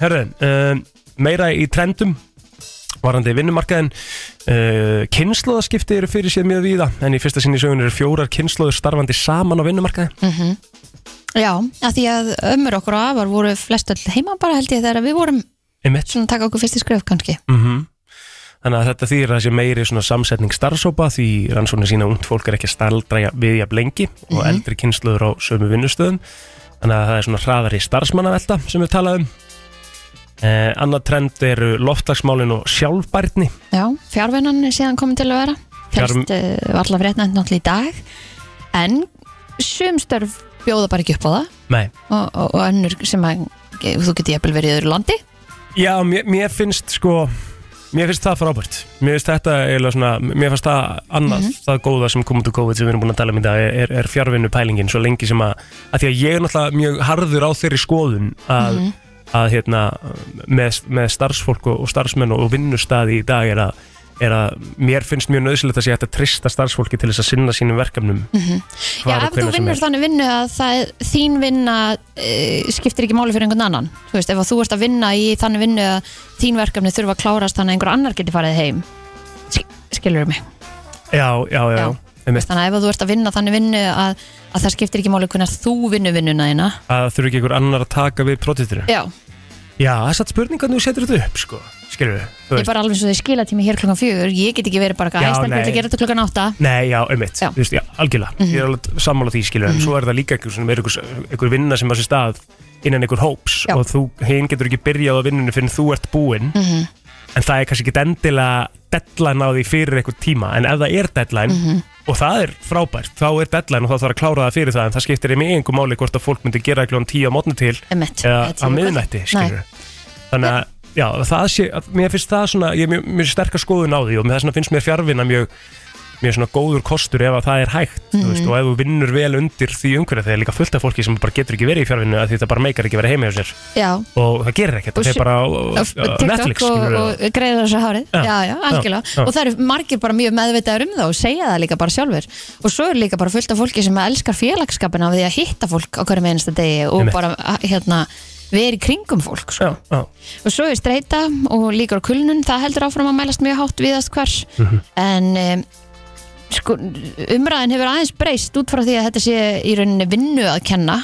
S2: Herðu, um, meira í trendum varandi vinnumarkaðin uh, kynnslóðaskipti eru fyrir séð mjög víða en í fyrsta sinni í sögun eru fjórar kynnslóður starfandi saman á vinnumarkaði
S3: -hmm. Já, að því að ömmur okkur og afar voru flest öll heima bara held ég þegar við vorum
S2: Einmitt.
S3: svona að taka okkur fyrst í skröf kannski
S2: mm Þannig að þetta þýðir að þessi meiri svona samsetning starfsópa því rannsóknir sína að ungt fólk er ekki að staldra ja- við jafn lengi og
S12: Mhm.
S2: eldri kynnslóður á sömu vinnustöðum þannig að það er svona hraðari starfsmannavelta sem við talaðum eh, Annað trend eru loftlagsmálin og sjálfbærni
S3: Já, fjárvinnan er síðan komin til að vera
S2: Fjarm-
S3: Fjárm... uh, var alltaf rétt nefnt náttúrulega í dag en sumstörf bjóða bara ekki upp á það
S2: Nei
S3: og, og, og önnur sem að ge- þú getur jafnvel verið í öðru landi
S2: Já, mér, mér finnst sko Mér finnst það frábært Mér finnst þetta eiginlega svona Mér finnst það annað
S3: Mhm.
S2: Það góða sem komum til COVID sem við erum búin að tala um í dag er, er, er fjárvinnu pælingin svo lengi sem að, að Því að ég er náttúrulega mjög harður á þeirri skoðun að,
S12: Mhm.
S2: að hérna með, með starfsfólk og, og starfsmenn og, og vinnustaði í dag er að er að mér finnst mjög nöðsilegt að sé hægt að trista starfsfólki til þess að sinna sínum verkefnum
S3: Mhm. Já, ef þú vinnur þannig vinnu að það, þín vinna e, skiptir ekki máli fyrir einhvern annan þú veist, ef að þú ert að vinna í þannig vinnu að þín verkefni þurfa að klárast þannig að einhver annar geti farið heim skilur mig
S2: Já, já, já, já. einmitt.
S3: þannig að ef að þú ert að vinna þannig vinnu að, að það skiptir ekki máli hvernig þú vinnu vinnuna þína
S2: að þurfi ekki einhver annar að taka við prótitri
S3: já,
S2: Já, það er satt spurning hvernig þú setur þetta upp, sko Skilur við
S3: ég bara alveg svo þau skilatími hér klokkan fjögur ég get ekki verið bara
S2: Já,
S3: að æstelpa
S2: nei.
S3: að gera þetta klokkan átta
S2: Nei, já, einmitt,
S3: Já.
S2: þú veist, já, algjörlega Ég er alveg sammála því, skilur En
S3: Mhm.
S2: svo er það líka einhver, svona- er einhver, einhver vinna sem á sér stað innan einhver hóps og þú, hinn getur ekki byrjað á vinnunni fyrir þú ert búinn
S3: Mhm.
S2: en það er kannski ekki endilega deadline á því fyrir einhver tíma en ef það er deadline
S3: Mhm.
S2: og það er frábært þá er deadline og þá þarf að klára það fyrir það en það skiptir einhver einhver máli hvort að fólk myndi gera klón 10 á mótni til
S3: Einmitt. Eða
S2: eða á
S3: tíu í
S2: miðnætti,
S3: kvöld.
S2: skilur
S3: Nei.
S2: þannig að Já, það sé, að- mér finnst það svona, ég er mjög, mjög sterkar skoðun á því og með þess að finnst mér fjarvinna mjög, mjög svona góður kostur ef að það er hægt mm
S12: Mhm.
S2: veist, og ef þú vinnur vel undir því umhverfið þegar líka fullt af fólki sem bara getur ekki verið í fjarvinnu að því þetta bara meikar ekki verið heima hjá sér
S3: já,
S2: og það gerir
S3: Og
S2: ekkert,
S3: sjö-
S2: það er bara á, á,
S3: Af-
S2: á
S3: TikTok
S2: Netflix
S3: og,
S2: skilur
S3: og greiða þessu hárið já,
S2: Já,
S3: já,
S2: já,
S3: algjörlega
S2: já.
S3: og það eru margir bara mjög meðvitaður um það og segja það líka bara sjálfur og svo er líka bara fullt af fólki sem elskar félagskapina af því að hitta fólk á hverjum einasta degi og
S2: Einmitt.
S3: bara hérna verið í kringum fólk sko.
S2: já.
S3: og svo er streyta og líkur á kulnun það heldur áfram að mælast mjög hátt viðast hvers
S2: Mhm.
S3: en um, sko, umræðin hefur aðeins breyst út frá því að þetta sé í rauninni vinnu að kenna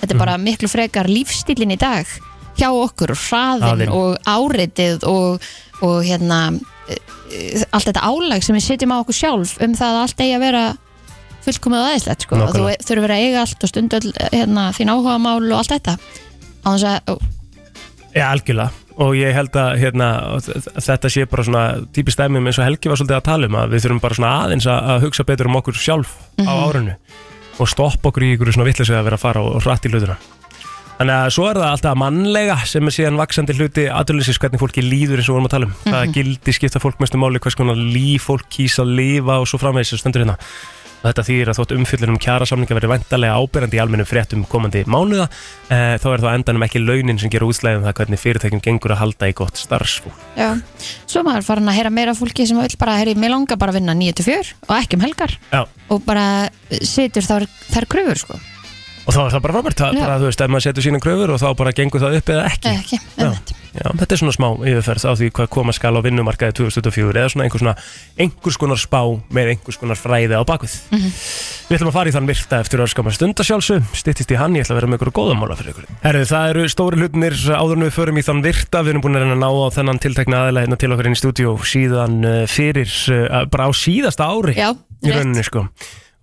S3: þetta er bara miklu frekar lífstílin í dag hjá okkur og hraðin
S14: Hraðinn.
S3: og áritið og, og hérna e, e, allt þetta álag sem við setjum á okkur sjálf um það að allt eigi að vera fullkomið og aðeinslegt sko. að þú
S2: Nákvæmlega.
S3: þurfur að vera að eiga allt og stundu öll, hérna, þín áhuga mál og allt þetta á þess að
S2: Já, algjörlega og ég held að hérna, þ- þetta sé bara svona típist dæmum eins og Helgi var svolítið að tala um að við þurfum bara svona aðeins að, að hugsa betur um okkur sjálf á
S12: Mhm.
S2: árinu og stoppa okkur í ykkur svona vittlisvið að vera að fara og, og hratt í hlutina Þannig að svo er það alltaf mannlega sem er síðan vaksandi hluti aðurlýsis hvernig fólki líður eins og við vorum að tala um mm
S12: Mhm.
S2: -hmm. gildi skipta fólk mestu máli hvers konar líf fólk kýs að lifa og svo framvegis sem stendur hérna og þetta þýðir að þótt um umfyllunum kjara samninga verið væntalega ábyrjandi í almennum fréttum komandi mánuða e, þá er það endanum ekki launin sem gera útslæðum það hvernig fyrirtækjum gengur að halda í gott starfsfólk
S3: Já, svo maður farin að heyra meira af fólki sem vil bara, heyri, mér langar bara að vinna 9-4 og ekki um helgar
S2: Já.
S3: og bara situr þar, þar kröfur sko.
S2: og þá er það bara frábært það,
S3: Já.
S2: er bara, þú veist, ef maður setur sína kröfur og þá bara gengur það upp eða ekki
S3: Eða Eh, ekki,
S2: Já, já, þetta er svona smá yfirferð á því hvað koma skal á vinnumarkaði 2024 eða svona einhvers, svona einhvers konar spá með einhvers konar fræði á bakvið
S3: Mhm.
S2: Við ætlum að fara í þann virta eftir örskamma stund að sjálfsög Stittist í hann, ég ætla að vera með ykkur góðamála fyrir ykkur Herðu, það eru stóri hlutinir áður en við förum í þann virta Við erum búin að reyna að ná á þennan tiltekna aðeila hérna til okkar inn í stúdíó síðan uh, fyrir, uh, bara á síðasta ári
S3: Já,
S2: í rauninni sko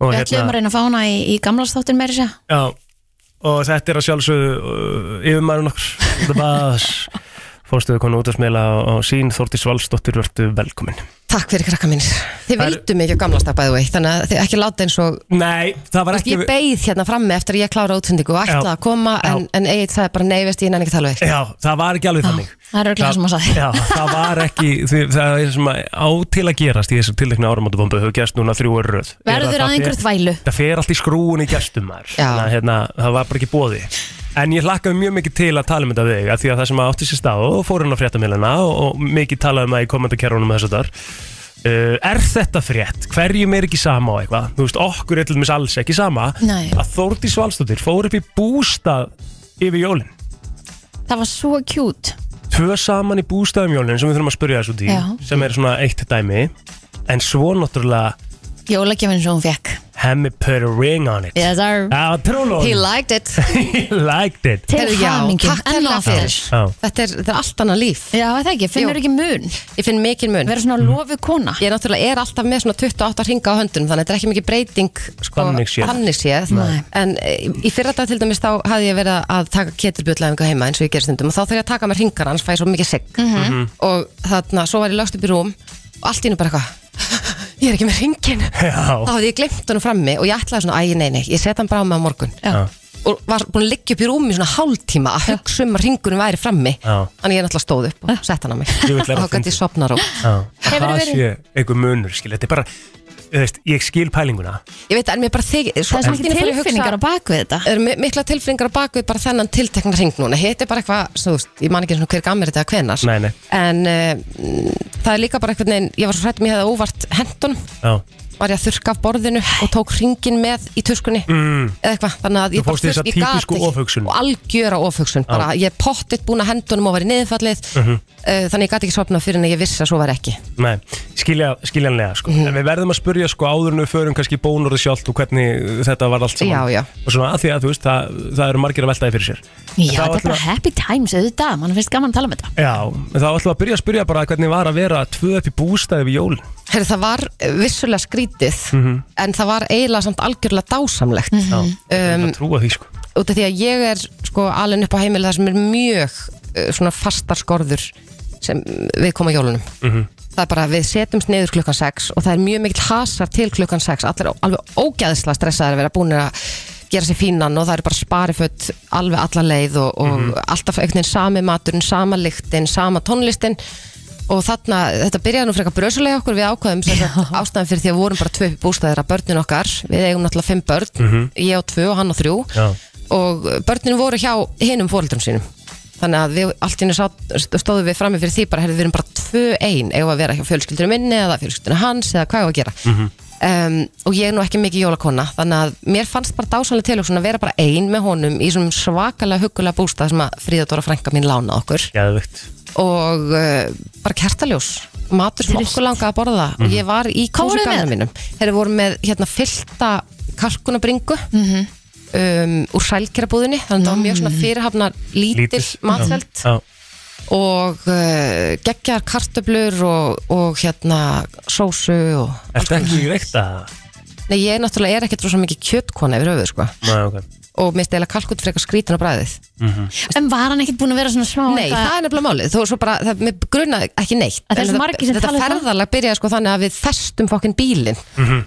S2: og,
S3: Við ætlum að reyna að fá hana í, í gamlastáttin meira sér
S2: Já, og þetta er að sjálfsögðu uh, yfirmaðurinn okkur
S3: (laughs)
S2: The Bass Fórstuðu konu út að smila og sín Þórtis Valsdóttir vertu velkomin
S14: Takk fyrir krakka mín Þið vildu mig ekki á gamla stað bæðu vei Þannig að þið ekki láta eins og
S2: Nei, það var
S14: Ég beið hérna frammi eftir að ég klára útsendingu og ætlaði
S2: Já.
S14: að koma en, en Egil sagði bara nei, veist ég nenni ekki að tala við
S2: Já, það var ekki alveg þannig
S3: Það er örglega sem að sagði
S2: Já, það var ekki, því, það er sem að á til að gerast í þessu tiltekna áramótubombu hefur gerst núna þrjú öru röð Er
S3: Verður að
S2: það
S3: einhverju
S2: fer-
S3: þvælu
S2: Það fer allt í skrúun í gestum maður Þannig að, hérna, Það var bara ekki bóði En ég hlakkaði mjög mikið til að tala um þetta við þig af Því að það sem átti sér stað og fór hann á fréttamilina og, og mikið talaði um það í kommentarkerfunum og þess að þar Uh, er þetta frétt? Hverjum er ekki sama á eitthvað? Þú veist, okkur er til dæmis alls ekki sama
S3: Nei.
S2: að Þórdís Valstóttir fór upp í bústað yfir jólin
S3: Það var svo kjút
S2: tvö saman í bústæðum jólinn sem við þurfum að spyrja þessu út í
S3: Já.
S2: sem er svona eitt dæmi en svo náttúrulega
S3: Jólagjöfinn sem hún fekk
S2: Hemmi put a ring on it
S3: Yes, sir.
S2: Það var trúlun
S14: He liked
S2: (laughs)
S14: it
S2: He liked it
S14: Heyrðu, já,
S3: hamingju,
S14: takk
S3: enn og
S14: hérlega
S3: aftur.
S14: fyrir.
S2: Já.
S14: Þetta er, þetta er allt annað líf
S3: Já, er það ekki, finnur ekki mun
S14: Ég finn mikil mun
S3: Verður svona lofu kona
S14: Ég náttúrulega er alltaf með svona 28 hringa á höndunum þannig að þetta er ekki mikið breyting sko,
S2: Þannig séð.
S14: þannig séð.
S2: Nei.
S14: en e, í fyrra dag til dæmis þá hafði ég verið að taka ketilbjöldlæfingu heima eins og ég gerði stundum og þá þarf ég að taka mér hringar annars fæ ég svo mikið sigg
S2: Mhm.
S14: og þarna, svo var ég lögst upp í rúm og allt í nú bara eitthvað (laughs) ég er ekki með hringin
S2: (laughs) Já.
S14: þá hafði ég glemt honum frammi og ég ætlaði svona, æ, nei, nei, ég set hann bara á mig á morgun
S2: Já.
S14: og var búin að liggja upp í rúmi í svona hálftíma að hugsa um að ringunum væri frammi
S2: Já.
S14: þannig ég náttúrulega stóð upp og sett hann á mig
S2: Ég vil læra
S14: og þá
S2: að
S14: gæti ég sopna ró
S2: Já.
S14: Hefurðu
S2: Það
S14: verið-
S2: sé einhver munur skil, þetta er bara þú veist, ég skil pælinguna
S14: Ég veit, en mér bara þig
S3: Það er svo mikið tilfinningar á bakvið þetta
S14: Er mi- mikla tilfinningar á bakvið bara þennan tiltekna hring núna Hitt er bara eitthvað, svo, þú veist, ég man ekki einu sinni hver gammir þetta hvenar
S2: Nei, nei
S14: En uh, það er líka bara eitthvað neginn Ég var svo hrætt mér hefði óvart hendunum
S2: Já
S14: Var ég að þurrka af borðinu og tók hringin með í tuskunni
S2: Mm.
S14: Eða eitthvað, þannig að
S2: Þú
S14: ég bara
S2: fórst í þessa
S14: þurrk- ég gat
S2: típisku
S14: ekki.
S2: ofhugsun.
S14: Og algjöra ofhugsun,
S2: Já.
S14: bara ég pottitt búin að hendunum og var í niðurfallið
S2: Mhm.
S14: uh, Þannig ég gat ekki svopnað fyrir en ég vissi að svo var ekki
S2: Nei, skilja, skiljanlega sko.
S14: Mhm.
S2: En við verðum að spurja sko áður en við förum kannski bónorði sjálft og hvernig þetta var allt saman
S14: Já, já.
S2: Og svona að því að þú veist, það, það eru margir að veltaði fyrir sér
S3: Já,
S2: Þá
S3: þetta er
S2: ætlum
S3: bara happy times auðvitað, mann finnst gaman að tala um þetta
S2: Já, en þá ætlum við að byrja að spyrja bara hvernig var að vera tvö upp í bústæði við jól
S14: Herri, það var eh, vissulega skrítið
S2: Mhm.
S14: en það var eiginlega samt algjörlega dásamlegt
S2: Já,
S14: um,
S2: það trúa því sko
S14: út af því að ég er sko alveg upp á heimili þar sem er mjög uh, svona fastar skorður sem mm, við koma jólunum
S5: Mhm.
S14: það er bara að við setjumst niður klukkan 6 og það er mjög mikill hasar til klukkan 6 allir á- alveg ógæðislega stressaðir að vera búin að gera sér fínan og það eru bara spariföt alveg alla leið og, og
S2: Mhm.
S14: alltaf einhvern veginn sami maturinn, sama lyktin sama tónlistin og þarna, þetta byrjaði nú frekar brösulega hjá okkur við ákvaðum sem sagt, ástæðan fyrir því að við vorum bara tvö upp í bústæðir að börnin okkar, við eigum náttúrulega fimm börn
S5: Mhm.
S14: ég á tvö og hann á þrjú
S5: Já.
S14: og börnin voru hjá hinum fóreldrum sínum þannig að við allt í einu sá- stóðum við frammi fyrir því bara heyrðu, við erum bara tvö ein eigum að vera hjá fjölskyldunum minni eða fjölskyldunum hans eða hvað ég á að gera
S2: Mhm.
S14: um, og ég er nú ekki mikið jólakona þannig að mér fannst bara dásanlega til að vera bara ein með honum í svona svakalega huggulega bústað sem að Fríða Dóra frænka mín lánaði okkur
S2: Geðvikt
S14: og uh, bara kertaljós matur sem okkur langaði að borða og
S5: Mhm.
S14: ég var í
S3: Hvað voruð þið
S14: kósugarðinu
S3: með?
S14: mínum þeir voru með hérna fyllta kalkunabringu
S3: Mhm.
S14: um, úr sælkerabúðinni þannig að það var mjög
S3: Mm.
S14: svona fyrirhafna lítil matseld
S2: Já,
S14: og uh, geggjar kartöblur og, og hérna sósu og
S2: er þetta ekki í reykta?
S14: Nei, ég náttúrulega er ekkert rosa mikið kjötkona yfir höfuð sko
S2: Nei, ok
S14: og mér stela kalkut frekar skrítin á bræðið
S2: mm -hmm.
S3: En var hann ekkert búin að vera svona smá
S14: Nei, það er nefnilega málið, þó svo bara, það, mér gruna ekki neitt
S3: Það er svo
S14: En
S3: margir sem
S14: Þetta
S3: tala um það.
S14: ferðalag byrjaði sko þannig að við festum fokkin bílinn
S2: Mhm.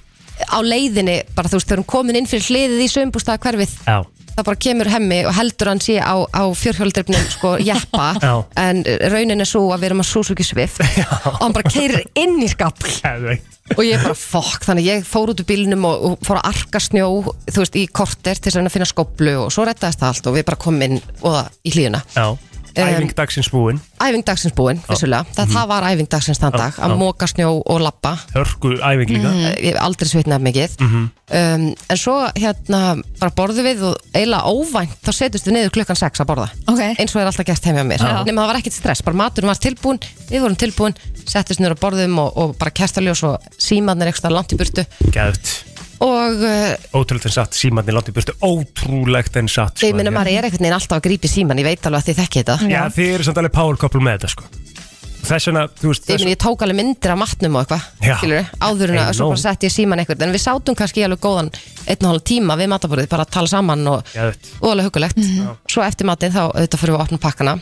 S14: á leiðinni, bara þú veist, þegar hún komin inn fyrir hliðið í sömbústaða hverfið
S2: Já
S14: það bara kemur hemmi og heldur hann sé á, á fjörhjóldreifnum
S2: (laughs)
S14: sko jeppa
S2: Já.
S14: en raunin er svo að við erum að Suzuki
S2: (laughs)
S14: Swift og hann bara keirir inn í skapl
S2: Geðvikt
S14: og ég bara fokk, þannig ég fór út úr bílnum og, og fór að arka snjó, þú veist, í korter til þess að reyna að finna skoblu og svo rettaðist það allt og við bara komum inn og það í hlýðuna
S2: Já, æfing dagsins búin
S14: Æfing dagsins búin, vissulega, það, það var æfing dagsins þann dag,
S2: Mhm. já.
S14: að móka snjó og lappa
S2: Hörku æfing líka
S14: Ég hef aldrei svitnað mikið
S2: Mhm.
S14: um, En svo hérna bara borðum við og eiginlega óvænt þá setjumst við niður klukkan 6 að borða
S3: okay.
S14: eins og er alltaf gert heimja mér
S3: Já.
S14: Nefnum það var ekkit stress, bara maturinn var tilbúin Við vorum tilbúin, settumst niður að borðum og, og bara kertaljós og símanir eitthvað langt í burtu
S2: Geðvikt
S14: Og uh,
S2: Ótrúlegt en satt, símanni langt í burtu Ótrúlegt en satt
S14: ég minna maður er einhvern veginn alltaf að grípi síman Ég veit alveg að þið þekki þetta
S2: Já, þið eru samt alveg power couple með þetta sko Þess vegna, þú veist
S14: Ég, meni, ég tók alveg myndir af matnum og
S2: Já.
S14: eitthvað skilurðu, áður en
S2: Hey,
S14: að svo
S2: no.
S14: bara sett ég síman eitthvað en við sátum kannski í alveg góðan einn og hálf tíma við mataborðið bara að tala saman og,
S2: Geðvikt.
S14: og alveg hugulegt
S5: Mhm.
S14: svo eftir matinn þá auðvitað fyrir við að opna pakkana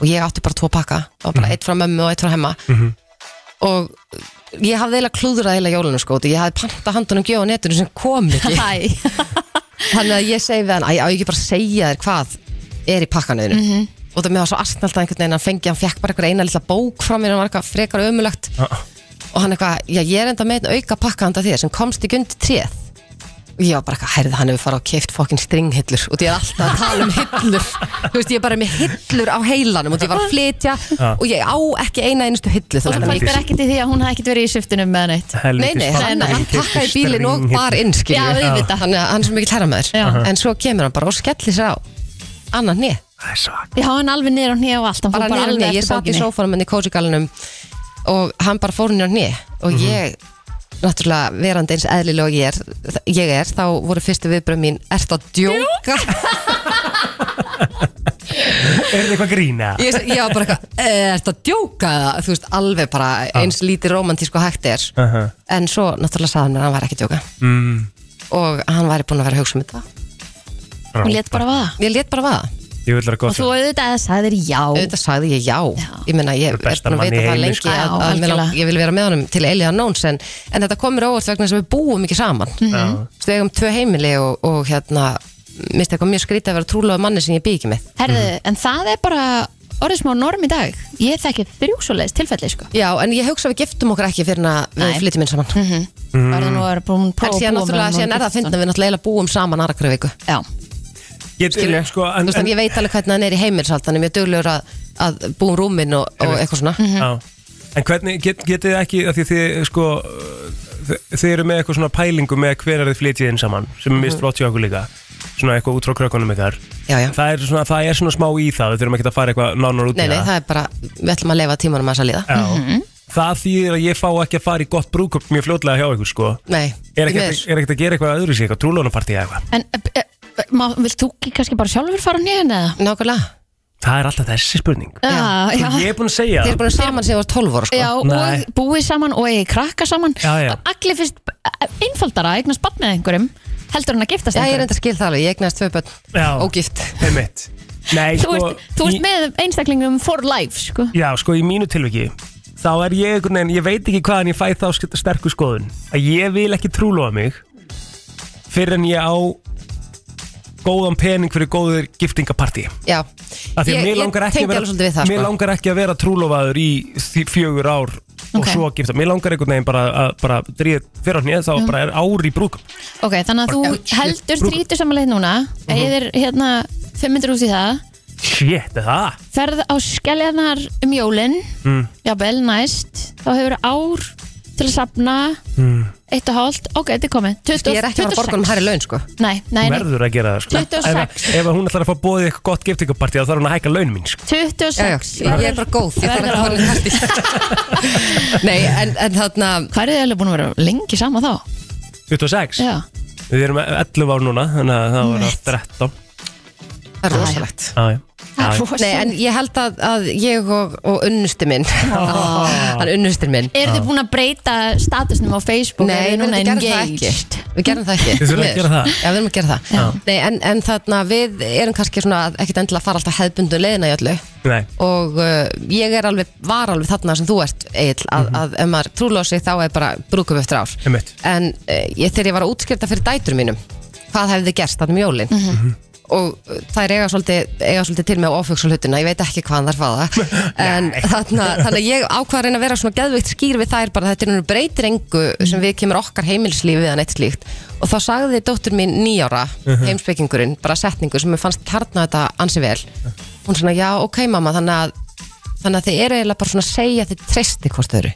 S14: og ég átti bara tvo pakka það var bara eitt frá mömmu og eitt frá hemma
S5: Mhm.
S14: og ég hafði eiginlega klúðrað eiginlega jólunum sko því ég hafði panta handunum gjöð á netinu sem
S5: (laughs)
S14: kom ekki (laughs) þannig að ég segi við hann, æ, á ég ekki bara að segja þér hvað er í pakkanuðinu
S5: Mhm.
S14: og það með var svo astnalt að einhvern veginn hann fengi, hann fekk bara einhver eina lilla bók frá mér hann var eitthvað frekar ömulagt
S2: Ah,
S14: og hann eitthvað, já ég er enda með einn auka pakka handa þér sem komst ekki undir tréð og ég var bara eitthvað, herðið hann hefur farið og keift fokkin stringhillur og því ég er alltaf að tala um hillur þú veist, ég er bara með hillur á heilanum og því ég var að flytja
S2: Já.
S14: og ég á ekki eina einustu hillu
S3: Og þú
S14: þannig að
S3: fættir
S14: ég-
S3: ekkert í því að hún hafði ekkert verið í sviftunum með neitt
S14: Nei, nei, hann, hann pakkaði bílinn og bar inn skilju
S3: Já, auðvitað
S14: Þannig að hann er svo mikið hlæra með
S3: Já.
S14: þér En svo kemur hann bara og skellir sér á Annan hnið
S3: Já, hann alveg niður á hnið og allt hann fór
S14: Bara niður
S3: alveg
S14: hnið, ég
S3: eftir
S14: satt í
S3: bókinni.
S14: sófanum En í kósigalunum Og hann bara fór henni á hnið Og
S3: Mhm.
S14: ég, náttúrulega verandi eins eðlilega og ég er, ég er Þá voru fyrstu viðbröð mín Ertu að djóka?
S2: Er þetta eitthvað grína?
S14: Ég, ég var bara eitthvað, "Eh, ertu að djóka? eða?" Þú veist, alveg bara eins lítið romantísk og hægt er
S2: Ah. Aha.
S14: En svo náttúrulega sagði hann mér að hann var ekki að djóka
S2: mm,
S14: Og hann væri búin að vera að hugsa um þetta
S2: Hún
S3: lét bara vaða
S14: Ég lét bara vaða
S2: Ég vil vera
S3: Og
S2: gott
S3: þú auðvitað sagðir já
S14: Auðvitað sagði ég já, Ég meina ég er
S2: besta
S14: búin að
S2: mann í
S14: vita það
S2: heimi,
S14: lengi
S2: sko.
S14: að,
S3: Já,
S14: að mig lang-
S3: algjörlega.
S14: ég vil vera með honum til Elia Nóns en, en þetta komur óvart vegna sem við búum ekki saman
S3: Mhm.
S14: mm
S2: Já.
S14: Við eigum tvö heimili og, og hérna minnst eitthvað mjög skrítið að vera trúlega manni sem ég byggi með
S3: Herðu, en það er bara orðið smá norm í dag Ég þekki þrjúsulegis tilfelli sko
S14: Já, en ég hugsa að við giftum okkur ekki fyrir að við
S3: Nei.
S14: flytjum inn saman mm -hmm.
S2: Mhm.
S3: mm. Verða nú að vera búin
S14: En síðan náttúrulega, síðan er það að finna að við náttúrulega eiginlega búum saman aðra hverju viku
S3: Já
S2: Get,
S14: Skilur,
S2: sko,
S14: þú veist, en ég veit alveg hvernig hann er í heimilshald hann er mjög duglur að, að búum rúmin og, og eitthvað svona
S2: Mhm.
S3: Mhm.
S2: Já. En hvernig get, getið þið ekki að því þið sko uh, þið, þið eru með eitthvað svona pælingu með hvenar þið flytjið inn saman sem er mist
S14: Mhm.
S2: flott hjá okkur líka svona eitthvað út frá krökkunum ykkar
S14: já, já.
S2: Það, er svona, það er svona smá í það við þurfum ekki að fara eitthvað nánar út
S14: Nei,
S2: í
S14: nei, það er bara, við ætlum að leifa tímanum að þess að líða
S2: Já.
S3: Mhm.
S2: Það þýðir að ég fá ekki að fara í gott brúkup mjög fljótlega hjá ykkur sko
S14: Nei,
S2: Er
S14: því
S2: ekki
S14: miður.
S2: hægt- er ekkert að gera eitthvað öðru sig, eitthvað trúlónapartí eða eitthvað
S3: En eh, eh, má- vilt þú ekki kannski bara sjálfur fara nýjan eða?
S14: Nákvæmlega
S2: Það er alltaf þessi spurning Sko,
S3: Já, já.
S2: Ég er búin að segja
S14: Þið er búin að saman sem var 12 ára sko
S3: Já,
S2: Nei.
S3: og búið saman og eigi krakka saman
S2: Já, já.
S3: Allir finnst einfaldara að eignast barn með einhverjum heldur en að giftast
S14: Já, ég er
S3: einhverjum
S14: enda skil það alveg, ég eignast tvö börn
S2: Já.
S14: Ógift
S2: Einmitt. Nei,
S3: Þú
S2: sko,
S3: ert, þú ert með einstaklingum for life sko.
S2: Já, sko, í mínu tilviki þá er ég einhvern veginn, ég veit ekki hvaðan ég fæ þá sk- sterku skoðun að ég vil ekki trúlóa mig fyrir en ég á góðan pening fyrir góður giftingapartí
S14: Já,
S2: Af því að
S14: Ég-
S2: mér
S14: ég
S2: langar ekki
S14: tengi
S2: að vera,
S14: alveg svolítið við það,
S2: mér
S14: sko.
S2: langar ekki að vera trúlofaður í því fjögur ár og
S3: Ok.
S2: svo að gifta, mér langar einhvern veginn bara að bara dríða fyrir hann ég þá bara er ár í brúkum
S3: Ok, þannig að þú heldur þrítur samanleið núna
S2: Mhm.
S3: eða hérna 500 út í það
S2: Shit, er það?
S3: ferð á skelljarnar um jólin
S2: Mm.
S3: jafnvel næst þá hefur ár til að safna
S2: Mm.
S3: eitt og hálft, ok, þetta er komið 20,
S14: Ég er ekki að fara að borga um hærri laun sko
S3: Nei, nei, nei,
S2: verður að gera það sko.
S3: 26.
S2: ef, ef hún ætlar að fá bóðið eitthvað gott giftingapartí þá þarf hún að hækka launum mín sko.
S3: 26
S14: Já, já, ég er bara góð, ég þarf ekki að fara í partí Nei, en, en þarna
S3: Hvað er þið alveg búin að vera lengi saman þá?
S2: 26?
S3: Já,
S2: Við erum 11 ár núna, þannig að það var 13
S14: Það er rosalegt
S2: Já, já. Já, já.
S14: Nei, en ég held að, að ég og, og unnusti
S2: (laughs)
S14: minn
S2: Ah.
S14: Hann unnustir minn
S3: Eru þið búin að breyta statusnum á Facebook?
S14: Nei, við
S3: Eru þið núna
S14: gerðum það
S3: engaged?
S14: ekki. Við gerðum það ekki
S2: Þið þurfum að
S14: Miður.
S2: gera það.
S14: Já, við erum að gera það
S2: Já.
S14: Nei, en, en þarna við erum kannski svona ekkit endilega að fara alltaf hefðbundu leiðina í öllu
S2: Nei,
S14: og uh, ég er alveg, var alveg þarna sem þú ert Egil, að, að ef maður trúlóð sig þá er bara brúkum eftir ár
S2: Mhm. einmitt
S14: en uh, ég, þegar ég var að útskrifta fyrir dætur mínum hvað hefði gerst þarna um
S3: Mhm.
S14: jólin
S2: Mhm.
S14: og uh, þær eiga svolítið, eiga svolítið til með á ofugsa hlutina, ég veit ekki hvaðan þær faða en þarna, þannig að ég ákvað að reyna að vera svona geðveikt skýr við þær bara þetta er nú breytir engu sem við kemur okkar heimilslífi eða neitt slíkt og þá sagði dóttur mín nýjára
S15: Mhm.
S14: heimspekingurinn, bara setningu sem mér fannst kjarna þetta ansi vel hún svona, já ok mamma, þannig að þannig að þið eru eiginlega bara svona að segja að þið treysti hvort þau eru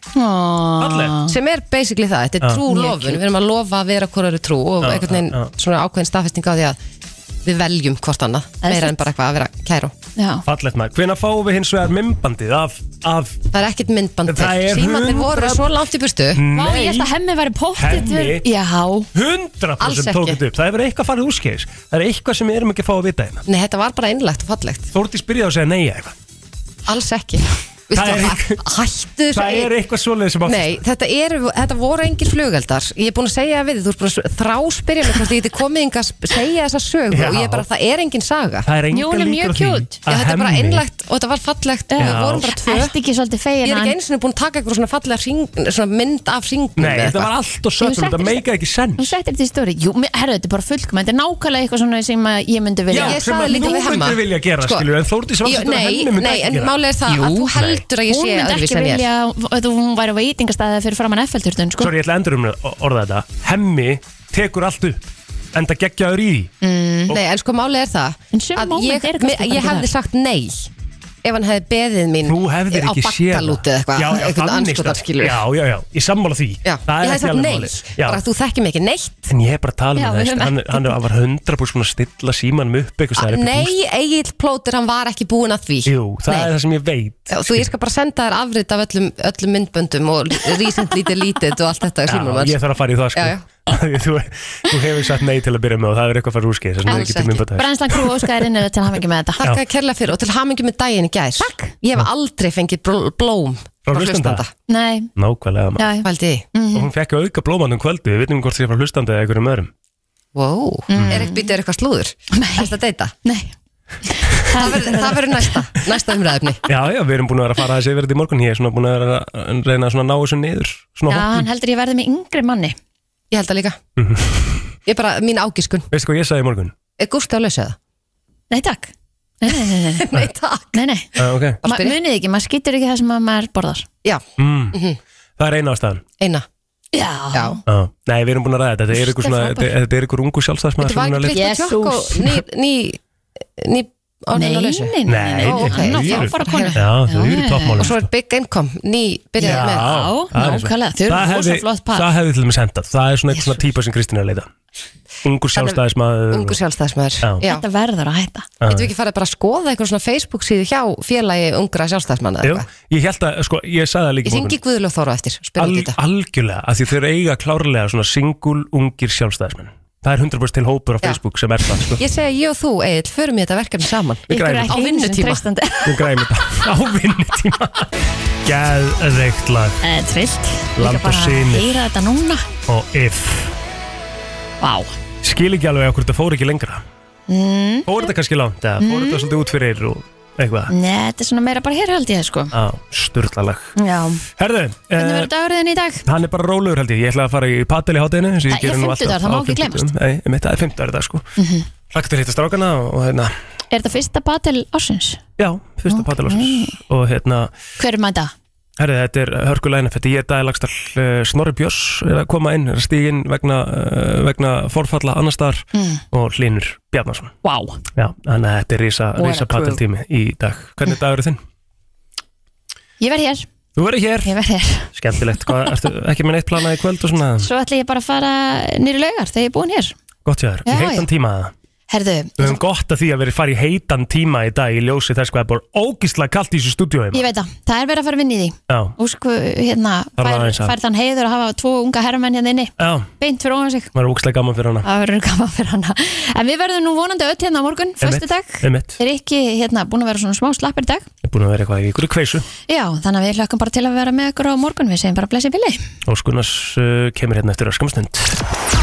S3: Fallegt.
S14: sem er basically það, þetta er
S3: Já.
S14: trú
S3: Mjög
S14: lofun
S3: cute.
S14: við erum að lofa að vera hvort eru trú og
S3: Já,
S14: einhvern veginn
S3: já,
S14: svona ákveðin staðfesting á því að við veljum hvort annað
S3: er
S14: meira en
S3: fínt.
S14: bara eitthvað að vera kæru
S3: Já.
S2: Fallegt maður, hvenær fáum við hins vegar mymbandið af, af
S14: það er ekkert myndband til.
S2: Það er
S14: símandir voru
S2: 100
S14: svo langt í burtu
S3: Vá, ég held að hemmi væri pottið
S2: Hemmi?
S3: Já,
S2: 100%
S14: Alls
S2: tók
S14: ekki.
S2: þetta upp, það hefur eitthvað farið úrskeiðis Það er eitthvað sem við erum ekki að fá að vita hérna
S14: nei, þetta var bara einlegt og fallegt
S2: Þórdís byrjaði að segja nei eitthvað
S14: alls ekki Vistu,
S2: Það er
S14: að- hættu þessu
S2: Það er eitthvað svoleiðis sem að
S14: Nei, þetta, er, þetta voru engir flugeldar Ég er búin að segja við þig, þú ert búin að þráspyrja mig hvort ég geti komið yngar að segja þessa sögu
S2: Já.
S14: og ég er bara, það er engin saga
S2: Það er engar Jón er líkur mjög á því cute.
S14: Já,
S2: að
S14: þetta er bara
S2: Hemmi-
S14: einlegt og þetta var fallegt og
S2: Já.
S14: við vorum bara tvö
S3: Ertu ekki svolítið fegin
S14: Ég er
S3: að
S14: ekki
S3: hann-
S14: einu sinni búin að taka eitthvað svona fallega hring, svona mynd af hringum
S2: Nei, þetta var allt og söpum, þetta meika ekki senn
S3: Þú settir þetta í stóri Jú, mér- herru, þetta er bara fullkom Þetta er nákvæmlega eitthvað svona sem að ég myndi vilja
S2: Já, sem að þú myndir vilja gera, sko, skilur En Þórdís var svolítið að
S14: nei,
S2: henni myndi
S14: nei,
S2: ekki
S14: en
S2: gera.
S14: málið er það að þú heldur að ég sé
S3: Hún myndi
S14: öðruvísi
S3: ekki
S14: en ég er.
S3: vilja að hún væri á veitingastæði fyrir framann F-felturðun sko.
S2: Sorry, ég ætla að endur um orða þetta Hemmi tekur allt upp Enda geggjaður í því
S14: Mm. Nei, en sko málið er það að
S3: moment
S14: ég,
S3: eru kannski
S14: mér- ég
S3: bara
S14: hefði
S3: þar.
S14: sagt nei ef hann hefði beðið mín
S2: Þú hefðir
S14: á
S2: ekki séð það.
S14: bakkalúti eða eitthvað
S2: Já, já,
S14: eitthvað
S2: þannig
S14: anskotar
S2: stað.
S14: skilur
S2: Já, já, já, ég sammála því
S14: Já,
S2: Það
S14: ég
S2: er
S14: hefði
S2: ekki
S14: sagt
S2: alveg
S14: nei,
S2: málið Já.
S14: bara þú þekkir mig ekki neitt
S2: En ég er bara að tala
S14: Já,
S2: um
S14: við
S2: það
S14: höfum Ah,
S2: Hann, hann var 100% búinn að stilla símanum upp einhvers staðar upp í
S14: Nei, Egil Plóter, hann var ekki búinn að því
S2: Jú, það
S14: Nei.
S2: er það sem ég veit
S14: Já, Þú, ég skal bara senda þér afrit af öllum, öllum myndböndum og rísind lítið lítið og allt þetta í símanum
S2: Já,
S14: hans.
S2: ég þarf að fara í það sko
S14: Já, já.
S2: (laughs) þú, þú hefur sagt nei til að byrja með og það er eitthvað að fara úrskið Þess að það er
S14: Alls
S2: ekki til minn bata
S3: Brænslan krú óskæðirinn er til hafa ekki með þetta
S14: Takk að kærlega fyrir og til hamingi með daginn í gær Takk Ég hef aldrei fengið bl- blóm
S2: Frá hlustanda?
S3: Nei,
S2: Nákvæmlega maður.
S3: já, Mhm.
S14: Valdi
S2: Og hún fekk auka blóman um kvöldu Við veitum hvort þið er frá hlustandi eða einhverjum öðrum
S14: Wow, er ekki býtið eitthvað slúður? Nei Ertu að deyta?
S3: Mhm. Nei
S14: Það verður- það verður næsta, næsta umræðefni
S2: (laughs) Já, já, við erum búin að vera að fara þessi yfir þetta í morgun Ég er svona búin að vera að reyna að svona ná þessu niður Svona
S3: já,
S2: hótt
S3: hann heldur ég verði með yngri manni
S14: Ég held að líka Ég bara, mín ágiskun
S2: Veistu hvað ég sagði í morgun?
S14: Er Gústi á lausu eða?
S3: Nei, takk Nei, nei,
S14: (laughs)
S3: nei, nei. nei takk Nei, nei,
S2: Ah, ok.
S3: Ma, munið ekki, maður skýtur ekki það sem að maður borðar Já,
S2: Mm. Það er eina ástæðan
S14: Mhm. eina Já, Já.
S2: ah. Nei, við erum búin að ræða þetta Þetta er ykkur, svona,
S14: Þetta er
S2: þetta, þetta er ykkur ungu sjálfstæðsmaður
S14: Þetta var ekki
S2: sem er að leita-
S14: bleikt tjókk og ný, ný, ný orðin á lausu
S2: nei, nei, nei, Nei, ó, ok. nei,
S14: Ó,
S2: þau eru-
S14: frábæra kona.
S2: Já, þau eru í toppmálum,
S14: Og svo er Big Income, ný byrjaði með
S2: það er eins og- Það hefði- Það hefði til dæmis hendað Það er svona eitthvað svona típa sem Kristín er að leita Ungur sjálfstæðismaður
S14: Ungu sjálfstæðismæður
S2: Já.
S14: Þetta verður að hætta Getum við ekki farið bara að skoða eitthvað svona Facebook síðu hjá félagi ungra sjálfstæðismanna
S2: Jú, Ég held að, sko, ég sagði það líka
S14: Ég
S2: í morgun.
S14: hringi Guðlaug Þóra á eftir um-
S2: Al,
S14: Spyrum þetta
S2: algjörlega, af því þeir eiga klárlega svona single ungir sjálfstæðismenn það er 100% til hópur á Facebook sem er það sko.
S14: Ég segi ég og þú, Egil, förum í þetta verkefni saman
S2: Við græjum
S14: Á
S2: þetta.
S14: vinnutíma
S2: við græmi þetta á vinnutíma Geðveikt lag
S3: Eh, trillt
S2: Land
S3: Líka
S2: og
S3: bara að
S2: synir.
S3: heyra þetta núna
S2: og if
S3: Vá
S2: skil ekki alveg okkur þetta fór ekki lengra
S3: mm.
S2: fór
S14: Mhm.
S2: þetta kannski langt eða fór þetta svolítið út fyrir og eitthvað
S3: Nei, þetta er svona meira bara hér held ég sko
S2: á, sturla lag
S3: Já
S2: Herðu,
S3: Hvernig
S2: eh,
S3: verður dagurðin í dag?
S2: hann er bara rólegur held ég ég ætla að fara í patel í hátæðinu
S3: Það er fimmtudagur, það má ekki gleymast.
S2: Nei, einmitt, það er 50 dag sko
S3: Mhm.
S2: Hlakka til að hitta strákana og, og hérna
S3: Er þetta fyrsta batel ársins?
S2: Já, fyrsta patel og hérna
S3: Hver er mæta?
S2: Herri, þetta er hörkulæna, þetta ég er Dæði Lagstall uh, Snorri Björns er að koma inn, er að stíga inn vegna, uh, vegna forfalla annar staðar
S3: Mm.
S2: og Hlynur Bjarnason.
S3: Vá
S2: Já, þannig að þetta er risa,
S3: What a
S2: risa
S3: crew.
S2: padeltími í dag. Hvernig dagur er þinn?
S3: Ég verð hér
S2: Þú verður hér.
S3: Ég verð hér
S2: Skemmtilegt, hvað, ertu ekki með neitt planað í kvöld og svona?
S3: Svo ætla ég bara að fara niður í laugar þegar ég er búin hér
S2: Gott hjá þér,
S3: Já,
S2: í heitan
S3: já.
S2: tíma það.
S3: Herðu,
S2: Við höfum gott að því að verið farið í heitan tíma í dag í ljósi þess hvað er bara ógíslega kalt í þessu stúdíói.
S3: ég veit það, það er verið að fara að vinna í því
S2: Já,
S3: Úsku, hérna,
S2: Þarf
S3: fær,
S2: aðeins að-
S3: fær þann heiður að hafa tvo unga herrmenn hérna inni
S2: já,
S3: Beint fyrir ofan sig
S2: maður er ógíslega gaman fyrir hana.
S3: Það verður gaman fyrir hana En við verðum nú vonandi öll hérna á morgun,
S2: Einmitt,
S3: föstu dag
S2: einmitt.
S3: Er ekki hérna búin að vera svona smá slappir í dag
S2: Ég er búin að vera eitthvað í ykkur kveisu.
S3: Já, þannig að við hlökkum bara til að vera með ykkur á morgun Við segjum bara blessi bili
S2: Óskunnars uh, kemur hérna eftir öskamstund.